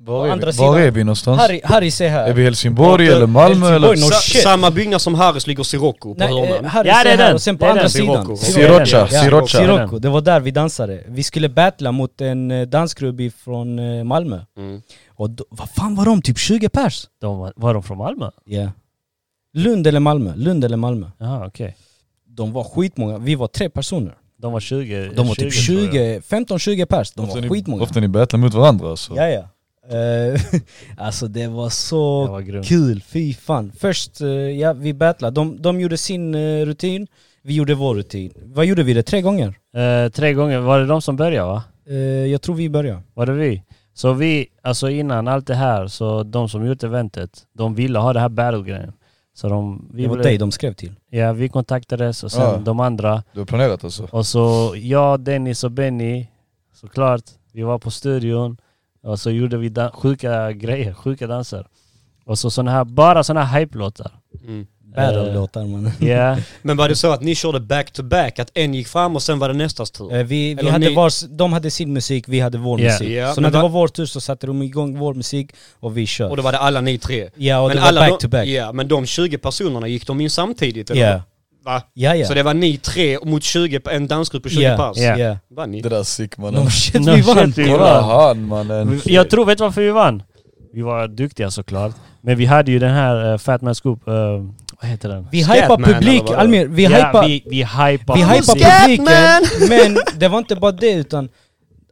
[SPEAKER 3] Var
[SPEAKER 2] på
[SPEAKER 3] är
[SPEAKER 2] andra
[SPEAKER 3] vi-
[SPEAKER 2] sidan.
[SPEAKER 3] Var är vi någonstans?
[SPEAKER 2] Harry, Harris är här.
[SPEAKER 3] Är vi i Helsingborg eller Malmö
[SPEAKER 2] Helsingborg,
[SPEAKER 3] eller?
[SPEAKER 2] no
[SPEAKER 4] Sa-
[SPEAKER 2] shit.
[SPEAKER 4] samma byggnad som Harris ligger Sirocco på
[SPEAKER 2] Nej, eh,
[SPEAKER 4] hörnan.
[SPEAKER 2] Harris
[SPEAKER 1] Ja, det är
[SPEAKER 2] är här
[SPEAKER 1] den.
[SPEAKER 2] och sen på
[SPEAKER 1] Det är
[SPEAKER 2] andra
[SPEAKER 1] den.
[SPEAKER 2] sidan.
[SPEAKER 4] Sirocco.
[SPEAKER 3] Sirocco.
[SPEAKER 1] Ja,
[SPEAKER 3] Sirocco.
[SPEAKER 2] Sirocco, det var där vi dansade. Vi skulle battla mot en eh, dansgrupp från eh, Malmö.
[SPEAKER 4] Mm.
[SPEAKER 2] Och då, vad fan var de? Typ 20 pers?
[SPEAKER 1] De var, var de från Malmö?
[SPEAKER 2] Ja. Lund eller Malmö? Lund eller Malmö?
[SPEAKER 1] Jaha okej.
[SPEAKER 2] De var skitmånga, vi var tre personer.
[SPEAKER 1] De var 20.
[SPEAKER 2] De var typ
[SPEAKER 1] tror jag.
[SPEAKER 2] 20, 15-20 pers, de
[SPEAKER 3] Ofta
[SPEAKER 2] var
[SPEAKER 3] ni-
[SPEAKER 2] skitmånga.
[SPEAKER 3] Ofta ni battlar mot varandra alltså.
[SPEAKER 2] Ja ja. Eh, alltså det var
[SPEAKER 1] Det
[SPEAKER 2] så
[SPEAKER 1] var grymt.
[SPEAKER 2] kul, fy fan. Först, eh, ja vi battlade, de, de gjorde sin eh, rutin, vi gjorde vår rutin. Vad gjorde vi det? Tre gånger?
[SPEAKER 1] Eh, tre gånger, var det de som började va?
[SPEAKER 2] Eh, jag tror vi började.
[SPEAKER 1] Var det vi? Så vi, alltså innan allt det här, så de som gjort eventet, de ville ha det här battle-grejen. Så de, vi,
[SPEAKER 2] Det var
[SPEAKER 1] blev-
[SPEAKER 2] dig de skrev till.
[SPEAKER 1] ja, vi kontaktades och sen
[SPEAKER 3] Ja.
[SPEAKER 1] de andra.
[SPEAKER 3] Du har planerat alltså?
[SPEAKER 1] Och så jag, Dennis och Benny, såklart, vi var på studion och så gjorde vi dan- sjuka grejer, sjuka danser. Och så såna här, bara såna här hype-låtar.
[SPEAKER 4] Mm.
[SPEAKER 2] Battle-låtar
[SPEAKER 4] Eh,
[SPEAKER 2] man.
[SPEAKER 1] Ja,
[SPEAKER 4] Men var det så att ni körde back-to-back, att en gick fram och sen var det nästas tur?
[SPEAKER 2] Eh, vi, vi
[SPEAKER 4] Eller
[SPEAKER 2] hade
[SPEAKER 4] ni-
[SPEAKER 2] vars, de hade sin musik, vi hade vår
[SPEAKER 1] Ja.
[SPEAKER 2] musik.
[SPEAKER 4] Ja,
[SPEAKER 2] så
[SPEAKER 4] men
[SPEAKER 2] när det
[SPEAKER 4] va-
[SPEAKER 2] var vår tur så satte de igång vår musik och vi körde.
[SPEAKER 4] Och då var det alla ni tre?
[SPEAKER 2] ja och
[SPEAKER 4] men
[SPEAKER 2] det var
[SPEAKER 4] alla
[SPEAKER 2] back to back.
[SPEAKER 4] De, ja, men de 20 personerna gick de in samtidigt? Eller?
[SPEAKER 2] Ja.
[SPEAKER 4] Va?
[SPEAKER 2] Ja ja.
[SPEAKER 4] Så det var ni tre mot 20, på- en dansgrupp på 20
[SPEAKER 2] Ja,
[SPEAKER 4] pers?
[SPEAKER 1] Ja.
[SPEAKER 2] ja.
[SPEAKER 4] Vann ni?
[SPEAKER 3] Det där är sick mannen.
[SPEAKER 2] No shit
[SPEAKER 1] No
[SPEAKER 2] vi vann!
[SPEAKER 1] shit, vi
[SPEAKER 3] Kolla han mannen.
[SPEAKER 1] Vi- Jag tror, vet du varför vi vann? Vi var duktiga såklart. Men vi hade ju den här uh, Fat Man Scoop, eh, vad heter den?
[SPEAKER 2] Vi
[SPEAKER 4] Scatman
[SPEAKER 2] hypar
[SPEAKER 4] eller
[SPEAKER 2] publik,
[SPEAKER 4] vad det var.
[SPEAKER 2] Almir, vi
[SPEAKER 1] ja,
[SPEAKER 2] hypar
[SPEAKER 1] vi, vi hypar
[SPEAKER 2] Vi hypar
[SPEAKER 1] musik.
[SPEAKER 2] publiken, men det var inte bara det utan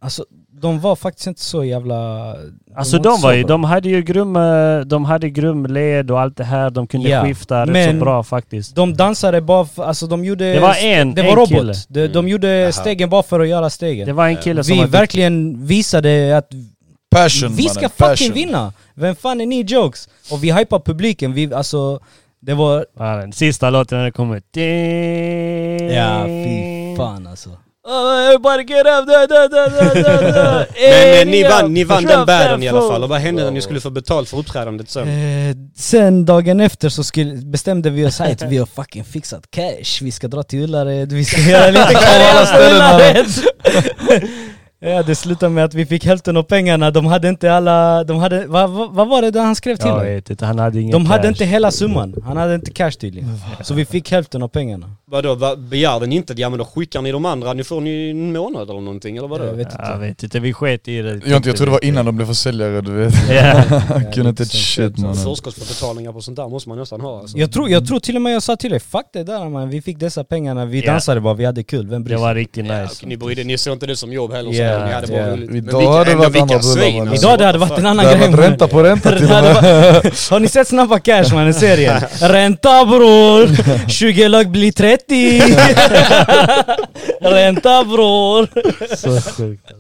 [SPEAKER 2] Alltså de var faktiskt inte så jävla...
[SPEAKER 1] Alltså
[SPEAKER 2] inte
[SPEAKER 1] de
[SPEAKER 2] så
[SPEAKER 1] var ju,
[SPEAKER 2] bra.
[SPEAKER 1] de hade ju grym, eh, de hade grym led och allt det här, de kunde
[SPEAKER 2] Ja,
[SPEAKER 1] skifta rätt
[SPEAKER 2] men-
[SPEAKER 1] så bra faktiskt.
[SPEAKER 2] De dansade bara för, alltså de gjorde...
[SPEAKER 1] Det var en,
[SPEAKER 2] det
[SPEAKER 1] en
[SPEAKER 2] var
[SPEAKER 1] kille.
[SPEAKER 2] robot. De, de gjorde stegen bara för att göra stegen.
[SPEAKER 1] Det var en kille som
[SPEAKER 2] vi
[SPEAKER 1] var
[SPEAKER 2] verkligen visade att
[SPEAKER 3] Passion
[SPEAKER 2] vi
[SPEAKER 3] mannen.
[SPEAKER 2] ska
[SPEAKER 3] passion.
[SPEAKER 2] fucking vinna! Vem fan är ni jokes? Och vi hypar publiken, vi alltså... Det var...
[SPEAKER 1] Ja, den sista låten när det kommer. Ding.
[SPEAKER 2] Ja, fy fan alltså.
[SPEAKER 1] Everybody get up! Da, da, da, da, da, da.
[SPEAKER 4] Men eh, ni vann, ni vann den
[SPEAKER 1] Drop that
[SPEAKER 4] battlen i alla
[SPEAKER 1] phone.
[SPEAKER 4] fall, och vad hände när ni skulle få betalt för uppträdandet sen?
[SPEAKER 2] Eh, sen dagen efter så skulle, bestämde vi oss här att vi har fucking fixat cash, vi ska dra till Ullared, vi ska göra lite karriär på Ullared! ja det slutade med att vi fick hälften av pengarna, de hade inte alla, de hade, vad vad- vad var det där han skrev till
[SPEAKER 1] Jag
[SPEAKER 2] mig?
[SPEAKER 1] vet inte, han hade ingen
[SPEAKER 2] De hade
[SPEAKER 1] cash.
[SPEAKER 2] inte hela summan, han hade inte cash tydligen. Så vi fick hälften av pengarna.
[SPEAKER 4] Vadå, vad, begärde ni inte? Ja men då skickar ni de andra, nu får ni en månad eller någonting, eller vadå?
[SPEAKER 2] Jag vet
[SPEAKER 1] Jag
[SPEAKER 2] inte.
[SPEAKER 1] vet inte, vi sket i det.
[SPEAKER 3] Jag, inte, jag tror det var innan de blev försäljare du vet.
[SPEAKER 1] Ja.
[SPEAKER 3] Han kunde inte ett
[SPEAKER 2] sånt
[SPEAKER 3] shit mannen.
[SPEAKER 4] Förskottsbetalningar på sånt där måste man nästan ha alltså.
[SPEAKER 2] Jag tror, jag tror till och med jag sa till dig, fuck det där man, vi fick dessa pengarna, vi
[SPEAKER 1] Ja.
[SPEAKER 2] dansade bara, vi hade kul, vem bryr
[SPEAKER 1] Det
[SPEAKER 2] sig?
[SPEAKER 1] var riktigt
[SPEAKER 4] Ja,
[SPEAKER 1] nice.
[SPEAKER 4] och Äh, ni, brydde, ni såg inte det som jobb heller, så
[SPEAKER 2] Ja,
[SPEAKER 4] ni hade bara
[SPEAKER 2] ja.
[SPEAKER 4] roligt.
[SPEAKER 3] Idag
[SPEAKER 4] vilka-
[SPEAKER 3] hade det
[SPEAKER 4] ändå
[SPEAKER 3] varit
[SPEAKER 4] vilka
[SPEAKER 3] andra bullar,
[SPEAKER 4] svin,
[SPEAKER 3] men-
[SPEAKER 4] alltså.
[SPEAKER 2] Idag det hade
[SPEAKER 4] What the
[SPEAKER 2] varit en
[SPEAKER 4] fuck?
[SPEAKER 2] annan
[SPEAKER 3] Det hade
[SPEAKER 2] grej
[SPEAKER 3] varit ränta på ränta till och med.
[SPEAKER 2] Har ni sett Snabba Cash mannen, serien? Ränta bror! 20 lag blir 30! Ränta bror!
[SPEAKER 1] Så sjukt.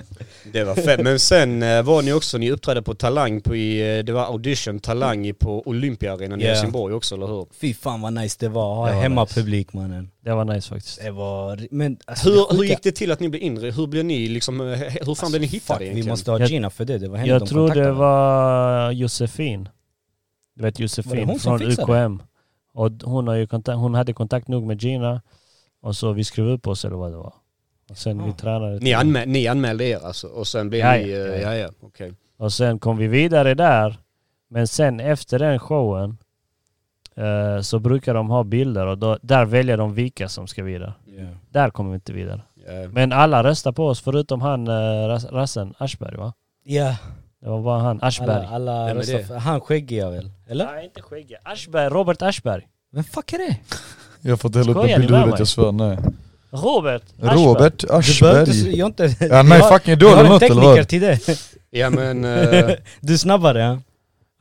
[SPEAKER 4] Det var fett. Men sen eh, var ni också, ni uppträdde på Talang på i, eh, det var audition Talang i på Olympiaarenan i
[SPEAKER 2] Ja.
[SPEAKER 4] Helsingborg också, eller hur?
[SPEAKER 2] Fy fan vad nice det var, ha
[SPEAKER 1] Det var
[SPEAKER 2] hemmapublik mannen.
[SPEAKER 1] Det var nice faktiskt.
[SPEAKER 2] Det var... Men alltså,
[SPEAKER 4] Hur, hur
[SPEAKER 2] sjuka- Alltså,
[SPEAKER 4] gick det till att ni blev inre? Hur blev ni liksom, eh, he- hur fan blev ni hittade
[SPEAKER 2] Fuck, vi
[SPEAKER 4] egentligen?
[SPEAKER 2] måste ha
[SPEAKER 1] Jag-
[SPEAKER 2] Gina för det, det var henne
[SPEAKER 1] Jag
[SPEAKER 2] de
[SPEAKER 1] tror det
[SPEAKER 2] kontaktade.
[SPEAKER 1] var Josefin. Du vet
[SPEAKER 2] Var det
[SPEAKER 1] Josefin
[SPEAKER 2] hon som
[SPEAKER 1] från
[SPEAKER 2] fixade
[SPEAKER 1] UKM. Och d- hon, har ju kontakt, hon hade kontakt nog med Gina och så vi skrev upp oss eller vad det var. Och sen
[SPEAKER 2] Ah.
[SPEAKER 1] vi tränade.
[SPEAKER 4] Ni, anmä- ni anmälde er alltså och sen blev
[SPEAKER 1] Ja,
[SPEAKER 4] ni...
[SPEAKER 1] ja,
[SPEAKER 4] eh,
[SPEAKER 1] ja, ja.
[SPEAKER 4] ja, ja, okej.
[SPEAKER 1] Och sen kom vi vidare där. Men sen efter den showen eh, så brukar de ha bilder och då, där väljer de vilka som ska vidare. Där kommer vi inte vidare.
[SPEAKER 4] Ja.
[SPEAKER 1] Men alla röstar på oss förutom han eh, ras- rassen Aschberg va?
[SPEAKER 2] Ja,
[SPEAKER 1] Det var bara han,
[SPEAKER 2] alla,
[SPEAKER 1] Aschberg.
[SPEAKER 2] alla
[SPEAKER 4] Vem är
[SPEAKER 2] röstar
[SPEAKER 4] det?
[SPEAKER 2] för- Han skäggiga väl? Eller?
[SPEAKER 1] Nej inte skägge. Aschberg, Robert Aschberg.
[SPEAKER 2] Vem fuck är det?
[SPEAKER 3] Jag har fått hela upp en
[SPEAKER 1] Skojar ni
[SPEAKER 3] bild i
[SPEAKER 1] med
[SPEAKER 3] huvudet,
[SPEAKER 1] mig?
[SPEAKER 3] jag svär. Nej.
[SPEAKER 1] Robert Aschberg.
[SPEAKER 3] Robert
[SPEAKER 2] Du behöver inte, s-
[SPEAKER 3] Aschberg.
[SPEAKER 2] jag har inte...
[SPEAKER 3] Är han med i
[SPEAKER 2] Jag-
[SPEAKER 3] fucking
[SPEAKER 2] jag
[SPEAKER 3] Idol
[SPEAKER 2] har
[SPEAKER 3] eller
[SPEAKER 2] en
[SPEAKER 3] något eller
[SPEAKER 2] tekniker
[SPEAKER 3] vad?
[SPEAKER 2] till det.
[SPEAKER 4] ja men... eh,
[SPEAKER 2] Du är snabbare ja.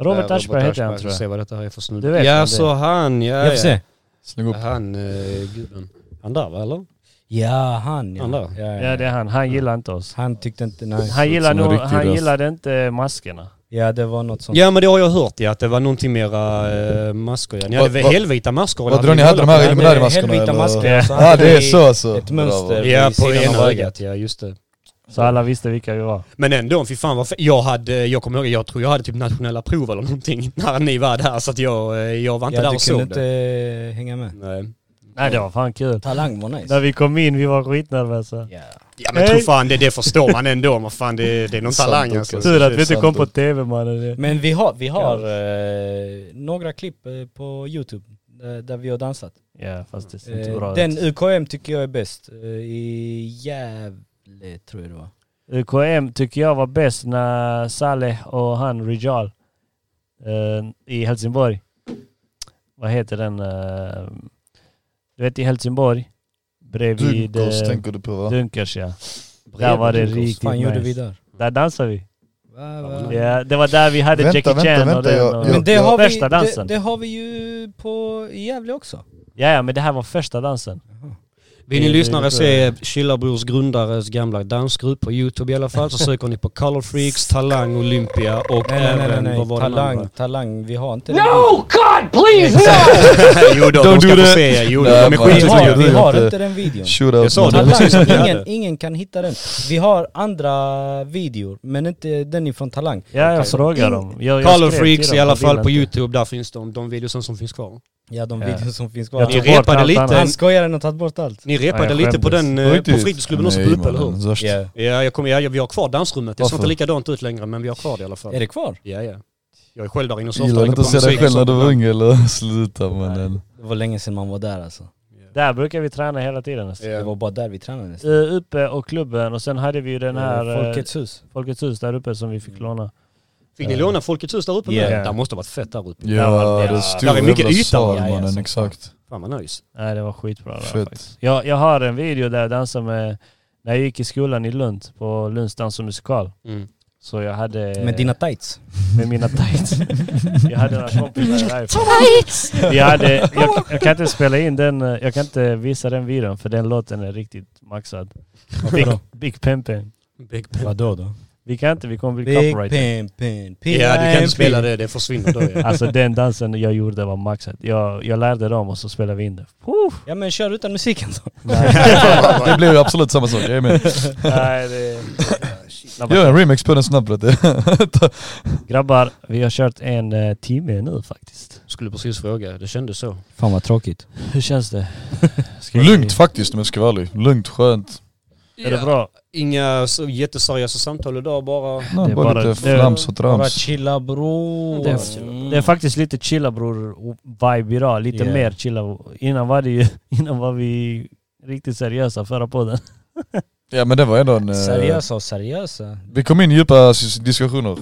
[SPEAKER 1] Robert
[SPEAKER 4] Ja,
[SPEAKER 1] Aschberg heter han
[SPEAKER 4] Aschberg.
[SPEAKER 1] tror jag.
[SPEAKER 4] Se vad detta här är för
[SPEAKER 1] Du
[SPEAKER 4] snubbe.
[SPEAKER 1] vet vem det
[SPEAKER 4] Ja,
[SPEAKER 1] är.
[SPEAKER 4] så han, ja,
[SPEAKER 2] Jag får
[SPEAKER 4] ja.
[SPEAKER 2] se.
[SPEAKER 3] Släng upp.
[SPEAKER 4] Han, eh, gubben. Han där va, eller?
[SPEAKER 2] Ja, han ja.
[SPEAKER 4] Han där.
[SPEAKER 2] ja,
[SPEAKER 1] Ja det är han, han gillar inte oss.
[SPEAKER 2] Han tyckte inte, nej.
[SPEAKER 1] Han, gillar
[SPEAKER 3] som en
[SPEAKER 1] nog,
[SPEAKER 3] riktig
[SPEAKER 1] han
[SPEAKER 3] röst.
[SPEAKER 1] gillade inte maskerna.
[SPEAKER 2] Ja det var något sånt.
[SPEAKER 4] Ja men det har jag hört ja, att det var någonting mera eh, masker. Ja. Ni hade
[SPEAKER 3] Vad- vad-
[SPEAKER 4] väl helvita masker? eller
[SPEAKER 3] Vad drar ni? Hade
[SPEAKER 4] hade
[SPEAKER 3] de här
[SPEAKER 4] något?
[SPEAKER 3] reguljära
[SPEAKER 2] med
[SPEAKER 3] maskerna
[SPEAKER 2] helvita masker,
[SPEAKER 3] eller?
[SPEAKER 2] alltså,
[SPEAKER 3] Ja
[SPEAKER 2] han
[SPEAKER 3] det är
[SPEAKER 2] hade
[SPEAKER 3] så alltså.
[SPEAKER 2] ett mönster.
[SPEAKER 3] Bravo.
[SPEAKER 4] Ja,
[SPEAKER 2] vid
[SPEAKER 4] på
[SPEAKER 2] sidan
[SPEAKER 4] ena
[SPEAKER 2] av
[SPEAKER 4] ögat. Ja, just det.
[SPEAKER 1] Så alla visste vilka vi var.
[SPEAKER 4] Men ändå, fy fan vad fe- Jag hade, jag kommer ihåg, jag tror jag hade typ nationella prov eller någonting när ni var där. Så att jag, eh, jag var inte
[SPEAKER 2] Ja,
[SPEAKER 4] där
[SPEAKER 2] du
[SPEAKER 4] och såg
[SPEAKER 2] kunde
[SPEAKER 4] det.
[SPEAKER 2] inte eh, hänga med.
[SPEAKER 4] Nej.
[SPEAKER 1] Nej det var fan kul.
[SPEAKER 2] Talang var
[SPEAKER 1] När
[SPEAKER 2] nice.
[SPEAKER 1] vi kom in vi var skitnervösa.
[SPEAKER 2] Ja.
[SPEAKER 4] Ja men
[SPEAKER 1] Nej.
[SPEAKER 4] tror fan det, det förstår man ändå. Man fan, det, det är någon
[SPEAKER 3] Sant
[SPEAKER 4] talang
[SPEAKER 3] också.
[SPEAKER 4] alltså.
[SPEAKER 1] Tur att vi inte
[SPEAKER 3] sant
[SPEAKER 1] kom på
[SPEAKER 3] ut.
[SPEAKER 1] tv mannen.
[SPEAKER 2] Men vi har, vi har eh, några klipp eh, på youtube eh, där vi har dansat.
[SPEAKER 1] Ja fast det ser inte
[SPEAKER 2] Eh,
[SPEAKER 1] bra
[SPEAKER 2] den
[SPEAKER 1] ut.
[SPEAKER 2] UKM tycker jag är bäst. Eh, I Gävle tror jag det var.
[SPEAKER 1] UKM tycker jag var bäst när Saleh och han Rijal eh, i Helsingborg. Vad heter den? eh, du vet i Helsingborg? Bredvid
[SPEAKER 3] Dunkers
[SPEAKER 1] eh,
[SPEAKER 3] tänker du på va?
[SPEAKER 1] Dunkers ja. Där var det
[SPEAKER 4] Dunkers.
[SPEAKER 1] riktigt
[SPEAKER 2] fan gjorde vi
[SPEAKER 1] nice.
[SPEAKER 2] där?
[SPEAKER 1] Där dansade vi.
[SPEAKER 2] Va,
[SPEAKER 4] Vad var
[SPEAKER 2] va?
[SPEAKER 4] det?
[SPEAKER 1] Ja, det var där vi hade
[SPEAKER 3] Vänta,
[SPEAKER 1] Jackie
[SPEAKER 3] vänta,
[SPEAKER 1] Chan och
[SPEAKER 3] vänta,
[SPEAKER 1] den.
[SPEAKER 3] jag-
[SPEAKER 1] och-
[SPEAKER 3] jag-
[SPEAKER 2] Men det
[SPEAKER 3] Ja.
[SPEAKER 2] har, vi,
[SPEAKER 1] Första
[SPEAKER 2] det,
[SPEAKER 1] dansen.
[SPEAKER 2] det har vi ju på i Gävle också.
[SPEAKER 1] Ja, ja, men det här var första dansen.
[SPEAKER 4] Vill ni lyssnare se Killarbrors grundares gamla dansgrupp på Youtube i alla fall så söker ni på Color Freaks, Talang, Olympia och
[SPEAKER 2] Nej nej nej,
[SPEAKER 4] även
[SPEAKER 2] nej, nej.
[SPEAKER 4] vad var den
[SPEAKER 2] Talang,
[SPEAKER 4] andra?
[SPEAKER 2] talang, vi har inte
[SPEAKER 6] No, God, please, no!
[SPEAKER 4] jo då,
[SPEAKER 3] Don't
[SPEAKER 4] de ska
[SPEAKER 3] do
[SPEAKER 4] få
[SPEAKER 3] that.
[SPEAKER 4] se. Jo då,
[SPEAKER 3] Nej,
[SPEAKER 4] de är
[SPEAKER 2] den.
[SPEAKER 3] man.
[SPEAKER 2] Vi
[SPEAKER 3] tycker
[SPEAKER 4] skitduktiga.
[SPEAKER 2] har,
[SPEAKER 3] jag
[SPEAKER 2] vi
[SPEAKER 3] det
[SPEAKER 2] har
[SPEAKER 3] inte-
[SPEAKER 2] inte den videon.
[SPEAKER 3] Shootout.
[SPEAKER 4] Jag sa det.
[SPEAKER 3] mannen.
[SPEAKER 4] precis som vi
[SPEAKER 2] Talang,
[SPEAKER 4] hade.
[SPEAKER 2] ingen, ingen kan hitta den. Vi har andra videor, men inte den ifrån Talang.
[SPEAKER 1] Ja, jag frågar dem. Jag, jag
[SPEAKER 4] Color
[SPEAKER 1] skrev till
[SPEAKER 4] Freaks
[SPEAKER 1] dem,
[SPEAKER 4] i alla
[SPEAKER 1] de ville
[SPEAKER 4] fall på
[SPEAKER 1] inte.
[SPEAKER 4] Youtube, där finns de, de videosen som finns kvar.
[SPEAKER 2] Ja, de
[SPEAKER 1] Ja.
[SPEAKER 2] videor som finns
[SPEAKER 1] Jag
[SPEAKER 2] kvar.
[SPEAKER 4] Ni
[SPEAKER 1] tog bort
[SPEAKER 4] repade
[SPEAKER 1] allt
[SPEAKER 4] lite,
[SPEAKER 1] annat.
[SPEAKER 2] Han skojar, han har tagit bort allt.
[SPEAKER 4] ni
[SPEAKER 1] Ja,
[SPEAKER 4] repade
[SPEAKER 1] jag
[SPEAKER 4] lite på
[SPEAKER 1] skämdes.
[SPEAKER 4] den,
[SPEAKER 3] På
[SPEAKER 4] eh, på
[SPEAKER 3] riktigt?
[SPEAKER 4] fritidsklubben också på
[SPEAKER 3] Nej,
[SPEAKER 4] Uppe, eller hur?
[SPEAKER 3] mannen, värst.
[SPEAKER 2] Ja.
[SPEAKER 4] Ja, jag kommer, ja, vi har kvar dansrummet. Det ser inte
[SPEAKER 3] Varför?
[SPEAKER 4] likadant ut längre men vi har kvar det i alla fall.
[SPEAKER 2] Är det kvar?
[SPEAKER 4] Ja, ja. Jag är själv där inne och
[SPEAKER 3] Gillar inte att se dig själv när du var ung eller? Sluta mannen.
[SPEAKER 2] Det var länge sedan man var där alltså.
[SPEAKER 1] Där brukar vi träna hela tiden. nästan.
[SPEAKER 2] Det var bara där vi tränade nästan.
[SPEAKER 1] Eh, uppe och klubben och sen hade vi ju den här eh, Folkets,
[SPEAKER 2] Folkets hus.
[SPEAKER 1] hus där uppe som vi fick låna.
[SPEAKER 4] Fick ni låna Folkets hus där uppe
[SPEAKER 1] Ja.
[SPEAKER 4] med? Där måste ha varit fett där uppe.
[SPEAKER 1] var-
[SPEAKER 3] Ja, det är stor
[SPEAKER 4] Där är mycket
[SPEAKER 3] jävla
[SPEAKER 4] yta.
[SPEAKER 3] sal
[SPEAKER 2] Ja, ja,
[SPEAKER 3] mannen,
[SPEAKER 2] så.
[SPEAKER 3] exakt.
[SPEAKER 4] Fan vad nice.
[SPEAKER 1] Nej, det var skitbra där
[SPEAKER 3] Fett.
[SPEAKER 1] faktiskt. Jag, jag har en video där jag dansar med, när jag gick i skolan i Lund, på Lunds dans och musikal.
[SPEAKER 4] Mm.
[SPEAKER 1] Så jag
[SPEAKER 4] Eh.
[SPEAKER 1] hade...
[SPEAKER 2] Med dina tights.
[SPEAKER 1] med mina tights. Jag hade några kompisar därifrån. Vi hade, jag, jag kan inte spela in den, eh, jag kan inte visa den videon för den låten är riktigt maxad. Big, Big Pimpen.
[SPEAKER 4] Big Ben.
[SPEAKER 2] Vadå då?
[SPEAKER 1] Vi kan inte, vi kommer bli
[SPEAKER 2] Big
[SPEAKER 1] copyright.
[SPEAKER 2] pin, pin, pin.
[SPEAKER 4] Ja, du kan inte spela det. Det försvinner då. Ja.
[SPEAKER 1] Alltså den dansen jag gjorde var maxad. Jag, jag lärde dem och så spelade vi in det. Puh.
[SPEAKER 2] Ja men kör utan musiken då.
[SPEAKER 3] Det blir ju absolut samma sak, jag är med.
[SPEAKER 1] Nej, det...
[SPEAKER 3] Gör en remix på den snabbt vet du.
[SPEAKER 1] Grabbar, vi har kört en eh, timme nu faktiskt.
[SPEAKER 4] Skulle precis fråga. Det kändes så.
[SPEAKER 2] Fan vad tråkigt.
[SPEAKER 1] Hur känns det? Ska vi-
[SPEAKER 3] Lugnt faktiskt om jag ska vara ärlig. Lugnt, skönt.
[SPEAKER 1] Är det bra?
[SPEAKER 4] Inga så jätteseriösa samtal idag bara.
[SPEAKER 3] Nej,
[SPEAKER 1] Det är
[SPEAKER 3] bara,
[SPEAKER 1] bara-
[SPEAKER 3] lite
[SPEAKER 1] det-
[SPEAKER 3] flams och
[SPEAKER 2] Bara
[SPEAKER 3] trams.
[SPEAKER 2] chilla bror.
[SPEAKER 1] Det är- Det är faktiskt lite chilla bror vibe idag, lite
[SPEAKER 2] Yeah.
[SPEAKER 1] mer chilla. Innan var det ju, innan var vi riktigt seriösa förra podden.
[SPEAKER 3] Ja men det var ändå en... eh,
[SPEAKER 2] Seriösa och seriösa.
[SPEAKER 3] Vi kom in i djupa s- diskussioner.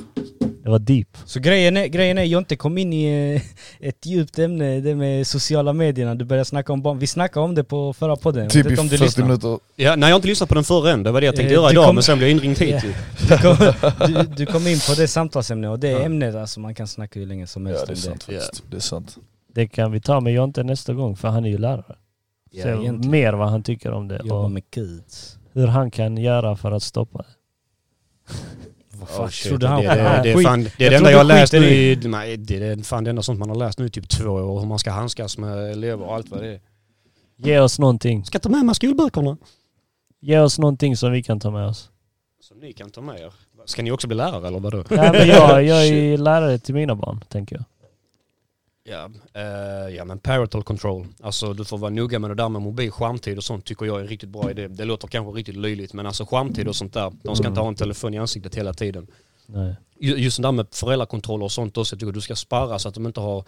[SPEAKER 1] Det var deep.
[SPEAKER 2] Så grejen är, grejen är, Jonte kom in i eh, ett djupt ämne, det med sociala medierna. Du började snacka om barn. Vi snackade om det på förra podden. Jag
[SPEAKER 3] Typ
[SPEAKER 2] vet
[SPEAKER 3] i
[SPEAKER 2] inte om du
[SPEAKER 3] 40
[SPEAKER 2] lyssnar.
[SPEAKER 3] minuter.
[SPEAKER 4] Ja, nej, jag har inte lyssnat på den förrän. Det var det jag tänkte
[SPEAKER 2] Eh,
[SPEAKER 4] göra
[SPEAKER 2] du
[SPEAKER 4] idag,
[SPEAKER 2] kom-
[SPEAKER 4] men sen blev jag inringd hit.
[SPEAKER 2] Ja.
[SPEAKER 4] ju.
[SPEAKER 2] Du kom, du, du kom in på det samtalsämnet och det ämnet, alltså man kan snacka hur länge som helst
[SPEAKER 3] Ja det är
[SPEAKER 2] om
[SPEAKER 3] sant
[SPEAKER 4] Ja.
[SPEAKER 3] faktiskt. Det är sant.
[SPEAKER 1] Det kan vi ta med Jonte nästa gång för han är ju lärare.
[SPEAKER 4] Ja,
[SPEAKER 1] Så
[SPEAKER 2] egentligen.
[SPEAKER 1] mer vad han tycker om det
[SPEAKER 2] Jobba
[SPEAKER 1] och
[SPEAKER 2] med kids.
[SPEAKER 1] hur han kan göra för att stoppa det.
[SPEAKER 2] Vad
[SPEAKER 4] Oh,
[SPEAKER 2] fan
[SPEAKER 4] shit,
[SPEAKER 2] trodde han
[SPEAKER 4] det, det, det, är
[SPEAKER 2] Skit.
[SPEAKER 4] fan, det är
[SPEAKER 2] Jag
[SPEAKER 4] det enda
[SPEAKER 2] trodde
[SPEAKER 4] jag har läst
[SPEAKER 2] skit är
[SPEAKER 4] nu i, nej, det är fan det enda sånt man har läst nu i typ två år, hur man ska handskas med elever och allt vad det är.
[SPEAKER 1] Ge oss någonting.
[SPEAKER 4] Ska ta med mig skolböckerna.
[SPEAKER 1] Ge oss någonting som vi kan ta med oss.
[SPEAKER 4] Som ni kan ta med er. Ska ni också bli lärare eller vadå?
[SPEAKER 1] Nej, men jag, jag är lärare till mina barn, tänker jag.
[SPEAKER 4] Ja, eh, ja men parental control. Alltså du får vara noga med det där med mobil, skärmtid och sånt tycker jag är riktigt bra idé. Det låter kanske riktigt löjligt men alltså skärmtid och sånt där,
[SPEAKER 2] Mm.
[SPEAKER 4] de ska inte ha en telefon i ansiktet hela tiden.
[SPEAKER 1] Nej.
[SPEAKER 4] Ju- Just det där med föräldrakontroller och sånt också, jag tycker du ska spara så att de inte har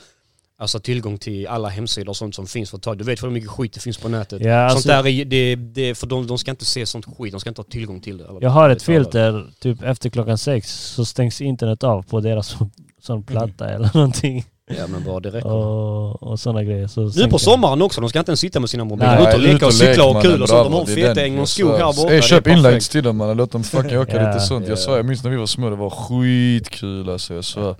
[SPEAKER 4] alltså, tillgång till alla hemsidor och sånt som finns för ett tag. Du vet hur mycket skit det finns på nätet.
[SPEAKER 1] Ja, alltså-
[SPEAKER 4] sånt där är, det, det, för de, de ska inte se sånt skit, de ska inte ha tillgång till det.
[SPEAKER 1] Jag har ett filter, typ efter klockan sex så stängs internet av på deras sån platta eller någonting.
[SPEAKER 4] Mhm. Ja men bra, det räcker.
[SPEAKER 1] Och, och sådana grejer. Så
[SPEAKER 4] Nu på
[SPEAKER 1] sänker-
[SPEAKER 4] sommaren också, de ska inte ens sitta med sina mobiler.
[SPEAKER 1] Nej.
[SPEAKER 4] Ut och
[SPEAKER 3] Nej,
[SPEAKER 4] leka och
[SPEAKER 3] lek,
[SPEAKER 4] cykla och
[SPEAKER 3] mannen,
[SPEAKER 4] kul och sånt. De har en
[SPEAKER 3] bravo, det är den.
[SPEAKER 4] fetäng och en
[SPEAKER 3] Jag
[SPEAKER 4] skog här
[SPEAKER 3] sa-
[SPEAKER 4] borta.
[SPEAKER 3] Ey,
[SPEAKER 4] Det är
[SPEAKER 3] köp inlines
[SPEAKER 4] perfekt.
[SPEAKER 3] till dem mannen, låt dem fucka åka
[SPEAKER 1] Ja.
[SPEAKER 3] lite sånt.
[SPEAKER 4] Ja. Mm.
[SPEAKER 3] Jag svär, jag minns när vi var små, det var skitkul alltså. Jag svär.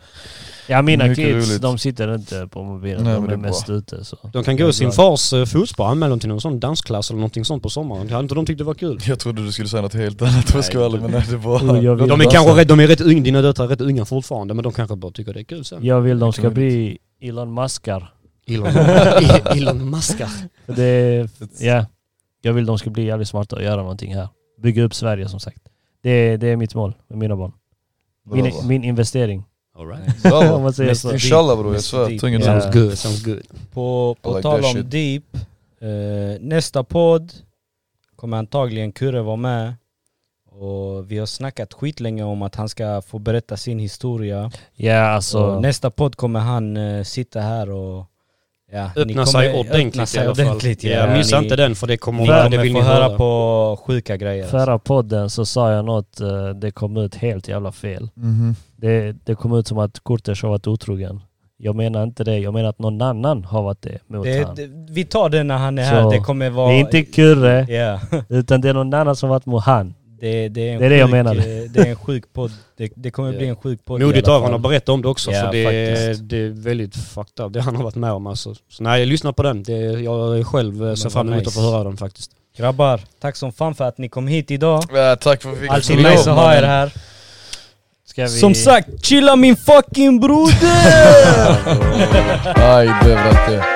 [SPEAKER 1] Ja mina
[SPEAKER 3] Mycket
[SPEAKER 1] kids,
[SPEAKER 3] roligt.
[SPEAKER 1] de sitter inte på mobilen.
[SPEAKER 3] Nej, men
[SPEAKER 1] de
[SPEAKER 3] det
[SPEAKER 1] är
[SPEAKER 3] är bra.
[SPEAKER 1] mest ute så. Oh,
[SPEAKER 4] De kan gå i sin fars eh, fotspår, anmäla dem till någon sån dansklass eller någonting sånt på sommaren. Hade inte de tyckt det var kul?
[SPEAKER 3] Jag trodde du skulle säga något helt annat om jag ska vara ärlig, men nej det var...
[SPEAKER 1] Jo, jag vill-
[SPEAKER 4] De är kanske rätt, de är rätt unga, dina döttrar är rätt unga fortfarande men de kanske bara tycker det är kul sen.
[SPEAKER 1] Jag vill de ska
[SPEAKER 3] Mycket
[SPEAKER 1] bli Elon Muskar.
[SPEAKER 4] Elon, Elon Muskar.
[SPEAKER 1] Det är, ja. Jag vill de ska bli jävligt smarta och göra någonting här. Bygga upp Sverige som sagt. Det är, det är mitt mål med mina barn. Min,
[SPEAKER 3] Bravo.
[SPEAKER 1] min investering.
[SPEAKER 4] All right.
[SPEAKER 1] Om
[SPEAKER 3] Bravo.
[SPEAKER 1] man säger så.
[SPEAKER 3] Inshallah bror,
[SPEAKER 2] Mr.
[SPEAKER 3] jag svär.
[SPEAKER 2] Deep.
[SPEAKER 3] Tungan
[SPEAKER 1] Ja.
[SPEAKER 3] yeah.
[SPEAKER 4] Sounds good, sounds good.
[SPEAKER 2] På, på
[SPEAKER 3] I like
[SPEAKER 2] tal
[SPEAKER 3] that
[SPEAKER 2] om
[SPEAKER 3] shit.
[SPEAKER 2] Deep, eh, nästa podd kommer antagligen Kurre vara med. Och vi har snackat skitlänge om att han ska få berätta sin historia.
[SPEAKER 1] Ja alltså.
[SPEAKER 2] Och nästa podd kommer han eh, sitta här och ja, ni
[SPEAKER 4] Öppna sig
[SPEAKER 2] kommer
[SPEAKER 4] ordentligt i alla fall.
[SPEAKER 2] ordentligt,
[SPEAKER 4] Ja, missa
[SPEAKER 2] ni,
[SPEAKER 4] inte den för det kommer,
[SPEAKER 2] Ni
[SPEAKER 4] det
[SPEAKER 2] kommer
[SPEAKER 4] vill
[SPEAKER 2] få
[SPEAKER 4] ni
[SPEAKER 2] höra, på sjuka grejer.
[SPEAKER 1] Förra podden så sa jag något, eh, det kom ut helt jävla fel.
[SPEAKER 2] Mm-hmm.
[SPEAKER 1] Det, det kom ut som att Kurtis har varit otrogen. Jag menar inte det, jag menar att någon annan har varit det mot
[SPEAKER 2] Det,
[SPEAKER 1] han. Det,
[SPEAKER 2] det, vi tar det när han är
[SPEAKER 1] Så,
[SPEAKER 2] här, det kommer vara...
[SPEAKER 1] är inte Kurre,
[SPEAKER 2] Ja.
[SPEAKER 1] utan det är någon annan som varit mot han.
[SPEAKER 2] Det, det, är en
[SPEAKER 1] Det är det jag
[SPEAKER 2] sjuk,
[SPEAKER 1] menar.
[SPEAKER 2] eh, Det är en sjuk podd. Det, det kommer
[SPEAKER 4] Ja.
[SPEAKER 2] bli en sjuk podd i
[SPEAKER 4] Modigt
[SPEAKER 2] alla
[SPEAKER 4] av
[SPEAKER 2] fall.
[SPEAKER 4] honom att berätta om det också
[SPEAKER 2] Ja,
[SPEAKER 4] för det är,
[SPEAKER 2] faktiskt.
[SPEAKER 4] det är väldigt fucked up det han har varit med om alltså. Så nej, lyssna på den. Det, jag är själv eh, ser
[SPEAKER 2] vad
[SPEAKER 4] fram emot
[SPEAKER 2] nice.
[SPEAKER 4] att få höra den faktiskt.
[SPEAKER 2] Grabbar, tack som fan för att ni kom hit idag.
[SPEAKER 3] Ja, tack för att vi fick
[SPEAKER 2] Alltid
[SPEAKER 3] komma.
[SPEAKER 2] nice att ha er här.
[SPEAKER 1] Ska vi...
[SPEAKER 2] Som sagt, chilla min fucking broder!
[SPEAKER 3] Aj, det var det.